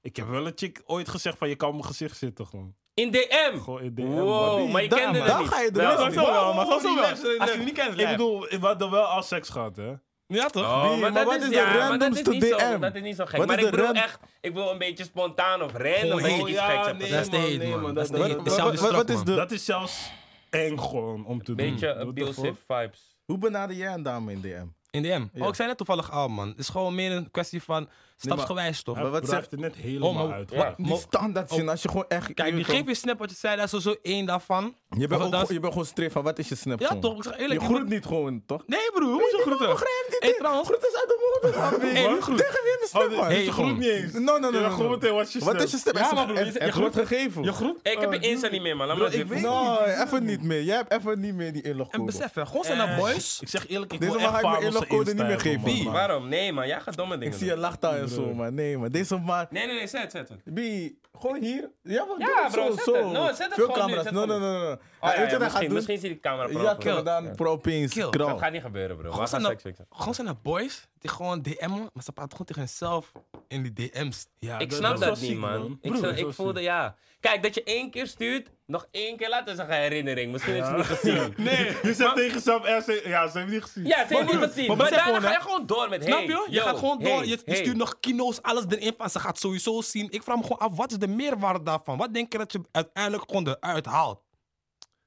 C: ik heb wel een chick ooit gezegd van je kan op mijn gezicht zitten gewoon.
A: In DM!
C: Gewoon in DM.
A: Wow, maar je
D: Daar,
A: kende
D: man.
A: het
D: Daar
A: niet.
D: ga je
A: Nou,
D: erin.
B: Zo wel, maar zo wel. Als
C: relax.
B: je het niet kent,
C: Ik
B: lijf.
C: bedoel, we hadden wel al seks gehad, hè?
B: Ja toch?
A: Oh,
D: Nee,
A: maar,
D: maar
A: dat
D: wat
A: is,
D: is de
A: ja, maar dat is
D: randomste
A: niet zo,
D: DM?
A: dat is niet zo gek.
D: Wat
A: maar
D: is
A: ik
D: de
A: bedoel
D: ran-
A: echt, ik wil een beetje spontaan of random
B: Gewoon
A: dat je
B: heel-
A: iets geks hebt
C: nee,
A: gezegd.
B: Dat is de hate,
C: man, nee,
B: man. Dat
C: man,
B: is
C: dat- dat-
B: de
D: Wat, wat- wat is de,
C: Dat is zelfs eng gewoon om te doen.
A: Beetje
C: What the
A: abusive
C: fuck?
A: vibes.
D: hoe benader jij een dame in DM?
B: In DM. Oh, ik zei net toevallig al, man. Het is gewoon meer een kwestie van stapsgewijs, toch?
D: Maar
C: Hij
D: wat
C: bracht
D: zegt
C: het net helemaal
B: maar-
C: uit.
B: ja.
C: gewoon.
D: die standaard zin, als je gewoon echt...
B: Kijk, die
D: je,
B: geef je snap wat je zei, dat is sowieso één daarvan.
D: je, bent
B: Of dat is-
D: ook, gewoon- je bent gewoon streef van, wat is je Snap
B: Ja
D: gewoon?
B: toch, ik zeg
D: Je
B: eerlijk.
D: groet niet gewoon, toch?
B: Nee broer, hoe moet je groeten? Hey, trouwens.
D: Groet is uit de mond. man.
B: Hey, nu groet.
D: Tegen wie in de Snap, man?
B: hey, je groet
D: niet eens. No, no, no,
C: Je
D: no,
C: mag gewoon
D: no.
C: meteen wat je
D: Wat
C: snapt.
D: is je Snap?
C: Ja, maar broer, je- je
D: Het wordt gegeven.
C: Je groet?
A: Ik heb je Insta niet meer, man. Laat me dat
C: ik
A: weer
C: weet
A: voelen.
D: No, even niet meer. Jij hebt even niet meer die inlogcode.
B: En besef, hè, gewoon zijn naar boys.
C: Ik zeg eerlijk, ik
D: Deze
C: wil
D: man
C: echt
D: ga ik mijn
C: Fabels'
D: inlogcode niet meer
C: instijlen,
D: geven.
C: man.
A: Waarom? Nee, man, jij gaat domme
D: Ik
A: dingen
D: zie je
A: doen.
D: lacht daar en en zo, maar nee, maar deze maar.
A: Nee, nee, nee, zet, zet
D: Ah,
A: het.
D: Bi, gewoon hier. Ja, maar
E: Ja,
D: doe het
E: bro,
D: zo,
E: zet
D: zo.
E: het. No, zet het
D: Veel
E: gewoon nu,
D: camera's.
E: zet
D: No,
E: het
D: no, no, no. Hij weet je
A: Oh,
D: wat hij
A: misschien,
D: gaat doen?
A: misschien zie die camera per
D: Ja,
A: ongeluk.
D: kill. Dan pro opeens
B: Kill.
D: knal.
A: Dat gaat niet gebeuren, bro.
B: Gewoon
A: We gaan
B: zijn,
A: seks
B: dat,
A: fixen.
B: gewoon zijn dat boys die gewoon DM'en, maar ze praten gewoon tegen zichzelf in die DM's.
C: Ja,
A: Ik
C: dat-
A: snap
C: is wel
A: dat niet,
C: ziek,
A: man. Ik,
C: Broer,
A: snap-
C: dat is
A: ik
C: wel
A: voelde, ja. Kijk, dat je één keer stuurt, nog één keer later is een herinnering. Misschien is het niet gezien.
C: ziek. Je zegt tegen jezelf, eh, ze- ja, ze hebben niet gezien.
A: Ja, ze heeft niet gezien. Maar,
B: maar
A: daarna
B: besef gewoon,
A: ga
B: hè.
A: je gewoon door met hey,
B: Snap je? Je
A: yo,
B: gaat gewoon door.
A: hey,
B: je je
A: hey.
B: stuurt nog kino's, alles erin van. Ze gaat sowieso zien. Ik vraag me gewoon af, wat is de meerwaarde daarvan? Wat denk je dat je uiteindelijk gewoon eruit haalt?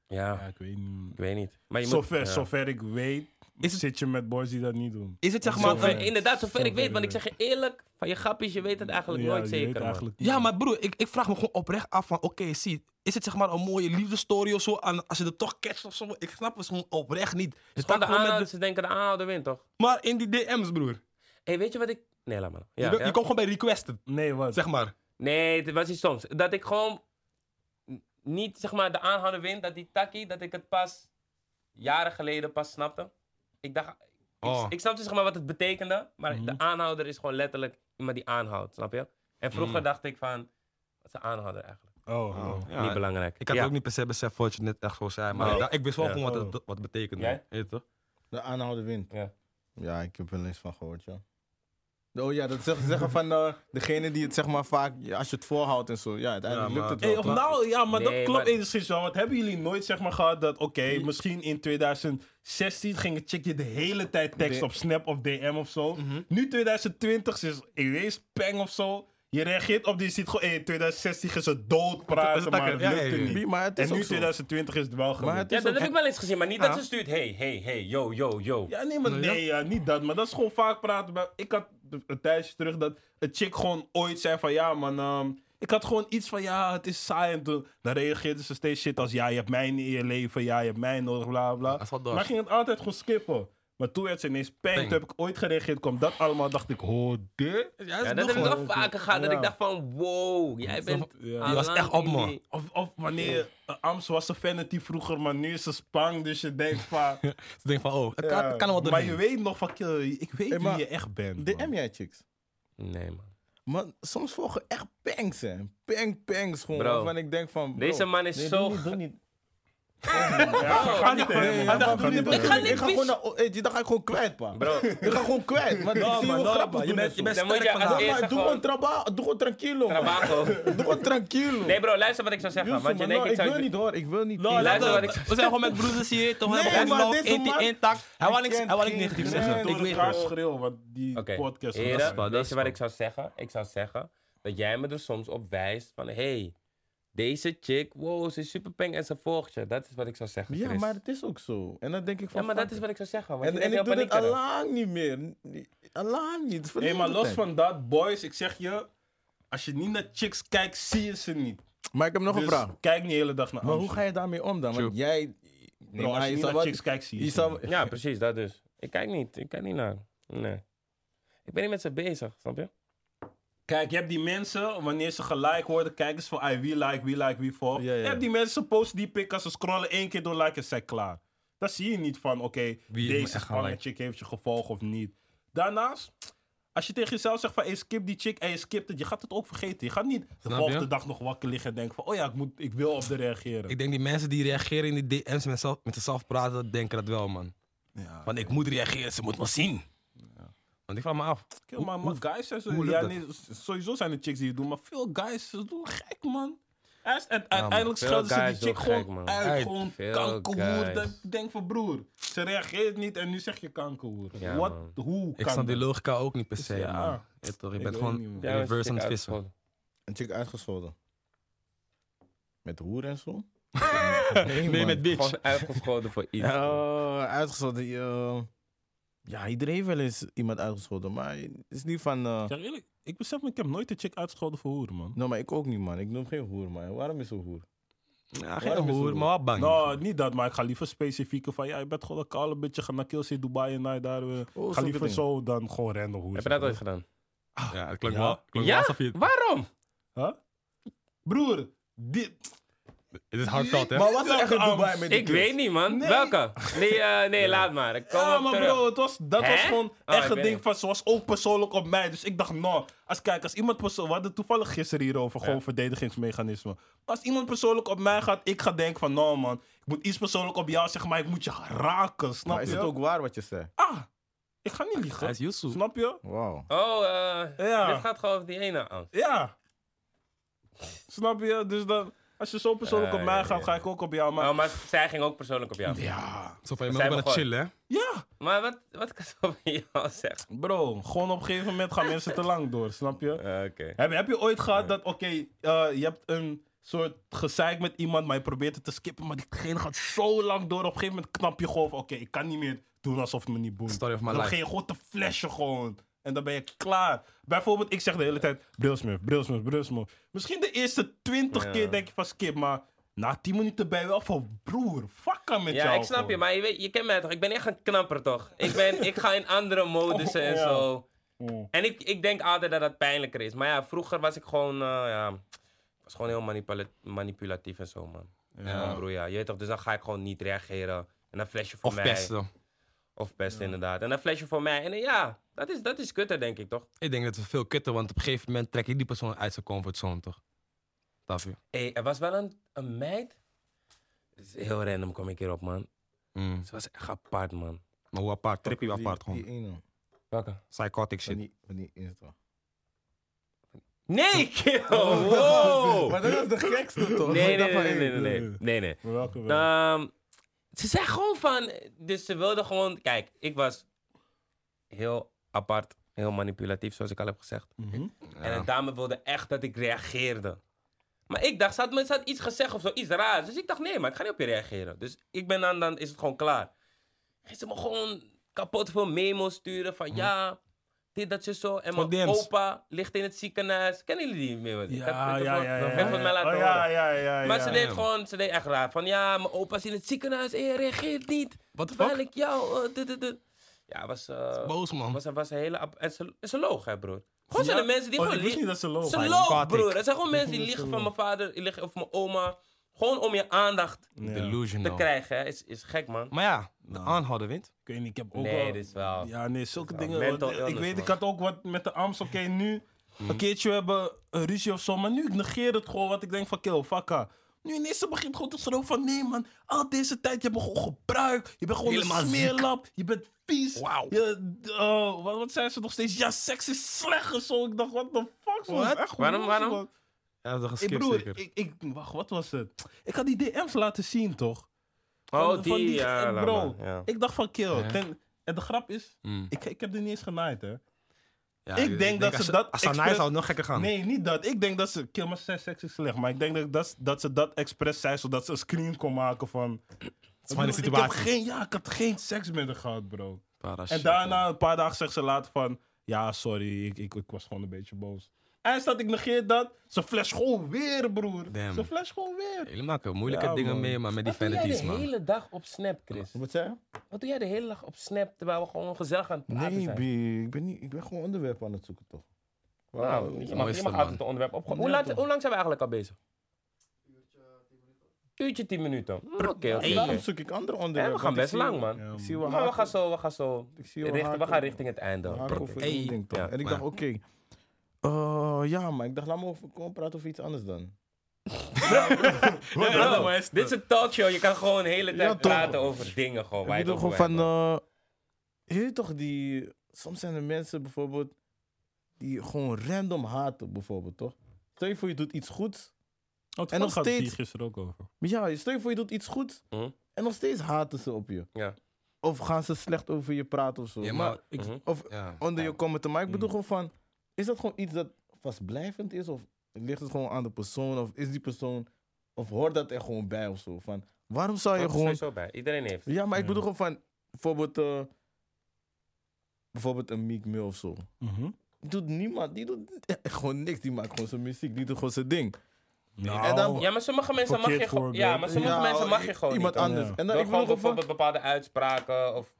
C: Ja,
A: Ja,
C: ik weet niet.
A: ik weet niet. Maar je moet...
C: Zover,
A: ja.
C: zover ik weet,
B: Is het-
C: zit je met boys die dat niet doen.
B: Is het zeg maar...
A: Zover-
B: een-
A: inderdaad, zover ik
C: Zover
A: weet. Want ik
C: ik
A: zeg je eerlijk, van je grappies, je weet het eigenlijk
C: Ja,
A: nooit
C: je
A: zeker,
C: weet
A: man.
C: eigenlijk niet.
B: ja, maar broer, ik, ik vraag me gewoon oprecht af van... Oké, zie, is het zeg maar een mooie liefdestory of zo? En als je het toch catcht of zo? Ik snap het gewoon oprecht niet. Dus
A: Het kan de
B: dat gewoon met
A: aanhouders,
B: de-
A: ze denken de aanhouder wint, toch?
B: maar in die DM's, broer.
A: Hé, weet je wat ik... Nee, laat maar. Ja,
B: je, bent-
A: ja?
B: je komt gewoon bij requested,
C: Nee, wat?
B: zeg maar.
A: Nee, het was iets soms. Dat ik gewoon n- niet, zeg maar, de aanhouder wint, dat die takkie, dat ik het pas jaren geleden pas snapte. Ik dacht... Ik,
B: Oh. Mhm.
A: ik snapte, zeg maar, wat het betekende. Maar de aanhouder is gewoon letterlijk iemand die aanhoudt, snap je? En vroeger dacht ik van... Wat is een aanhouder eigenlijk?
C: Oh, oh.
B: Mhm. Ja,
A: niet belangrijk.
B: Ik had
A: ja.
B: ook niet per se beseft wat je net echt zo zei. Maar
A: Nee.
B: daar- ik wist wel
A: Ja.
B: gewoon wat
C: Oh.
B: het, wat het betekende.
A: Jij?
B: Weet je toch?
D: De aanhouder wint.
A: Ja.
D: Ja, ik heb er niks van gehoord, ja. Oh ja, dat zeggen, zeggen van eh, degene die het zeg maar vaak, ja, als je het voorhoudt en zo. Ja, uiteindelijk
B: Ja,
D: lukt
B: maar-
D: het wel.
C: Hey, of
D: toch?
C: nou, ja, maar
A: Nee,
C: dat klopt
A: maar-
C: enigszins wel. Want hebben jullie nooit zeg maar gehad dat, oké, misschien in 2016 ging het chickje de hele tijd tekst
D: De-
C: op Snap of DM of zo. Nu 2020 is ineens peng of zo. Je reageert op die, je ziet gewoon, hey, 2016 is het dood praten,
B: dat-
C: maar het
B: ja,
C: lukte
B: ja, ja.
C: niet.
D: Bi, maar het is
C: En nu
D: ook zo.
C: 2020 is het wel
D: Maar
C: gelukt.
D: het
A: Ja,
D: is
A: dat
D: ook-
A: heb ik wel eens gezien, maar niet dat ze stuurt... Hey, hey, hey, yo, yo, yo.
C: Ja, nee, maar nee, ja, niet dat. Maar dat is gewoon vaak praten. bij- Ik had een tijdje terug dat een chick gewoon ooit zei van... Ja, man, ehm, ik had gewoon iets van... Ja, het is saai. En toen, dan reageerde ze steeds shit als... Ja, je hebt mij niet in je leven. Ja, je hebt mij nodig, bla, bla.
B: Dat is wel dorst.
C: maar ging het altijd gewoon skippen. Maar toen werd ze ineens pijn.
B: Peng.
C: Toen heb ik ooit gereageerd. Kwam dat allemaal, dacht ik... Hoor dit?
A: Ja, dat heb ik wel vaker gehad. Dat
C: Ja.
A: ik dacht van, wow, jij bent...
C: Ja.
A: al
B: Je was
A: lang
B: echt op,
A: in
B: man.
A: die-
C: Of, of wanneer... eh, Ams was een vanity vroeger, maar nu is ze spang. Dus je denkt van...
B: Ze denken van, oh, dat kan,
C: ja,
B: dat kan er wel
C: maar
B: doorheen.
C: je weet nog van... kill, Ik weet
D: Hey, maar
C: wie je echt bent. man.
D: DM jij chicks?
A: Nee, man.
D: Man, soms volgen echt pangs, hè. Pang, pangs gewoon.
A: Bro.
D: Waarvan ik denk van... bro,
A: Deze man is
D: nee,
A: zo
D: doe niet,
A: ge-
D: doe niet.
C: Ja, ga- ga niet tegen me.
D: Nee,
C: Ga
D: ja, maar-
C: niet tegen me.
D: Ik ga
A: niks mis-
D: gewoon naar... oh, hey, Die dag ga ik gewoon kwijt, pa.
A: Bro,
D: Ik ga gewoon kwijt. Maar ik
B: Ja,
D: zie je
B: man,
D: hoe
B: ja,
D: grappig
B: man, je
D: doen en
B: bent,
D: zo.
B: je bent
A: Dan moet
B: sterk
A: je als
B: vandaag.
D: Ja,
A: eerste
D: maar doe
A: gewoon-
D: gewoon traba- doe gewoon tranquilo, man.
A: trabajo.
D: Doe gewoon tranquilo.
A: Nee bro, luister wat ik zou zeggen. want je denkt, ik
D: nou, ik wil
A: zou...
D: niet hoor, ik wil niet.
B: Ja,
A: Luister
B: dat-
A: wat ik-
B: We zijn gewoon met broeders hier, toch? We
D: Nee,
B: hebben gewoon
D: maar
B: love,
D: deze
B: één-
D: man-
B: intact. Hij wil niks,
D: kent
B: hij wil niks
D: geen
B: negatiefs
D: grenzen.
B: zeggen.
C: Door
B: Ik weet
C: elkaar
B: het.
C: schreeuw, want die
A: Oké,
C: podcast
A: heren,
C: gaat
B: wel- dat
A: weet
B: is
A: je wat
B: wel.
A: ik zou zeggen? Ik zou zeggen dat jij me er soms op wijst van... hey, deze chick, wow, ze is superpeng en ze volgt je. Dat is wat ik zou zeggen,
D: Ja,
A: Chris.
D: maar het is ook zo. En dan denk ik van.
A: Ja, maar dat
D: fuck
A: is
D: it.
A: wat ik zou zeggen. Want
D: En,
A: je
D: en
A: bent
D: ik doe
A: heel
D: dit
A: paniekerig.
D: allang niet meer. Allang niet.
C: Nee,
D: verleden
C: maar los
D: tijd.
C: van dat, boys, ik zeg je, als je niet naar chicks kijkt, zie je ze niet.
D: Maar ik heb nog
C: Dus
D: een vraag.
C: kijk niet de hele dag naar
D: Maar
C: Amsterdam.
D: hoe ga je daarmee om dan? Want jij. Nee,
C: Bro,
D: maar
C: als je
D: je
C: niet
D: zou
C: naar
D: wel-
C: chicks kijkt, zie je
D: je
C: ze
D: zou-
C: niet.
A: Ja, precies, dat dus. Ik kijk niet, ik kijk niet naar. Nee. Ik ben niet met ze bezig, snap je?
C: Kijk, je hebt die mensen, wanneer ze gelijk worden, kijken ze van "Ai, wie like, wie like, wie volgt.
D: Ja, ja.
C: Je hebt die mensen, posten die pikken, ze scrollen één keer door, like en zijn klaar. Dan zie je niet van, oké,
B: Wie me
C: deze
B: echt gaan
C: spange
B: liken.
C: chick heeft je gevolgd of niet. Daarnaast, als je tegen jezelf zegt van, hey, skip die chick en je skipt het, je gaat het ook vergeten. Je gaat niet de
B: je?
C: volgende dag nog wakker liggen en denken van, oh ja, ik, moet, ik wil op de reageren.
B: Ik denk die mensen die reageren in die DM's met, zelf, met zichzelf praten, denken dat wel, man.
D: Ja.
B: Want ik moet reageren, ze moet me zien. Want ik vraag me af.
C: Kill, maar, maar guys zijn zo,
B: hoe lukt
C: ja,
B: dat?
C: nee, s- sowieso zijn het chicks die het doen, maar veel guys ze doen gek, man. Uist- en uiteindelijk
A: veel
C: schelden ze
A: guys
C: die
A: doen
C: chick gewoon
A: gek, man.
C: uit,
B: Uit.
C: gewoon
A: Veel
C: kankerhoer.
A: guys.
C: Dat ik denk van broer, ze reageert niet en nu zeg je kankerhoer.
A: Ja,
C: Wat,
A: man.
C: hoe
B: Ik
C: kan
B: snap die
C: dat?
B: logica ook niet per se,
C: Ja.
B: man. Ja, toch, je
C: Ik
B: bent
C: weet niet,
B: gewoon
C: man.
A: Ja,
B: reverse aan het vissen.
A: uitgescholden.
D: Een chick uitgescholden. Met hoer en zo?
B: Nee, met bitch.
A: Gewoon uitgescholden voor iets. man.
D: Oh, uitgescholden. eh, ja, iedereen heeft wel eens iemand uitgescholden. Maar het is niet van. eh,
C: Ik zeg eerlijk, ik besef me, ik heb nooit een chick uitgescholden voor hoer, man.
D: Nou, maar ik ook niet, man. Ik noem geen hoer, man. Waarom is zo hoer?
B: Ja, geen
D: Waarom is
B: hoer,
D: het-
B: maar
A: Ah,
B: wel bang.
C: Nou, niet dat, maar ik ga liever specifieker van ja, je bent gewoon een kale beetje gaan naar Kills in Dubai en naar daar. eh,
A: Oh,
D: zo'n
C: ga liever
D: ding.
C: zo dan gewoon random hoer.
A: Heb je dat ooit gedaan?
B: Ja, het klinkt
C: Ja?
B: wel, klinkt
A: Ja?
B: wel alsof je...
A: Waarom?
C: Huh? Broer, dit.
B: Het is hardveld, hè?
D: Maar wat is er echt in Dubai met die
A: Ik
D: girls?
A: weet niet, man. Welke? Nee, eh, nee laat maar. Ik Kom
C: Ja,
A: op
C: maar
A: terug.
C: bro, het was, dat
A: Hè?
C: was gewoon
A: Oh,
C: echt
A: ik
C: een
A: weet
C: ding
A: het.
C: van, ze was ook persoonlijk op mij. Dus ik dacht, nou, als kijk, als iemand persoonlijk, we hadden toevallig gisteren hierover, gewoon verdedigingsmechanismen. Als iemand persoonlijk op mij gaat, ik ga denken van, nou man, ik moet iets persoonlijk op jou zeggen, maar ik moet je raken, snap
D: Maar is
C: je?
D: het ook waar wat je zei?
C: Ah, ik ga niet
B: Hij
C: liegen,
B: is Yusuf.
C: snap je?
D: Wauw.
A: Oh, eh,
C: Ja.
A: dit gaat gewoon over die ene aan.
C: Ja. snap je? Dus dan, als je zo persoonlijk
A: Ja,
C: op mij
A: ja,
C: gaat,
A: ja.
C: ga ik ook op jou, maar...
A: Oh, maar zij ging ook persoonlijk op jou.
C: ja,
B: Zo van, je
A: Zijn
B: bent
A: we
B: wel
A: gewoon-
B: chill, hè?
C: ja,
A: Maar wat, wat kan ze over jou zeggen?
C: bro, gewoon op een gegeven moment gaan mensen te lang door, snap je?
A: Eh, Oké.
C: Heb, heb je ooit gehad dat, oké, eh, je hebt een soort gezeik met iemand, maar je probeert het te skippen, maar diegene gaat zo lang door. Op een gegeven moment knap je gewoon van, oké, ik kan niet meer doen alsof het me niet boeit.
B: Story of my
C: dan
B: life.
C: begin je gewoon te flashen gewoon. En dan ben je klaar. Bijvoorbeeld, ik zeg de hele tijd, Brilsmith, Brilsmith, Brilsmith. Misschien de eerste twintig keer denk je van skip, maar na tien minuten ben je wel van, broer, fuck met
A: Ja,
C: jou.
A: ik snap je,
C: gewoon."
A: maar je, weet, je kent mij toch? Ik ben echt een knapper, toch? Ik, ben, ik ga in andere modussen en
C: Oh, Ja.
A: zo.
C: Mm.
A: En ik, ik denk altijd dat dat pijnlijker is. Maar ja, vroeger was ik gewoon, eh, ja, ik was gewoon heel manipula- manipulatief en zo, man. Ja. broer, ja. Je weet toch, dus dan ga ik gewoon niet reageren. En dan flash je voor
B: Of
A: mij.
B: pesten.
A: Of pesten, inderdaad. En dan flash je voor mij. En eh, ja, dat is, dat is kutter, denk ik, toch?
B: Ik denk dat het veel kutter, want op een gegeven moment trek je die persoon uit zijn comfortzone, toch? Tafie.
A: Hey, er was wel een, een meid. Het is heel random, kom ik hierop, man.
B: Mm.
A: Ze was echt apart, man.
B: Maar hoe apart? Trippie
D: Die-
B: apart
D: Die
B: gewoon.
D: ene.
A: Welke?
B: Psychotic shit.
D: Van die- Van die Insta.
A: Nee, kill! Wow!
D: Maar dat was de gekste toch?
A: Nee,
D: Ik
A: nee,
D: dacht van,
A: nee, nee,
D: hey,
A: nee, nee. nee, nee.
C: Maar welke wel?
A: Ehm, ze zei gewoon van... Dus ze wilde gewoon... Kijk, ik was heel apart, heel manipulatief, zoals ik al heb gezegd.
C: Mhm.
A: En een dame wilde echt dat ik reageerde. Maar ik dacht, ze had, me, ze had iets gezegd of zo, iets raars. Dus ik dacht, nee, maar ik ga niet op je reageren. Dus ik ben dan, dan is het gewoon klaar. Ging ze me gewoon kapot veel memo's sturen
C: Mhm.
A: van ja, dit, dat, zo, zo. En
B: Gewoon
A: mijn
B: DM's.
A: opa ligt in het ziekenhuis. Kennen jullie die memo's? Ik heb
C: Ja,
A: het
C: ja,
A: ervan-
C: ja.
A: dat
C: ja,
A: werd van mij
C: ja.
A: laten
C: Oh,
A: horen.
C: ja, ja, ja.
A: Maar
C: ja.
A: ze deed gewoon, ze deed echt raar. Van ja, mijn opa is in het ziekenhuis en je reageert niet.
B: What the
A: Terwijl
B: fuck?
A: ik jou... eh, dit, dit, dit. Ja, was... eh,
B: Boos man.
A: was, was een hele... ab- En ze, en ze loog, hè, broer. Gewoon zijn
C: Ja?
A: de mensen die
C: Oh,
A: gewoon...
C: ik wist
A: lie-
C: niet dat ze loog.
A: Ze
B: Fijn,
A: loog,
B: kwaad ik.
A: broer. Er zijn gewoon mensen die liegen van mijn vader die liegen, of mijn oma. Gewoon om je aandacht
C: Ja.
A: te
B: Delusional.
A: krijgen, hè. Is, is gek, man.
B: Maar ja, de aanhouden wint.
C: Ik weet niet, ik heb ook
A: Nee,
C: wel-
A: dit is wel...
C: Ja, nee, zulke
A: wel
C: dingen.
A: mental
C: want, eh, ik
A: illness,
C: weet,
A: man. Mhm.
C: ik had ook wat met de arms. Oké, nu een keertje we hebben een ruzie of zo. Maar nu ik negeer het gewoon, want ik denk van, kill, fakka. Nu ineens ze begint gewoon te schreeuwen van, nee man, al deze tijd, je hebt me gewoon gebruikt. Je bent gewoon
B: Helemaal
C: een
B: ziek.
C: smeerlap. Je bent vies.
B: Wauw.
C: Je, eh, wat, wat zijn ze nog steeds? Ja, seks is slecht en zo. Ik dacht, what the fuck? Ze was
B: What?
C: echt
A: Waarom-
C: los,
A: waarom?
C: man.
B: Ja, dat
C: Ik
B: geskipt
C: broer,
B: zeker.
C: ik, ik, wacht, wat was het? Ik had die DM's laten zien, toch?
A: Oh, die, ja,
C: eh,
A: laat
C: Bro,
A: maar, ja.
C: ik dacht van, kill.
B: Ja.
C: ten- en de grap is,
B: Mm.
C: ik, ik heb die niet eens genaaid, hè?
B: Ja,
C: ik denk dat
B: als
C: ze dat
B: Als ze nice
C: expres-
B: zou het nog gekker gaan.
C: Nee, niet dat. Ik denk dat ze... Kill, maar zijn seks is slecht. Maar ik denk dat, dat, dat ze dat expres zei, zodat ze een screen kon maken van...
B: van de
C: Ik heb
B: situatie.
C: geen, ja, ik had geen seks met haar gehad, bro.
B: Parashit,
C: En daarna, een paar dagen, zegt ze later van... Ja, sorry, ik, ik, ik was gewoon een beetje boos. En staat ik negeer dat. Ze flash gewoon weer, broer.
B: Damn.
C: Ze flash gewoon weer.
B: man. Jullie maken moeilijke
C: Ja,
B: dingen
C: man.
B: mee, maar met die
A: Wat doe jij de
B: vanities, man.
A: hele dag op Snap, Chris?
D: Wat zei je?
A: Wat doe jij de hele dag op Snap, terwijl we gewoon gezellig aan het praten
D: Nee,
A: zijn?
D: B, ik ben, niet, ik ben gewoon onderwerpen aan het zoeken toch?
A: Nou,
D: Wauw.
A: je
B: mooi
A: mag,
B: is
A: je
B: dat,
A: mag
B: man.
A: altijd het onderwerp opgooien. Hoe, laat- hoe lang zijn we eigenlijk al bezig? Uurtje, tien minuten. Hm, Oké, oké. oké.
D: Daarom zoek ik andere
A: Hè,
D: onderwerpen.
A: we gaan
D: want ik
A: best
D: zie-
A: lang, man.
D: Ik zie wel
A: Maar we
D: haken-
A: gaan zo, we gaan zo.
D: Ik zie wel
A: richten- we
D: haken-
A: gaan richting het einde.
D: haken over één
B: Hey.
D: ding toch?
A: Ja,
D: En ik
B: maar-
D: dacht, oké. eh, ja, maar ik dacht, laat me over, gewoon praten over iets anders dan.
A: Bro, dit is een talkshow. Je kan gewoon de hele tijd
D: Ja, toch.
A: praten over dingen. Gewoon, waar
D: ik
A: je het
D: bedoel gewoon
A: over
D: van...
A: hebt,
D: eh je weet toch die... Soms zijn er mensen bijvoorbeeld... Die gewoon random haten bijvoorbeeld, toch? Stel je voor je doet iets goeds.
C: en
D: nog
C: nog steeds...
D: steeds-
C: gisteren ook over.
D: Maar ja, stel je voor je doet iets goeds.
A: Mhm.
D: En nog steeds haten ze op je.
A: Ja.
D: Of gaan ze slecht over je praten of zo.
B: Ja, maar... Ik,
A: Mhm.
D: Of
B: ja. Mm.
D: onder je commenten. Maar ik bedoel gewoon van, is dat gewoon iets dat vastblijvend is? Of ligt het gewoon aan de persoon? Of is die persoon, of hoort dat er gewoon bij of zo? Van, waarom zou je
A: man.
D: gewoon...
A: Sowieso bij. Iedereen heeft.
D: Ja, maar ik bedoel gewoon van, bijvoorbeeld, eh, bijvoorbeeld een Meek Mill of zo.
C: Mhm.
D: Doet niemand, die doet echt gewoon niks. Die maakt gewoon zijn muziek, die doet gewoon zijn ding.
C: Nou,
D: En dan-
A: Ja, maar sommige mensen mag je
C: Verkeerd
A: gewoon.
C: voorbeeld.
A: Ja, maar sommige
D: Ja,
A: mensen mag je gewoon.
D: Iemand
A: niet, hoor.
D: anders.
C: Ja.
D: En
A: Door
D: dan ik
A: gewoon
D: bedoel gewoon van...
A: bijvoorbeeld bepaalde uitspraken of.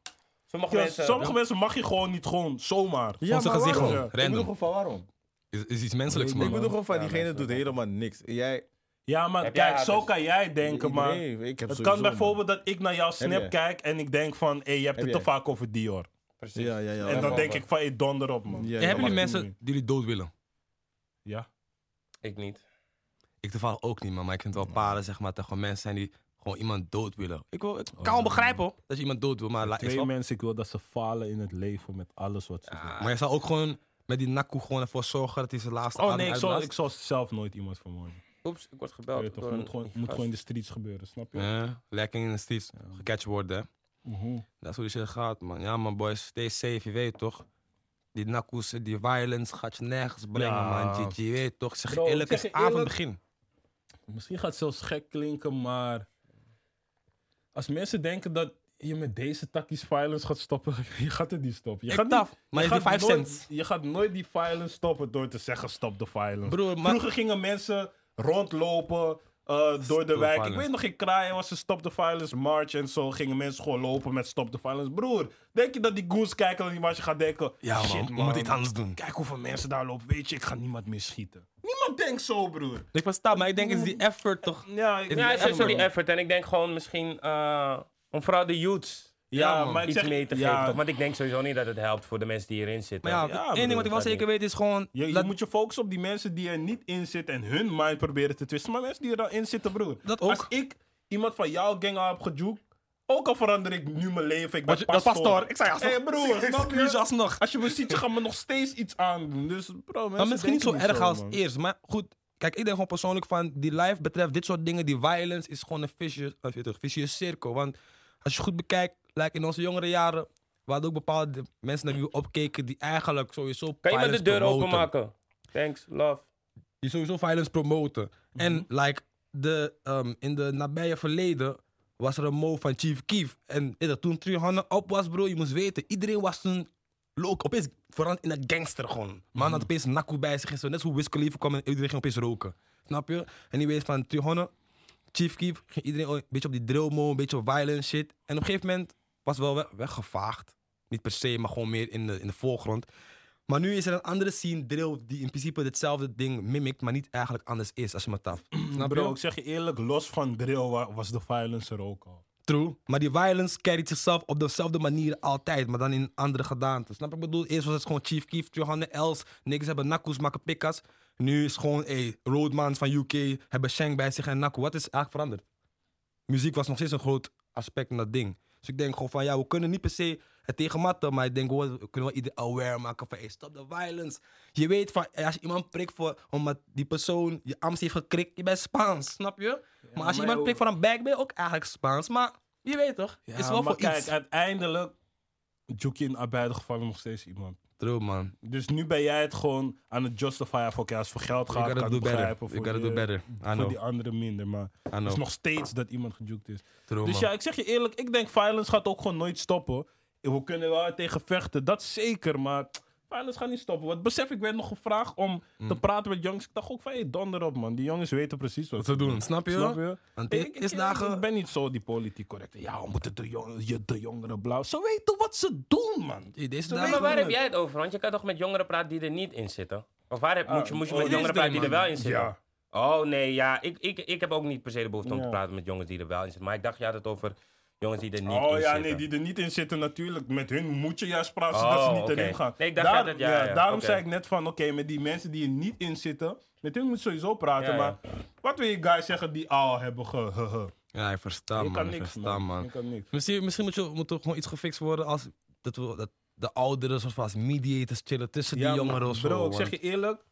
A: Sommige
C: Ja,
A: mensen.
C: sommige mensen mag je gewoon niet gewoon zomaar.
D: Ja,
B: Onze
D: maar
B: gezicht
D: waarom?
B: gewoon,
D: Ik bedoel
B: random.
D: gewoon van waarom?
B: Is, is iets menselijks,
D: Ik
B: man.
D: bedoel gewoon van, diegene doet helemaal niks. En jij dus-
C: Ja, maar
A: Heb jij
C: kijk, zo
A: haters?
C: kan jij denken, maar...
D: Nee, ik heb
C: Het
D: sowieso,
C: kan
D: man.
C: bijvoorbeeld dat ik naar jouw
D: jij?
C: snap kijk en ik denk van... Hé, je hebt het
D: Heb
C: te
D: jij?
C: vaak over Dior.
A: Precies.
D: Ja, ja, ja.
C: En dan
A: wel,
C: denk
A: wel.
C: ik van, hé, donder op, man.
D: Ja,
B: hebben
D: ja,
B: jullie
D: maar-
B: mensen
C: niet.
B: die jullie dood willen?
C: Ja.
A: Ik niet.
B: Ik toevallig ook niet, man. Maar ik vind het wel paren, zeg maar, dat gewoon mensen zijn die gewoon iemand dood willen. Ik, wil, ik kan wel begrijpen hoor, dat je iemand dood wil, maar la- is
C: Twee
B: wel- Ah.
C: mensen, ik wil dat ze falen in het leven met alles wat ze doen.
B: Maar je zou ook gewoon met die nakkoe gewoon ervoor zorgen dat hij zijn laatste
C: Oh
B: adem
C: nee, ik zal,
B: uitblaast.
C: ik zal zelf nooit iemand vermoorden.
A: Oeps, ik word
C: Het
A: gebeld.
C: toch,
A: door
C: het
A: een
C: moet, gewoon, het moet
A: gast.
C: gewoon in de streets gebeuren, snap je?
B: Ja, lekker in de steeds gecatcht worden, hè.
C: Mhm.
B: Dat is hoe die shit gaat, man. Ja, man, boys, stay safe, je weet toch. Die nakkoes, die violence gaat je nergens brengen,
C: Ja.
B: man. Je, je weet toch, Ik zeg
C: Bro, ik
B: eerlijk,
C: zeg
B: is
C: je
B: aan van het
C: eerlijk.
B: begin.
C: Misschien gaat het zelfs gek klinken, maar... Als mensen denken dat je met deze takkies violence gaat stoppen, je gaat het niet stoppen. Je
B: Ik
C: gaat niet-
B: taf, maar je die
C: gaat
B: 5
C: nooit-
B: cents.
C: Je gaat nooit die violence stoppen door te zeggen stop de violence.
B: Broer, maar-
C: Vroeger gingen mensen rondlopen eh, door de
B: the
C: wijk. Ik
B: violence.
C: weet nog in Kraaien was een stop the violence march en zo. Gingen mensen gewoon lopen met stop the violence. Broer, denk je dat die goons kijken naar die march en gaan denken...
B: Ja, man,
C: shit,
B: we moeten iets anders doen.
C: Kijk hoeveel mensen daar lopen. Weet je, ik ga niemand meer schieten. Niemand denkt zo, broer.
B: Ik versta, maar ik denk, het is die effort toch?
C: Ja, ik-
A: Ja,
B: die
A: het is sowieso
B: effort.
A: die effort. En ik denk gewoon misschien eh, om vooral de youths
C: Ja,
B: Ja, man.
C: maar ik
A: iets
C: zeg...
A: mee te
C: ja,
A: geven. Toch? Want ik denk sowieso niet dat het helpt voor de mensen die hierin zitten.
B: Maar ja,
C: Ja,
B: één ding
C: broer,
B: wat ik wel
A: dat
B: zeker weet is gewoon...
C: Je, je
B: dat,
C: moet je focussen op die mensen die er niet in zitten en hun mind proberen te twisten. Maar mensen die er dan in zitten, broer.
B: Dat ook.
C: Als ik iemand van jouw gang al heb gejuikt, ook al verander ik nu mijn leven, ik ben
B: dat, je- dat pastoor. Ik zei, ja,
C: Hé, broer, snap je?
B: Excuus alsnog.
C: Als je me ziet, je gaat me nog steeds iets aandoen. Dus bro, mensen
B: Maar misschien niet zo
C: denken
B: erg als
C: man.
B: eerst. Maar goed, kijk, ik denk gewoon persoonlijk van die live betreft dit soort dingen, die violence is gewoon een vicious, eh, weet je, vicious cirkel. Want als je goed bekijkt, like in onze jongere jaren, we hadden ook bepaalde mensen naar wie we opkeken die eigenlijk sowieso
A: Kan je maar de
B: violence
A: deur
B: promoten.
A: openmaken? Thanks, love.
B: Die sowieso violence promoten. En like, de, ehm, in de nabije verleden was er een move van Chief Keef. En weet je, toen 300 op was, bro, je moest weten, iedereen was toen look, opeens veranderd in een gangster gewoon. Man had opeens een nakkoe bij zich en zo. Net zoals Wiz Khalifa kwam en iedereen ging opeens roken. Snap je? En die weet van 300, Chief Keef, ging iedereen een beetje op die drill mode, een beetje op violence shit. En op een gegeven moment was wel we- weggevaagd. Niet per se, maar gewoon meer in de, in de voorgrond. Maar nu is er een andere scene drill die in principe hetzelfde ding mimikt, maar niet eigenlijk anders is als je me taf. Snap
C: Bro,
B: je?
C: ik zeg je eerlijk, los van drill wa- was de violence er ook al.
B: True. Maar die violence carried zichzelf op dezelfde manier altijd, maar dan in andere gedaanten. Snap je? Ik bedoel, eerst was het gewoon Chief Keef, Johanne Els, niks hebben nakkoes, maken pikkas. Nu is gewoon, hey, roadmans van UK hebben Shank bij zich en nakkoe. Wat is eigenlijk veranderd? Muziek was nog steeds een groot aspect in dat ding. Dus ik denk gewoon van, ja, we kunnen niet per se het tegenmatten, maar ik denk, wel, we kunnen wel iedereen aware maken van, hey, stop de violence. Je weet van, eh, als je iemand prikt voor, omdat die persoon je arms heeft gekrikt, je bent Spaans, snap je? maar als je
C: maar
B: iemand
C: joh.
B: prikt voor een bag, ben je ook eigenlijk Spaans, maar... Je weet toch?
C: Ja,
B: is wel
C: maar
B: voor
C: kijk,
B: iets.
C: uiteindelijk juik je in beide gevallen nog steeds iemand.
B: True, man.
C: Dus nu ben jij het gewoon aan het justifyen van, oké, als het voor geld
B: You
C: gaat,
B: gotta
C: kan ik
B: do
C: het
B: better.
C: begrijpen.
B: You
C: Voor
B: gotta
C: die- eh,
B: do better. I
C: Voor die
B: know.
C: andere minder, maar
B: I
C: het is
B: know.
C: nog steeds dat iemand gejuikt is.
B: True,
C: Dus
B: man.
C: ja, ik zeg je eerlijk, ik denk violence gaat ook gewoon nooit stoppen. We kunnen wel tegen vechten, dat zeker, maar violence gaat niet stoppen. Want besef, ik werd nog gevraagd om te praten met jongens. Ik dacht ook van, hé, donder op man, die jongens weten precies wat
B: Te doen, snap je?
C: Snap je?
B: Want
C: Ik,
B: ik
C: ik-
B: is
C: ik-
B: dagen...
C: ik ben niet zo die politiek correcte. Ja, we moeten de, jong je- de jongeren blauw. Ze weten wat ze doen, man.
B: Hey, Deze
A: maar
B: dagen...
A: waar heb jij het over? Want je kan toch met jongeren praten die er niet in zitten? Of waar heb, moet je, moet je
C: oh,
A: met
C: dit
A: jongeren
C: is
A: praten die er
C: ding,
A: wel
C: man.
A: in zitten?
C: Ja.
A: Oh nee, ja. Ik, ik, ik heb ook niet per se de behoefte om te
C: Ja.
A: praten met jongens die er wel in zitten. Maar ik dacht, je had het over jongens die er niet in
C: Oh ja,
A: zitten.
C: nee, die er niet in zitten natuurlijk. Met hun moet je juist praten,
A: Oh,
C: zodat ze niet
A: oké.
C: erin gaan.
A: Nee, ik dacht dat het- ja, ja,
C: daarom
A: oké.
C: zei ik net van, oké, met die mensen die er niet in zitten, met hun moet je sowieso
A: Ja,
C: praten.
A: ja.
C: maar wat wil je guys zeggen die al hebben ge... he, he.
B: Ja, ik versta,
C: Je kan
B: man. Ik
C: niks,
B: versta,
C: man.
B: man.
C: Je kan niks.
B: Misschien, misschien moet, je, moet er gewoon iets gefixt worden als... Dat, we, dat de ouderen soort van als mediators chillen tussen
C: Ja,
B: die
C: maar
B: jongeren of zo.
C: Bro, ik zeg
B: want
C: je eerlijk,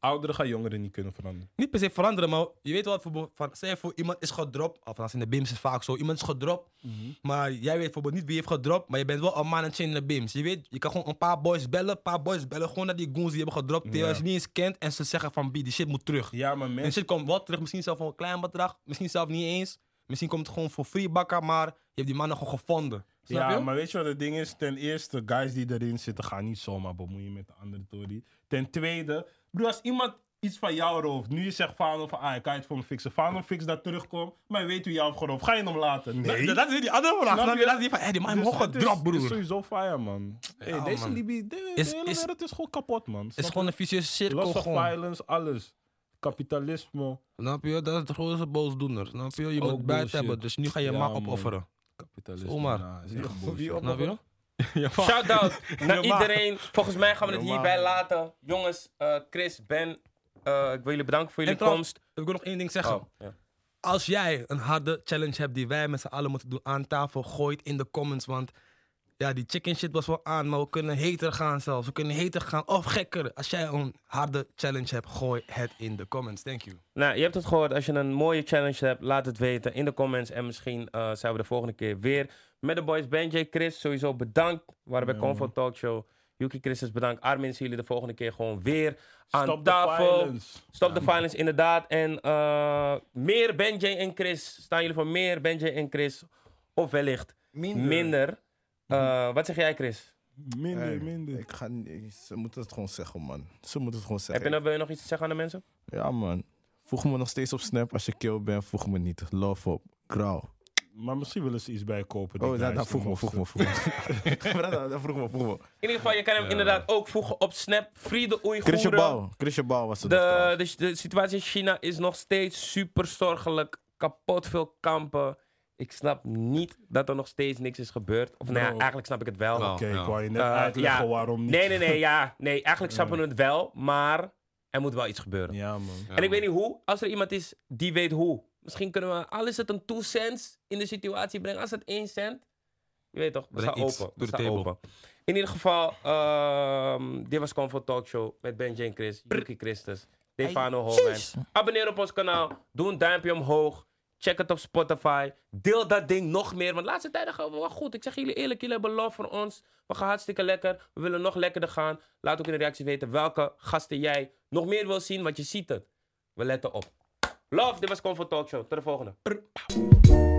C: ouderen gaan jongeren niet kunnen veranderen.
B: Niet per se veranderen, maar je weet wel... Voor, van, zeg voor iemand is gedropt. Of als in de BIMS is vaak zo. Iemand is gedropt.
C: Mhm.
B: Maar jij weet bijvoorbeeld niet wie heeft gedropt. Maar je bent wel een mannetje in de BIMS. Je weet, je kan gewoon een paar boys bellen. Een paar boys bellen gewoon naar die goons die hebben gedropt. Die
C: Ja.
B: je niet eens kent. En ze zeggen van, B, die shit moet terug.
C: Ja, maar
B: En
C: mensen...
B: shit komt wel terug, misschien zelf voor een klein bedrag, misschien zelf niet eens. Misschien komt het gewoon voor free bakken, maar je hebt die mannen gewoon gevonden. Snap
C: Ja,
B: je?
C: maar weet je wat het ding is? Ten eerste, guys die erin zitten gaan niet zomaar bemoeien met de andere Tory. Ten tweede, broer, als iemand iets van jou rooft, nu je zegt Fano van, ah, ik kan je het voor me fixen. Fano fix dat terugkomt, maar je weet hoe jou heeft geroofd. Ga je hem laten? Nee.
B: Dat, dat is weer die andere vraag.
C: Snap
B: Snap je?
C: je?
B: Dat is die van, hé, die man heeft
C: Dus
B: hem
C: het
B: gewoon gedropt,
C: is, is
B: broer.
C: sowieso fire, man. hey, deze
B: Oh, man.
C: Libi, de, de
B: Is-
C: hele
B: is-
C: wereld is gewoon kapot, man.
B: Het is
C: Snap je?
B: gewoon een vicieuze cirkel.
C: Los van
B: Gewoon.
C: violence, alles. kapitalisme.
B: Snap je? Dat is de grootste boosdoener. Snap je? Je
C: Ook
B: moet buiten
C: bullshit.
B: hebben, dus nu ga je
C: Ja,
B: ma
C: man.
B: opofferen.
C: Kapitalisme.
B: Zomaar.
C: nou, is echt
D: Wie
C: bullshit.
D: op-
B: Snap je? Ja, ma.
A: Shout-out naar
B: Ja, maar.
A: iedereen. Volgens mij gaan we het
D: Ja, maar.
A: hierbij laten. Jongens, eh, Chris, Ben, eh, ik wil jullie bedanken voor jullie
B: En trouwens-
A: komst.
B: Ik wil nog één ding zeggen.
A: Oh, ja.
B: Als jij een harde challenge hebt die wij met z'n allen moeten doen aan tafel, gooi het in de comments. Want ja, die chicken shit was wel aan, maar we kunnen heter gaan zelfs. We kunnen heter gaan of gekker. Als jij een harde challenge hebt, gooi het in de comments. Thank you.
A: Nou, je hebt het gehoord. Als je een mooie challenge hebt, laat het weten in de comments. En misschien eh, zijn we de volgende keer weer met de boys. Benjay, Chris, sowieso bedankt. We waren bij
C: Ja,
A: Convo Talk Show. Yuki, Christus, bedankt. Armin, zien jullie de volgende keer gewoon weer aan
C: Stop the
A: tafel.
C: violence.
A: Stop the violence, inderdaad. En eh, meer Benjay en Chris. Staan jullie voor meer Benjay en Chris? Of wellicht minder.
C: Mhm.
A: Eh, wat zeg jij, Chris?
C: Minder,
D: Hey,
C: minder.
D: Ik ga niet, ze moeten het gewoon zeggen, man. Ze moeten het gewoon
A: Heb
D: zeggen.
A: je nog, wil je nog iets te zeggen aan de mensen?
D: Ja, man. Voeg me nog steeds op Snap. Als je kill bent, voeg me niet. Love op. Grauw.
C: Maar misschien willen ze iets bijkopen. die
D: Oh, daar
C: luisteren,
D: vroeg me,
C: mochten.
D: vroeg me, vroeg me. Dat vroeg me, vroeg me.
A: In ieder geval, je kan hem inderdaad ook voegen op Snap. Friede
D: Christian
A: Oeigoeren.
D: Bouw. Christian Bouw was het. nog
A: De,
D: trouwens.
A: de, de situatie in China is nog steeds super zorgelijk. Kapot veel kampen. Ik snap niet dat er nog steeds niks is gebeurd. Of nou ja,
C: Bro.
A: eigenlijk snap ik het wel.
B: Wel.
C: Oké,
B: Ja.
C: ik wou je net
A: Eh,
C: uitleggen
A: ja.
C: waarom niet.
A: Nee, nee, nee, ja. Nee, eigenlijk snappen we het wel. Maar er moet wel iets gebeuren.
C: Ja, man.
A: en ik weet niet hoe. Als er iemand is die weet hoe. Misschien kunnen we, al is het een 2 cents in de situatie brengen. Als het 1 cent. Je weet toch, we
B: Breng
A: staan
B: iets.
A: open. We
B: Doe de
A: staan
B: table.
A: open. In ieder geval, ehm, dit was Comfort Talk Show met Benji en Chris, Yuki Christus, Stefano Holwijn. Abonneer op ons kanaal, doe een duimpje omhoog, check het op Spotify, deel dat ding nog meer, want de laatste tijden gaan we wel goed. Ik zeg jullie eerlijk, jullie hebben love voor ons, we gaan hartstikke lekker, we willen nog lekkerder gaan. Laat ook in de reactie weten welke gasten jij nog meer wil zien, want je ziet het. We letten op. Love, dit was Comfort Talk Show. Tot de volgende.